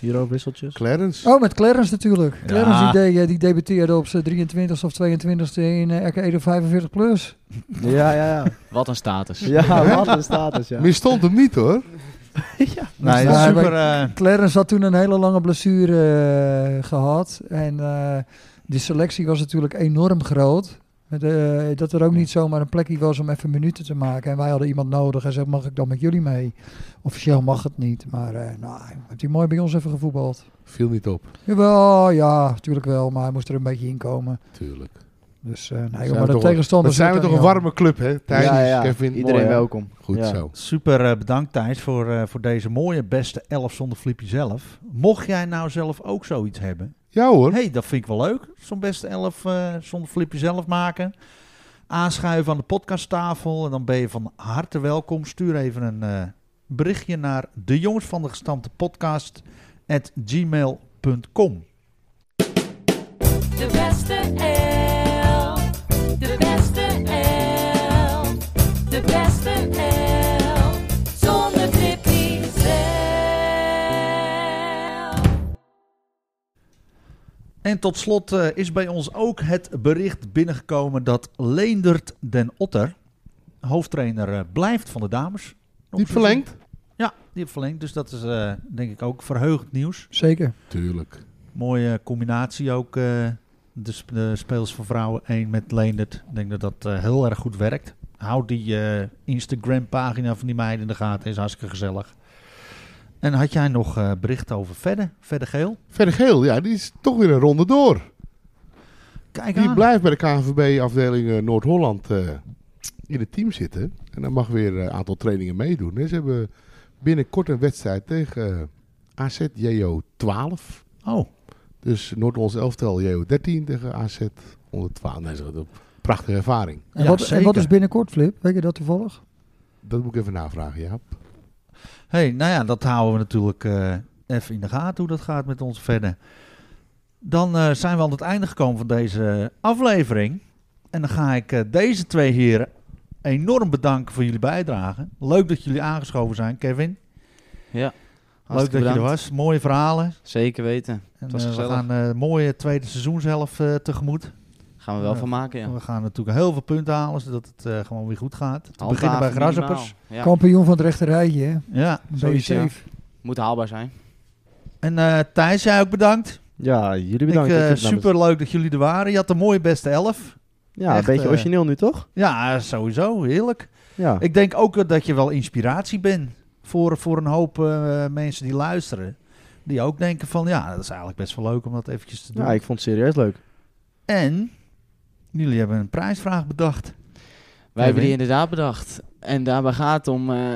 Speaker 5: Hier ook wisseltjes.
Speaker 3: Clarence.
Speaker 1: Oh, met Clarence natuurlijk.
Speaker 6: Ja.
Speaker 1: Clarence die, deed, eh, die debuteerde op zijn 23 of 22 e in eh, RK Edo 45+. Plus.
Speaker 5: Ja, ja, ja.
Speaker 2: Wat een status.
Speaker 5: Ja, wat een status, ja.
Speaker 3: Misstond hem niet, hoor.
Speaker 6: Nee,
Speaker 1: Ja,
Speaker 6: super... eh,
Speaker 1: Clarence had toen een hele lange blessure eh, gehad. En eh, de selectie was natuurlijk enorm groot. Met, eh, dat er ook niet zomaar een plekje was om even minuten te maken. En wij hadden iemand nodig. En zeg, mag ik dan met jullie mee? Officieel mag het niet. Maar eh nou, heeft hij mooi bij ons even gevoetbald.
Speaker 3: Viel niet op.
Speaker 1: Jawel, ja, natuurlijk wel. Maar hij moest er een beetje in komen.
Speaker 3: Tuurlijk.
Speaker 1: Dus eh nee,
Speaker 3: Zijn
Speaker 1: joh,
Speaker 3: we
Speaker 1: maar de
Speaker 3: toch wel- Dan
Speaker 1: tegenstanders...
Speaker 3: zijn we toch een
Speaker 1: zitten er niet
Speaker 3: warme club, hè? Thijs,
Speaker 5: Ja, ja.
Speaker 3: Kevin.
Speaker 2: Iedereen
Speaker 5: Mooi, hè?
Speaker 2: welkom.
Speaker 3: Goed
Speaker 5: Ja.
Speaker 3: zo.
Speaker 6: Super eh, bedankt Thijs voor, eh, voor deze mooie beste elf zonder Flippy zelf. Mocht jij nou zelf ook zoiets hebben,
Speaker 3: Ja, hoor.
Speaker 6: hey, dat vind ik wel leuk. Zo'n beste elf eh, zonder Flippy zelf maken. Aanschuiven aan de podcasttafel en dan ben je van harte welkom. Stuur even een eh, berichtje naar de jongens van de gestampte podcast at gmail.com.
Speaker 9: De beste L. De beste L. De beste L. Zonder trippie zelf.
Speaker 6: En tot slot eh, is bij ons ook het bericht binnengekomen dat Leendert den Otter, hoofdtrainer, eh, blijft van de dames. Nog
Speaker 3: Niet
Speaker 6: seizoen.
Speaker 3: verlengd?
Speaker 6: Ja, die heeft verlengd. Dus dat is eh, denk ik ook verheugend nieuws.
Speaker 1: joh. Zeker.
Speaker 3: Tuurlijk.
Speaker 6: Mooie combinatie ook. eh, de, sp- de speels van vrouwen 1 met Leendert. Ik denk dat dat eh, heel erg goed werkt. Houd die eh, Instagram-pagina van die meiden in de gaten. Is hartstikke gezellig. En had jij nog eh bericht over verder? Verder geel?
Speaker 3: Verder Geel, ja, die is toch weer een ronde door.
Speaker 6: Kijk
Speaker 3: Die
Speaker 6: aan.
Speaker 3: blijft bij de KNVB-afdeling eh, Noord-Holland eh, in het team zitten. En dan mag weer eh, een aantal trainingen meedoen. hè. Ze hebben binnenkort een wedstrijd tegen eh, AZJO 12.
Speaker 6: Oh,
Speaker 3: Dus Noord-Ons elftal JO 13 tegen AZ onder 12. Nee, dat is een prachtige ervaring.
Speaker 1: En,
Speaker 6: Ja,
Speaker 1: wat, en wat
Speaker 6: zeker.
Speaker 1: is binnenkort, Flip? Weet je dat toevallig?
Speaker 3: Dat moet ik even navragen, Jaap.
Speaker 6: hey, nou ja, dat houden we natuurlijk eh, even in de gaten hoe dat gaat met ons verder. Dan eh, zijn we aan het einde gekomen van deze aflevering. En dan ga ik eh, deze twee heren enorm bedanken voor jullie bijdrage. Leuk dat jullie aangeschoven zijn, Kevin.
Speaker 5: Ja.
Speaker 6: Leuk dat je er was. Mooie verhalen.
Speaker 5: Zeker weten.
Speaker 6: En,
Speaker 5: was
Speaker 6: eh, we
Speaker 5: gezellig.
Speaker 6: gaan eh, een mooie tweede seizoenshelft eh tegemoet.
Speaker 5: Gaan we wel
Speaker 6: Ja.
Speaker 5: van maken, ja.
Speaker 6: We gaan natuurlijk heel veel punten halen, zodat het eh, gewoon weer goed gaat. Te beginnen bij
Speaker 5: Handhaven
Speaker 6: Grasshoppers.
Speaker 5: minimaal. Ja.
Speaker 1: Kampioen van het rechterrijtje, hè?
Speaker 6: Ja.
Speaker 1: Ben je
Speaker 5: Zoiets, ja.
Speaker 1: safe?
Speaker 5: Moet haalbaar zijn.
Speaker 6: En eh, Thijs, jij ook bedankt.
Speaker 11: Ja, jullie bedankt.
Speaker 6: Ik, eh,
Speaker 11: Ik heb namens-
Speaker 6: Super leuk dat jullie er waren. Je had een mooie beste elf.
Speaker 11: Ja,
Speaker 6: echt,
Speaker 11: een beetje
Speaker 6: eh,
Speaker 11: origineel nu toch?
Speaker 6: Ja, sowieso. Heerlijk.
Speaker 11: Ja.
Speaker 6: Ik denk ook eh, dat je wel inspiratie bent voor, voor een hoop eh, mensen die luisteren. Die ook denken van, ja, dat is eigenlijk best wel leuk om dat eventjes te doen.
Speaker 11: ja, ik vond het serieus leuk.
Speaker 6: En jullie hebben een prijsvraag bedacht.
Speaker 5: Wij hebben die inderdaad bedacht. En daarbij gaat het om eh,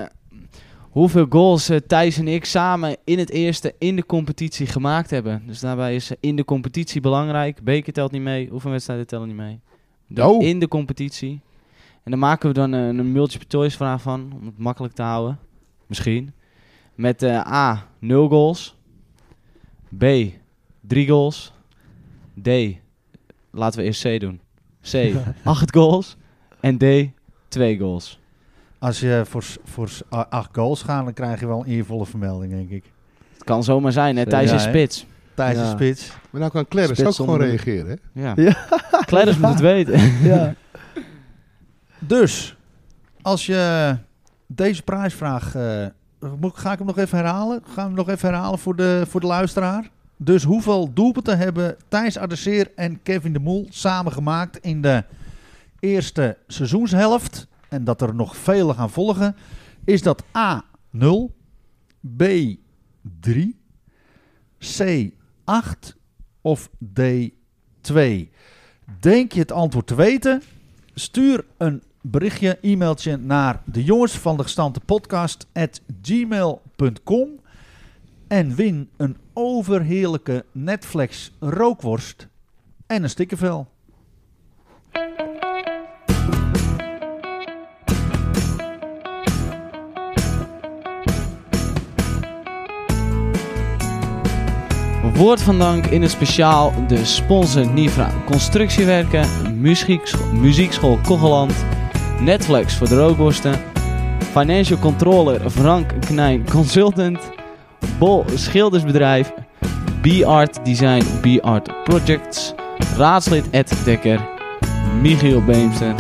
Speaker 5: hoeveel goals eh, Thijs en ik samen in het eerste in de competitie gemaakt hebben. Dus daarbij is eh, in de competitie belangrijk. Beker telt niet mee, oefenwedstrijden tellen niet mee. De-
Speaker 11: Nou.
Speaker 3: Oh.
Speaker 5: In de competitie. En daar maken we dan eh, een multiple choice vraag van, om het makkelijk te houden. Misschien. Met eh, A, 0 goals. B, 3 goals. D, laten we eerst C doen.
Speaker 11: (laughs)
Speaker 5: C, 8 goals. En D, twee goals.
Speaker 6: Als je voor, s- voor s- a- acht goals gaat, dan krijg je wel een eervolle vermelding, denk ik.
Speaker 5: Het kan zomaar zijn, hè? Thijs
Speaker 6: Ja,
Speaker 5: is
Speaker 6: hè?
Speaker 5: spits.
Speaker 6: Thijs de
Speaker 11: Ja.
Speaker 6: Spits.
Speaker 3: Maar nou kan Clarence
Speaker 11: Spits
Speaker 3: ook gewoon
Speaker 11: zonder-
Speaker 3: reageren. Hè?
Speaker 5: Ja.
Speaker 11: Ja.
Speaker 5: Kledders moet het weten.
Speaker 11: Ja.
Speaker 6: (laughs) Dus, als je deze prijsvraag... eh, moet, ga ik hem nog even herhalen? Gaan we hem nog even herhalen voor de, voor de luisteraar? Dus hoeveel doelpunten hebben Thijs Adesseer en Kevin de Moel samen gemaakt in de eerste seizoenshelft? En dat er nog vele gaan volgen. Is dat A 0, B 3, C 8 of D 2? Denk je het antwoord te weten? Stuur een berichtje, e-mailtje naar de jongens van de gestante podcast at gmail.com en win een overheerlijke Netflix rookworst en een stikkervel.
Speaker 5: Woord van dank in het speciaal de sponsor Nivra Constructiewerken, Muziekschool, Muziekschool Kogeland, Netflix voor de rookworsten, Financial Controller Frank Knijn Consultant, Bol Schildersbedrijf, B-Art Design, B-Art Projects, raadslid Ed Dekker, Michiel Beemster,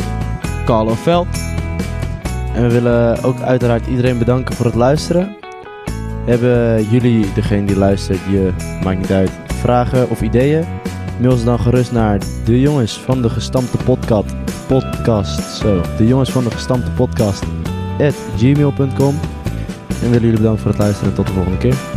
Speaker 5: Carlo Veld.
Speaker 11: En we willen ook uiteraard iedereen bedanken voor het luisteren. Hebben jullie, degene die luistert, je maakt niet uit, vragen of ideeën? Mail ze dan gerust naar de jongens van de gestampte podcast. Podcast, zo. De jongens van de gestampte podcast at gmail.com. En willen jullie bedanken voor het luisteren en tot de volgende keer.